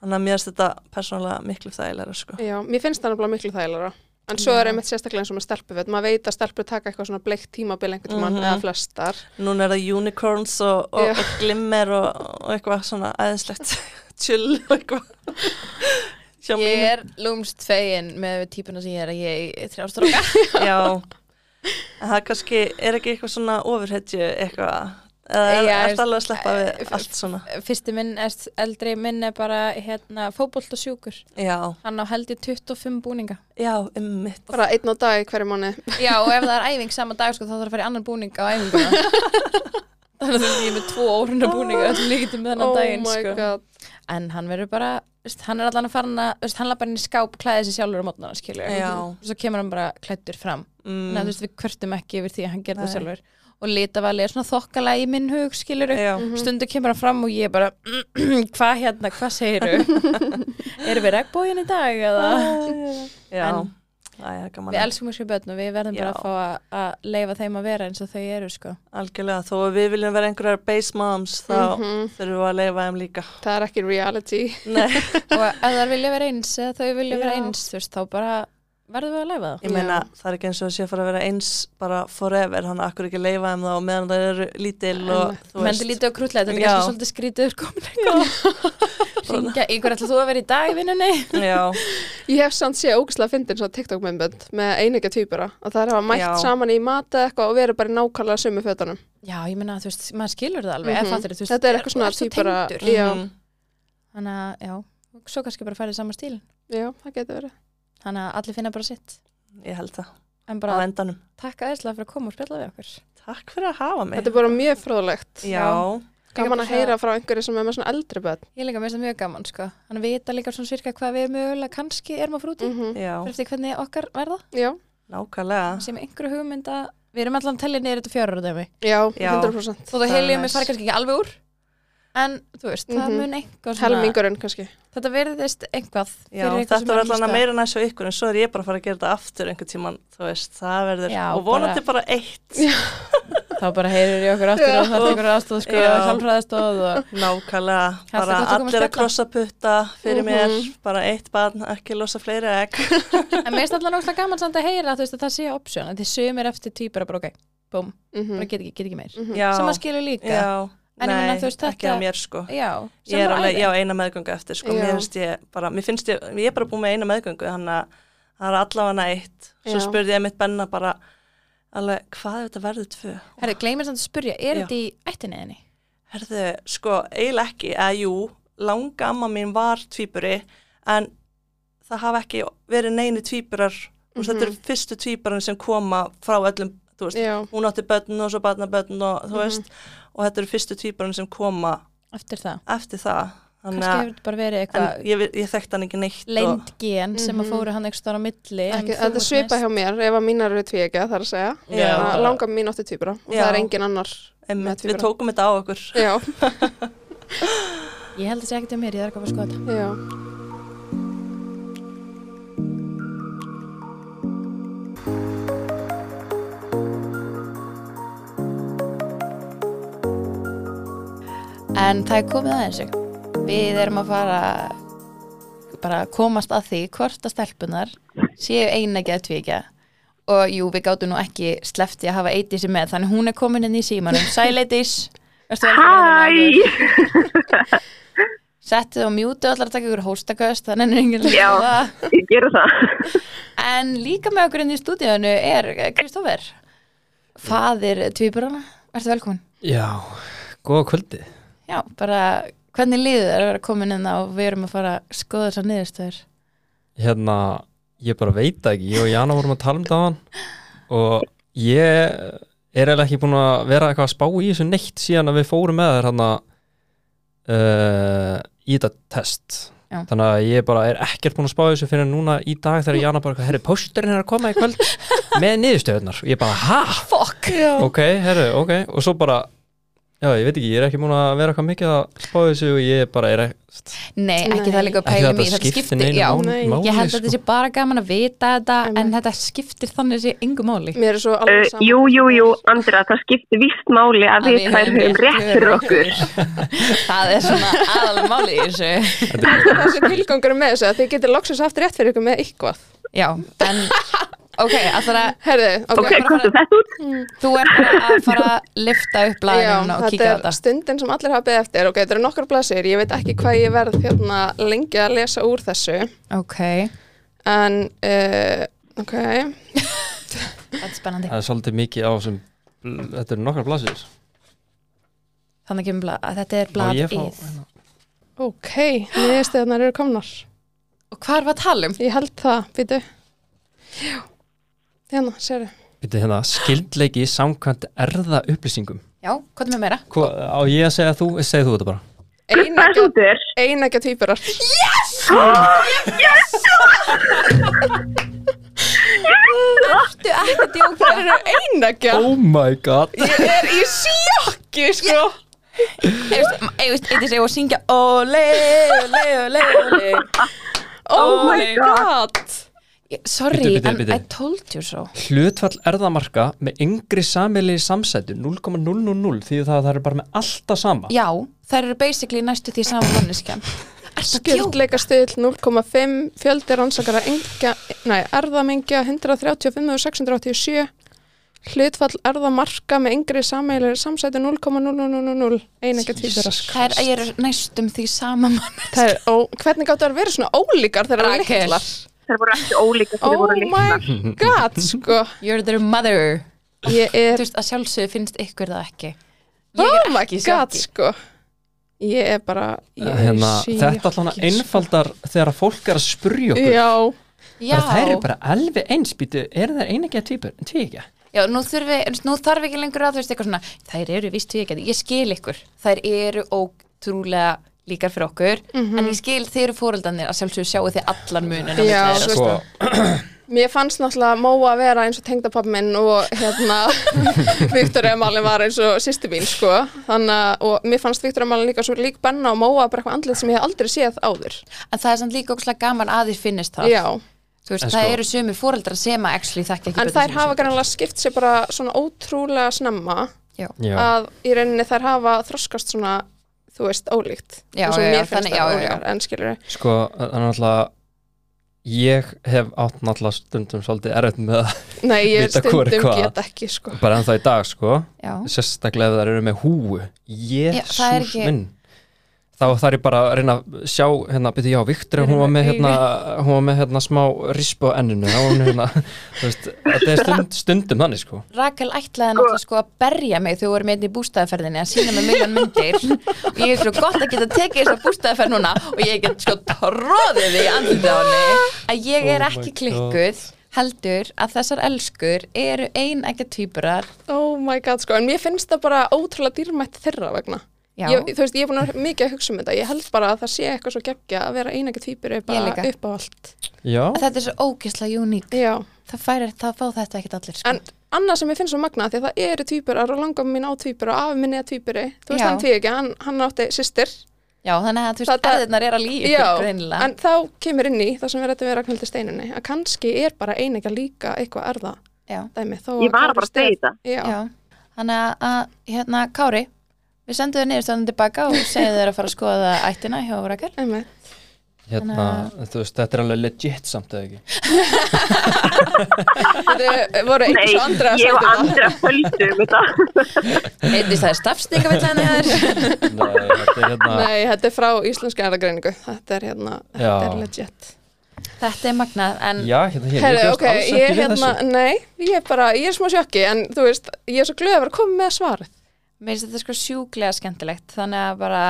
[SPEAKER 3] Þannig að mér finnst þetta persónulega miklu þægilega, sko.
[SPEAKER 1] Já, mér finnst það nefnilega miklu þægilega en svo er einmitt sérstaklega eins og með stelpuföt maður veit að stelpur taka eitthvað svona bleikt tímabil einhvern tímann
[SPEAKER 3] Mhm.
[SPEAKER 1] eða flestar
[SPEAKER 3] Núna er það unicorns og, og,
[SPEAKER 1] Já.
[SPEAKER 3] og glimmer og, og eitthvað svona aðeinslegt tjull og eitthvað. Hjá
[SPEAKER 2] Ég
[SPEAKER 3] mínu.
[SPEAKER 2] er lúmst fegin með típuna sem ég er að ég er þrjástróka.
[SPEAKER 3] Já. En það kannski er ekki eitthvað svona ofurhetju eitthvað. Eða er
[SPEAKER 2] Já,
[SPEAKER 3] þetta alveg að sleppa
[SPEAKER 2] eh,
[SPEAKER 3] við allt svona.
[SPEAKER 2] Fyrsti minn, er, eldri minn er bara hérna, fótbolt og sjúkur.
[SPEAKER 3] Já,
[SPEAKER 2] Hann á held í 25 búninga.
[SPEAKER 3] já, ummitt.
[SPEAKER 1] bara einn á dag í hverju mánu
[SPEAKER 2] Já, og ef það er æfing saman dag, sko, þá þarf að fara í annan búning á æfinguna. Þannig að þú veist, ég er með tvo órunda búninga, öll líkitum með þennan
[SPEAKER 1] oh
[SPEAKER 2] daginn,
[SPEAKER 1] my
[SPEAKER 2] sko.
[SPEAKER 1] god
[SPEAKER 2] En hann verður bara, veist, hann er allan að fara hann að, veist, hann lappar inn í skáp, klæði sig sjálfur á mótnana, skilur.
[SPEAKER 3] Já.
[SPEAKER 2] Svo kemur hann bara klættur fram. Þannig að þú
[SPEAKER 3] Mm,
[SPEAKER 2] veist, við kvörtum ekki yfir því að hann gerði það
[SPEAKER 3] Nei.
[SPEAKER 2] sjálfur. Og litavali er svona þokkalega í minn hug, skilur.
[SPEAKER 3] já,
[SPEAKER 2] Stundu kemur hann fram og ég bara, hvað hérna, hvað segiru? Erum við regnbógin í dag eða?
[SPEAKER 3] já.
[SPEAKER 2] En-
[SPEAKER 3] Æ, það er gaman.
[SPEAKER 2] Við elskum þessu börn og við verðum bara
[SPEAKER 3] Ah. Já.
[SPEAKER 2] að fá að, að leifa þeim að vera eins og þau eru, sko.
[SPEAKER 3] Algjörlega, þó að við viljum vera einhverjar base moms, þá
[SPEAKER 1] Mhm.
[SPEAKER 3] þurfum við að leifa þeim líka.
[SPEAKER 1] það er ekki reality
[SPEAKER 3] Nei.
[SPEAKER 2] Og ef þær vilja vera eins eða þau vilja vera
[SPEAKER 3] Já.
[SPEAKER 2] eins, þú veist, þá bara verðum við að leifa það.
[SPEAKER 3] Ég meina, það er ekki eins og það sé að fara að vera eins bara forever, hann akkur ekki leifa þeim þá meðan það eru lítil og
[SPEAKER 1] Einmitt.
[SPEAKER 3] þú
[SPEAKER 2] Menn er lítið og krútlega, þetta er
[SPEAKER 3] Já.
[SPEAKER 2] kannski svolítið skrítið komin eitthvað. Ringja, í hverju ætla þú að vera í dag, vinnunni?
[SPEAKER 3] Já,
[SPEAKER 1] Ég hef samt séð ógislega fyndin svona TikTok-myndbönd með einegja týpura og það hafa mætt
[SPEAKER 3] Já.
[SPEAKER 1] saman í mata eitthvað og verið bara í nákvæmlega sömu fötunum.
[SPEAKER 2] Já, ég meina, þú veist, maður skilur það alveg,
[SPEAKER 1] Mhm.
[SPEAKER 2] ef fattur þú veist,
[SPEAKER 1] Þetta er eitthvað svona
[SPEAKER 2] ert svo
[SPEAKER 1] týpura-
[SPEAKER 2] tengdur.
[SPEAKER 1] Já.
[SPEAKER 3] Mhm.
[SPEAKER 2] Þannig að, já, svo kannski bara farið í sama stíl.
[SPEAKER 1] Já, það getur verið.
[SPEAKER 2] Þannig að allir finna bara sitt.
[SPEAKER 3] Ég held það,
[SPEAKER 2] En
[SPEAKER 3] á
[SPEAKER 2] bara
[SPEAKER 3] endanum.
[SPEAKER 2] takk aðeinslega fyrir að koma og spjalla við okkur.
[SPEAKER 3] Takk fyrir að hafa mig.
[SPEAKER 1] Þetta er bara mjög fróðlegt.
[SPEAKER 3] Já,
[SPEAKER 1] Gaman
[SPEAKER 2] Líka
[SPEAKER 1] að
[SPEAKER 2] bara-
[SPEAKER 1] heyra frá einhverju sem er með svona eldri börn.
[SPEAKER 2] Ég líka mér finnst það mjög gaman, sko. Hann vita líka svona sirka hvað við mögulega kannski erum að frúti. Mm.
[SPEAKER 1] Mhm.
[SPEAKER 3] já,
[SPEAKER 2] Eftir hvernig okkar verða.
[SPEAKER 1] Já,
[SPEAKER 3] nákvæmlega.
[SPEAKER 2] sem einhverju hugmynd að við erum allan tellið niður þetta fjörar og dæmi
[SPEAKER 1] já,
[SPEAKER 3] Já.
[SPEAKER 1] 100%.
[SPEAKER 2] þó það
[SPEAKER 3] Það er
[SPEAKER 2] heljum við
[SPEAKER 3] næs.
[SPEAKER 2] fara kannski ekki alveg úr en þú veist, það
[SPEAKER 1] Mhm.
[SPEAKER 2] mun einhver svona
[SPEAKER 1] Helmingurinn kannski.
[SPEAKER 2] þetta verðist einhvað
[SPEAKER 3] Já, þetta var allan að meira næst á ykkur en svo er ég bara að fara að gera þetta aftur einhvern tíman, þú veist, það verður,
[SPEAKER 2] Já,
[SPEAKER 3] og vonandi bara, eitt,
[SPEAKER 2] þá bara heyrir ég okkur aftur og það tekur aðstóð sko,
[SPEAKER 3] Já.
[SPEAKER 2] hjálfræðastóð og
[SPEAKER 3] nákvæmlega,
[SPEAKER 2] Hjalti,
[SPEAKER 3] bara
[SPEAKER 2] hvað tökum við
[SPEAKER 3] allir að
[SPEAKER 2] spjalla?
[SPEAKER 3] krossa putta fyrir mér,
[SPEAKER 1] Mhm.
[SPEAKER 3] bara eitt barn, ekki losa fleiri egg.
[SPEAKER 2] en mér er allan óslega gaman samt að heyra þú veist að það sé option, að þið sumir eftir týpur bara ok, búm, bara
[SPEAKER 1] Mhm.
[SPEAKER 2] get ekki, get ekki meir
[SPEAKER 1] Mhm.
[SPEAKER 3] Já,
[SPEAKER 2] sem að skilur líka
[SPEAKER 3] já,
[SPEAKER 2] En ég meina, þú veist,
[SPEAKER 3] ekki
[SPEAKER 2] þetta-
[SPEAKER 3] á mér, sko.
[SPEAKER 2] Já, sem
[SPEAKER 3] Ég er
[SPEAKER 2] bara
[SPEAKER 3] alveg,
[SPEAKER 2] æði.
[SPEAKER 3] já, eina meðgöngu eftir, sko,
[SPEAKER 1] Já.
[SPEAKER 3] mér finnst ég bara, mér finnst ég, ég er bara búin með eina meðgöngu, þannig að það er allavega eitt, svo
[SPEAKER 1] Já.
[SPEAKER 3] spurði ég mitt benna bara, alveg, hvað ef þetta verður tvö?
[SPEAKER 2] Herðu, gleymir samt að spyrja, er
[SPEAKER 3] Já.
[SPEAKER 2] þetta í ættinni þinni?
[SPEAKER 3] Herðu, sko, eiginlega ekki, eða jú, langa amma mín var tvíburi, en það hafa ekki verið neini tvíburar, mm -hmm. þetta eru
[SPEAKER 2] Mhm.
[SPEAKER 3] fyrstu tvíburarnir sem koma frá öllum, þú veist,
[SPEAKER 1] Já,
[SPEAKER 3] hún átti börn og svo barnabörn og
[SPEAKER 2] Mhm.
[SPEAKER 3] þú veist, og þetta eru fyrstu tvíburarnir sem koma
[SPEAKER 2] Eftir það,
[SPEAKER 3] eftir það. Þannig
[SPEAKER 2] kannski
[SPEAKER 3] að-
[SPEAKER 2] hefur þetta bara verið eitthvað
[SPEAKER 3] en ég, vi- ég þekkti hann ekki neitt og,
[SPEAKER 2] leynd gen sem að fóru hann eitthvað á milli en
[SPEAKER 1] ekki,
[SPEAKER 2] þú
[SPEAKER 1] þetta
[SPEAKER 2] varst
[SPEAKER 1] svipa
[SPEAKER 2] næst.
[SPEAKER 1] hjá mér ef að mínar eru tvíegja þar að segja.
[SPEAKER 3] Já.
[SPEAKER 1] Að Langar mín átti tvíbura og
[SPEAKER 3] Já.
[SPEAKER 1] það er engin annar.
[SPEAKER 3] einmitt,
[SPEAKER 1] með
[SPEAKER 3] við tókum þetta á okkur
[SPEAKER 1] Já,
[SPEAKER 2] ég held að segja ekkert um mér, ég þarf ekki að fara að skoða þetta
[SPEAKER 1] já.
[SPEAKER 2] en það er komið aðeins við erum að fara bara að komast að því hvort að stelpunar séu einægja eða tvíægja og jú, við gátum nú ekki slefti að hafa Eidísi með þannig hún er komin inn í símanum, sæl Eidís Hæ settið á mjútu allar að taka ykkur hóstaköst, þannig er enginn að
[SPEAKER 4] Já.
[SPEAKER 2] hlusta á það.
[SPEAKER 4] Ég gera það.
[SPEAKER 2] En líka með okkur inn í stúdíunum er Kristófer, faðir tvíburana. Ertu velkomin?
[SPEAKER 5] Já, góða kvöldi.
[SPEAKER 2] Já, bara hvernig líður þér að vera komin inn og við erum að fara að skoða þessar niðurstöður?
[SPEAKER 5] Hérna, ég bara veit það ekki, ég og Jana vorum að tala um það hann og ég er eiginlega ekki búin að vera eitthvað að spá í þessu neitt síðan að við fórum með þér hann uh, í þetta test.
[SPEAKER 2] Já.
[SPEAKER 5] Þannig að ég bara er ekkert búin að spá í þessu fyrir núna í dag þegar Jana bara, herri, pósturinn er að koma í kvöld með niðurstöðunar. Og ég bara, ha?
[SPEAKER 2] Fuck! Já.
[SPEAKER 5] ok, herru, ok og svo bara, já ég veit ekki, ég er ekki múin að vera eitthvað mikið að spá þessu og ég bara er ekkert
[SPEAKER 2] Nei, ekki
[SPEAKER 1] Nei.
[SPEAKER 2] það líka að
[SPEAKER 5] ekki
[SPEAKER 2] pæla mig,
[SPEAKER 5] að þetta
[SPEAKER 2] þetta
[SPEAKER 5] skipti
[SPEAKER 2] skiptir,
[SPEAKER 5] neinu
[SPEAKER 2] já.
[SPEAKER 5] mál-
[SPEAKER 1] Nei.
[SPEAKER 5] máli
[SPEAKER 2] Ég held að
[SPEAKER 5] sko.
[SPEAKER 2] þetta sé bara gaman að vita þetta,
[SPEAKER 1] Einmitt.
[SPEAKER 2] en þetta skiptir þannig sé yngu máli.
[SPEAKER 1] Mér er svo alveg
[SPEAKER 4] Uh,
[SPEAKER 1] saman.
[SPEAKER 4] jú, jú, jú, Andra, það skiptir víst máli að við þær höfum rétt fyrir okkur.
[SPEAKER 2] það er svona aðalega máli í þessu.
[SPEAKER 1] Það er þessi tilgangur með þessu að þið getur loksins aftur rétt fyrir ykkur með eitthvað.
[SPEAKER 2] Já, en ok, alltaf að
[SPEAKER 1] Herði, ok.
[SPEAKER 4] Ok, komstu þetta út?
[SPEAKER 2] þú er bara að fara að lifta upp
[SPEAKER 1] Já,
[SPEAKER 2] blæðinu og
[SPEAKER 1] þetta
[SPEAKER 2] kíkja á
[SPEAKER 1] er
[SPEAKER 2] þetta.
[SPEAKER 1] stundin sem allir hafa beðið eftir. Ok, þetta eru nokkar blasir. Ég veit ekki hvað ég verð hérna lengi að lesa úr þessu.
[SPEAKER 2] Ok,
[SPEAKER 1] En, uh, ok,
[SPEAKER 2] þetta er spennandi.
[SPEAKER 5] það er svolítið mikið á þessum þetta eru nokkar blasir
[SPEAKER 2] Þannig kemur blað, að þetta er
[SPEAKER 5] Má
[SPEAKER 2] blað
[SPEAKER 5] ég fá-
[SPEAKER 2] íð.
[SPEAKER 1] ok, niðurstöðunar eru komnar.
[SPEAKER 2] Og hvað er við að tala um?
[SPEAKER 1] Ég held það, býtu. Já, hérna, sérðu.
[SPEAKER 5] Býttu hérna, skildleiki samkvæmt erða upplýsingum
[SPEAKER 2] Já, hvað er með meira?
[SPEAKER 5] Hva, á ég að segja þú, segja þú þetta bara
[SPEAKER 4] Hvað er
[SPEAKER 1] Einægja,
[SPEAKER 4] út er?
[SPEAKER 1] einægja tvíburar.
[SPEAKER 2] Ertu ekki að djóka?
[SPEAKER 1] Það eru einægja.
[SPEAKER 5] oh my god
[SPEAKER 1] Ég er í sjokki, sko.
[SPEAKER 2] Eðist, eðist, ég var að syngja Ole, ole, ole, ole
[SPEAKER 1] Oh my
[SPEAKER 2] Óli.
[SPEAKER 1] god.
[SPEAKER 2] Ég- Sorry,
[SPEAKER 5] Bíddu, bíddu,
[SPEAKER 2] en
[SPEAKER 5] bíddu.
[SPEAKER 2] I told you so
[SPEAKER 5] hlutfall erðamarka með yngri samili samsætu 0,000 því það, það er bara með alltaf sama
[SPEAKER 2] Já, þær eru basically næstu því saman manneskjan
[SPEAKER 1] Skjöldleika 0,5 fjöldi rannsakara engja, nei, erðamengja 135.687 hlutfall erðamarka með yngri sameilir samsæti 0,0000 einægja tvíburar.
[SPEAKER 2] Þær eru næstum því saman mann
[SPEAKER 1] Það er, ó, hvernig gáttu að vera svona ólíkar þegar það er litlar?
[SPEAKER 4] Það voru ekki ólíka þegar
[SPEAKER 1] Oh
[SPEAKER 4] þið voru líka.
[SPEAKER 1] my god, sko.
[SPEAKER 2] You're their mother
[SPEAKER 1] Ég er
[SPEAKER 2] Þú veist, að sjálfsögðu finnst ykkur það ekki
[SPEAKER 1] oh my
[SPEAKER 2] ekki í
[SPEAKER 1] god
[SPEAKER 2] sjokki.
[SPEAKER 1] sko ég er bara ég er
[SPEAKER 5] hérna,
[SPEAKER 1] í
[SPEAKER 5] þetta
[SPEAKER 1] sjokki,
[SPEAKER 5] allan að
[SPEAKER 1] sko.
[SPEAKER 5] einfaldar þegar að fólk er að spurja okkur
[SPEAKER 1] já,
[SPEAKER 2] Já,
[SPEAKER 5] bara þær eru bara alveg eins býtu, eru þær eina ekki að tvípur, tvið ekki
[SPEAKER 2] já nú, þurfi, nú þarf ekki lengur að þú veist eitthvað svona Þær eru víst því ekki, ég skil ykkur Þær eru ótrúlega líkar fyrir okkur En ég skil þeir eru fóröldanir að sjálfsögðu sjáu þið allan munin á milli
[SPEAKER 1] Mhm. Já,
[SPEAKER 2] þeirra,
[SPEAKER 1] svo-
[SPEAKER 5] sko,
[SPEAKER 1] mér fannst náttúrulega Móa að vera eins og tengdapappi minn og hérna Viktor Emalin var eins og sýsti mín sko þannig að, og mér fannst Viktor Emalin líka svo lík Benna og Móa bara eitthvað andlið sem ég hef aldrei séð áður
[SPEAKER 2] En það er samt líka ógslag gaman að þér finnist það.
[SPEAKER 1] já,
[SPEAKER 2] Þú veist,
[SPEAKER 5] En
[SPEAKER 2] það
[SPEAKER 5] sko-
[SPEAKER 2] eru sömu fóreldrar sem að actually þekki ekki
[SPEAKER 1] en
[SPEAKER 2] börnin
[SPEAKER 1] þær
[SPEAKER 2] sín
[SPEAKER 1] hafa
[SPEAKER 2] sem-
[SPEAKER 1] grannlega skipt sér bara svona ótrúlega snemma
[SPEAKER 2] Já,
[SPEAKER 5] já.
[SPEAKER 1] að í rauninni þær hafa þroskast svona þú veist, ólíkt
[SPEAKER 2] Já,
[SPEAKER 1] eins og
[SPEAKER 2] já,
[SPEAKER 1] mér
[SPEAKER 2] þannig-
[SPEAKER 1] finnst
[SPEAKER 2] já,
[SPEAKER 1] það
[SPEAKER 2] já, já.
[SPEAKER 1] ólíkar en skilur
[SPEAKER 5] sko, þannig náttúrulega ég hef átt náttúrulega stundum svolítið erfitt með það
[SPEAKER 1] nei, ég
[SPEAKER 5] Vita hvor er
[SPEAKER 1] stundum
[SPEAKER 5] hvað.
[SPEAKER 1] get ekki sko
[SPEAKER 5] bara ennþá í dag, sko
[SPEAKER 2] já.
[SPEAKER 5] sérstaklega ef þær eru með húu
[SPEAKER 2] það er
[SPEAKER 5] jésús
[SPEAKER 2] ekki-
[SPEAKER 5] minn þá þarf ég bara að reyna að sjá hérna, byrja, já, Viktor, hún var með hérna, hún var með hérna smá rispu á enninu þá var hún hérna, þú veist, þetta er stund, stundum þannig, sko
[SPEAKER 2] Rakel ætlaði náttúrulega sko að berja mig þegar við vorum einnig í bústæðaferðinni að sína með miljón myndir og ég er svo gott að geta tekið þess að bústæðaferð núna og ég get sko tróðið því andlið á henni að ég er
[SPEAKER 5] Oh my
[SPEAKER 2] ekki
[SPEAKER 5] God.
[SPEAKER 2] klikkuð heldur að þessar elskur eru ein ekki týpurar
[SPEAKER 1] Oh my god, sko, en mér finnst það bara ótrúlega dýrmætt þeirra vegna.
[SPEAKER 2] Já.
[SPEAKER 1] Ég, þú veist, ég er búin að vera mikið að hugsa um þetta. Ég held bara að það sé eitthvað svo geggja að vera einægja tvíburi bara
[SPEAKER 2] líka.
[SPEAKER 1] upp á allt.
[SPEAKER 5] já,
[SPEAKER 2] að þetta er svo ógislega uník
[SPEAKER 1] Já,
[SPEAKER 2] það færir það fá þetta ekkert allir sko.
[SPEAKER 1] en annað sem ég finnst svo magna því að það eru tvíburar og langar mín á tvíburi og afi minni er tvíburi. Þú veist,
[SPEAKER 2] Já.
[SPEAKER 1] hann því ekki, hann, hann átti systir.
[SPEAKER 2] já, þannig að þú veist,
[SPEAKER 1] Þetta-
[SPEAKER 2] erðirnar er að líka greinilega
[SPEAKER 1] en þá kemur inn í það sem við rættum við Ragnhildi Steinunni að kannski er bara einægja líka eitthvað erða
[SPEAKER 2] já.
[SPEAKER 1] dæmi. Þó
[SPEAKER 4] Ég var að bara að segja þetta.
[SPEAKER 1] Já,
[SPEAKER 2] Já, þannig að- að, hérna, Kári, við sendum þér niðurstöðan tilbaka og segja þér að fara að skoða ættina hjá Rakel.
[SPEAKER 1] einmitt.
[SPEAKER 5] hérna, þú veist, þetta er alveg legit samt eða ekki
[SPEAKER 1] Þetta voru
[SPEAKER 4] Nei,
[SPEAKER 1] einhvers og andra að
[SPEAKER 4] ég
[SPEAKER 1] segja
[SPEAKER 4] og
[SPEAKER 1] þetta.
[SPEAKER 4] andra földu um þetta.
[SPEAKER 2] Einnist það er stafstingavillan hér
[SPEAKER 5] Nei, þetta er hérna
[SPEAKER 1] Nei, þetta er frá íslenska erðagreiningu. Þetta er hérna, þetta
[SPEAKER 5] Já.
[SPEAKER 1] er legit.
[SPEAKER 2] Þetta er magnað, en
[SPEAKER 5] Já, hérna, hér,
[SPEAKER 1] Herru,
[SPEAKER 5] ég
[SPEAKER 1] ok,
[SPEAKER 5] bjóst alls ekki
[SPEAKER 1] ég
[SPEAKER 5] við
[SPEAKER 1] hérna,
[SPEAKER 5] þessu
[SPEAKER 1] nei, ég er bara, ég er smá sjokki, en þú veist, ég er svo glöð að vera að koma með svarið.
[SPEAKER 2] mér finnst þetta sko sjúklega skemmtilegt þannig að bara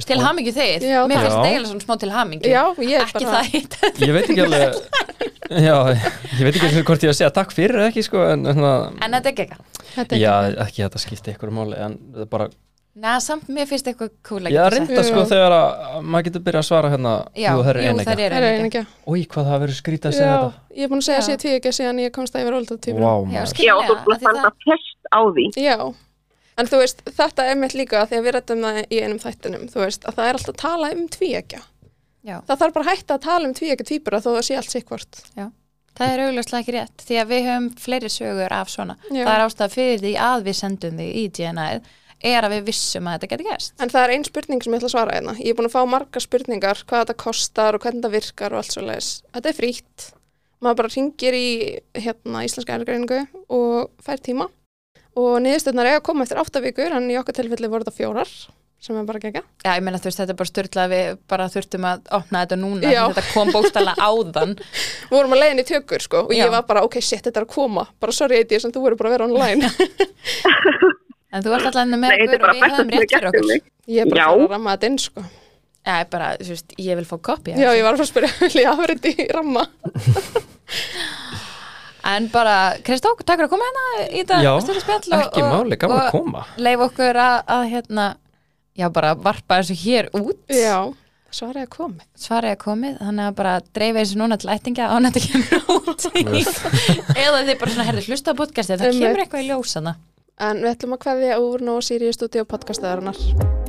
[SPEAKER 5] Veist
[SPEAKER 2] til
[SPEAKER 5] það-
[SPEAKER 2] hamingju þið,
[SPEAKER 1] Já,
[SPEAKER 2] mér
[SPEAKER 5] takk.
[SPEAKER 2] finnst
[SPEAKER 5] Já.
[SPEAKER 2] það eiginlega svona smá til hamingju
[SPEAKER 1] Já, ég er
[SPEAKER 2] ekki
[SPEAKER 1] bara-
[SPEAKER 2] það hitt
[SPEAKER 5] Ég veit ekki alveg Já, ég veit ekki alveg hvort ég að segja takk fyrir eða ekki, sko, en hérna
[SPEAKER 2] en þetta er ekki eitthvað
[SPEAKER 1] Þetta er
[SPEAKER 5] Já, ekki þetta skipti ykkur máli, en það er bara
[SPEAKER 2] Næ, samt mér finnst eitthvað cool að
[SPEAKER 5] Ég
[SPEAKER 2] geta
[SPEAKER 5] er reynda,
[SPEAKER 1] Já.
[SPEAKER 5] sko, þegar að maður getur byrjað að svara hérna
[SPEAKER 2] Já,
[SPEAKER 5] jú, það er
[SPEAKER 2] jú,
[SPEAKER 5] eina
[SPEAKER 2] þær
[SPEAKER 5] ekki
[SPEAKER 1] Það er
[SPEAKER 2] eru
[SPEAKER 1] einu
[SPEAKER 2] einu
[SPEAKER 1] ekki.
[SPEAKER 5] Úi, hvað það verður skrítið að
[SPEAKER 1] Já,
[SPEAKER 5] segja þetta
[SPEAKER 1] ég er búin að segja
[SPEAKER 2] Já.
[SPEAKER 1] sér tíu ekki síðan ég komst að ég vera óldaltýpur.
[SPEAKER 5] Vá,
[SPEAKER 2] Já,
[SPEAKER 5] maður
[SPEAKER 4] Já, þú
[SPEAKER 2] skilja,
[SPEAKER 4] ert búin
[SPEAKER 2] af
[SPEAKER 4] að
[SPEAKER 2] því
[SPEAKER 4] standa
[SPEAKER 2] það
[SPEAKER 4] test á því.
[SPEAKER 1] Já, en þú veist, þetta er mitt líka að því að við rættum það í einum þættinum, þú veist, að það er alltaf að tala um tvíekja.
[SPEAKER 2] Já.
[SPEAKER 1] Það þarf bara að hætta að tala um tvíekja tvíbura þó það sé allt sikkvort.
[SPEAKER 2] það er augljóslega ekki rétt því að við höfum fleiri sögur af svona
[SPEAKER 1] Já.
[SPEAKER 2] það er ástæða fyrir því að við sendum því í DNA-ið er að við vissum að þetta getur gerst
[SPEAKER 1] En það er ein spurning sem ég ætla að svara hérna. Ég er búin að fá margar spurningar, hvað þetta kostar og hvernig þetta virkar og allt svo leiðis. Þetta er frítt. Maður bara ringir í hérna, íslenska ergreiningu og fær tíma. Og niðurstöðnar eiga að koma eftir átta vikur, en í okkar tilfelli voru þetta fjórar, sem er bara gegja.
[SPEAKER 2] Já, ég meina þú veist, þetta er bara styrlað við bara þurftum að opna þetta núna
[SPEAKER 1] Já.
[SPEAKER 2] þetta kom bókstala áðan
[SPEAKER 1] Við vorum að leiðin í tökur, sko, og
[SPEAKER 2] Já.
[SPEAKER 1] ég var bara, ok, shit, þetta er að koma. Bara sorry, Eiti, sem þú voru bara að vera online.
[SPEAKER 2] en þú ert alltaf
[SPEAKER 4] Nei,
[SPEAKER 2] með
[SPEAKER 4] þetta
[SPEAKER 2] okkur
[SPEAKER 4] er bara
[SPEAKER 2] og við höfum
[SPEAKER 4] besta sem við
[SPEAKER 2] rétt fyrir
[SPEAKER 4] getum um
[SPEAKER 2] okkur
[SPEAKER 4] mig.
[SPEAKER 1] Ég er bara
[SPEAKER 4] Já.
[SPEAKER 1] að fara að ramma þetta inn, sko.
[SPEAKER 2] Já, ég bara, þú veist, ég vil fá kopja
[SPEAKER 1] Já, ég var að fara að spyrja, vil ég hafa þetta í ramma?
[SPEAKER 2] En bara, Kristó, takk fyrir að koma hérna í þetta
[SPEAKER 5] Já,
[SPEAKER 2] stutta spjall og-
[SPEAKER 5] ekki
[SPEAKER 2] og-
[SPEAKER 5] máli, gaman að
[SPEAKER 2] og
[SPEAKER 5] koma
[SPEAKER 2] Leif okkur að, að hérna, já bara varpa þessu hér út,
[SPEAKER 1] Já, svarið er komið.
[SPEAKER 2] svarið er komið, þannig að bara dreifa þessu núna til ættinga án að þetta kemur út. Eða þið bara svona herðu hlusta á podcastið, það
[SPEAKER 1] Einmitt.
[SPEAKER 2] kemur eitthvað í ljósana.
[SPEAKER 1] En við ætlum að kveðja úr Nó Sirius Studio podcastaðarinnar.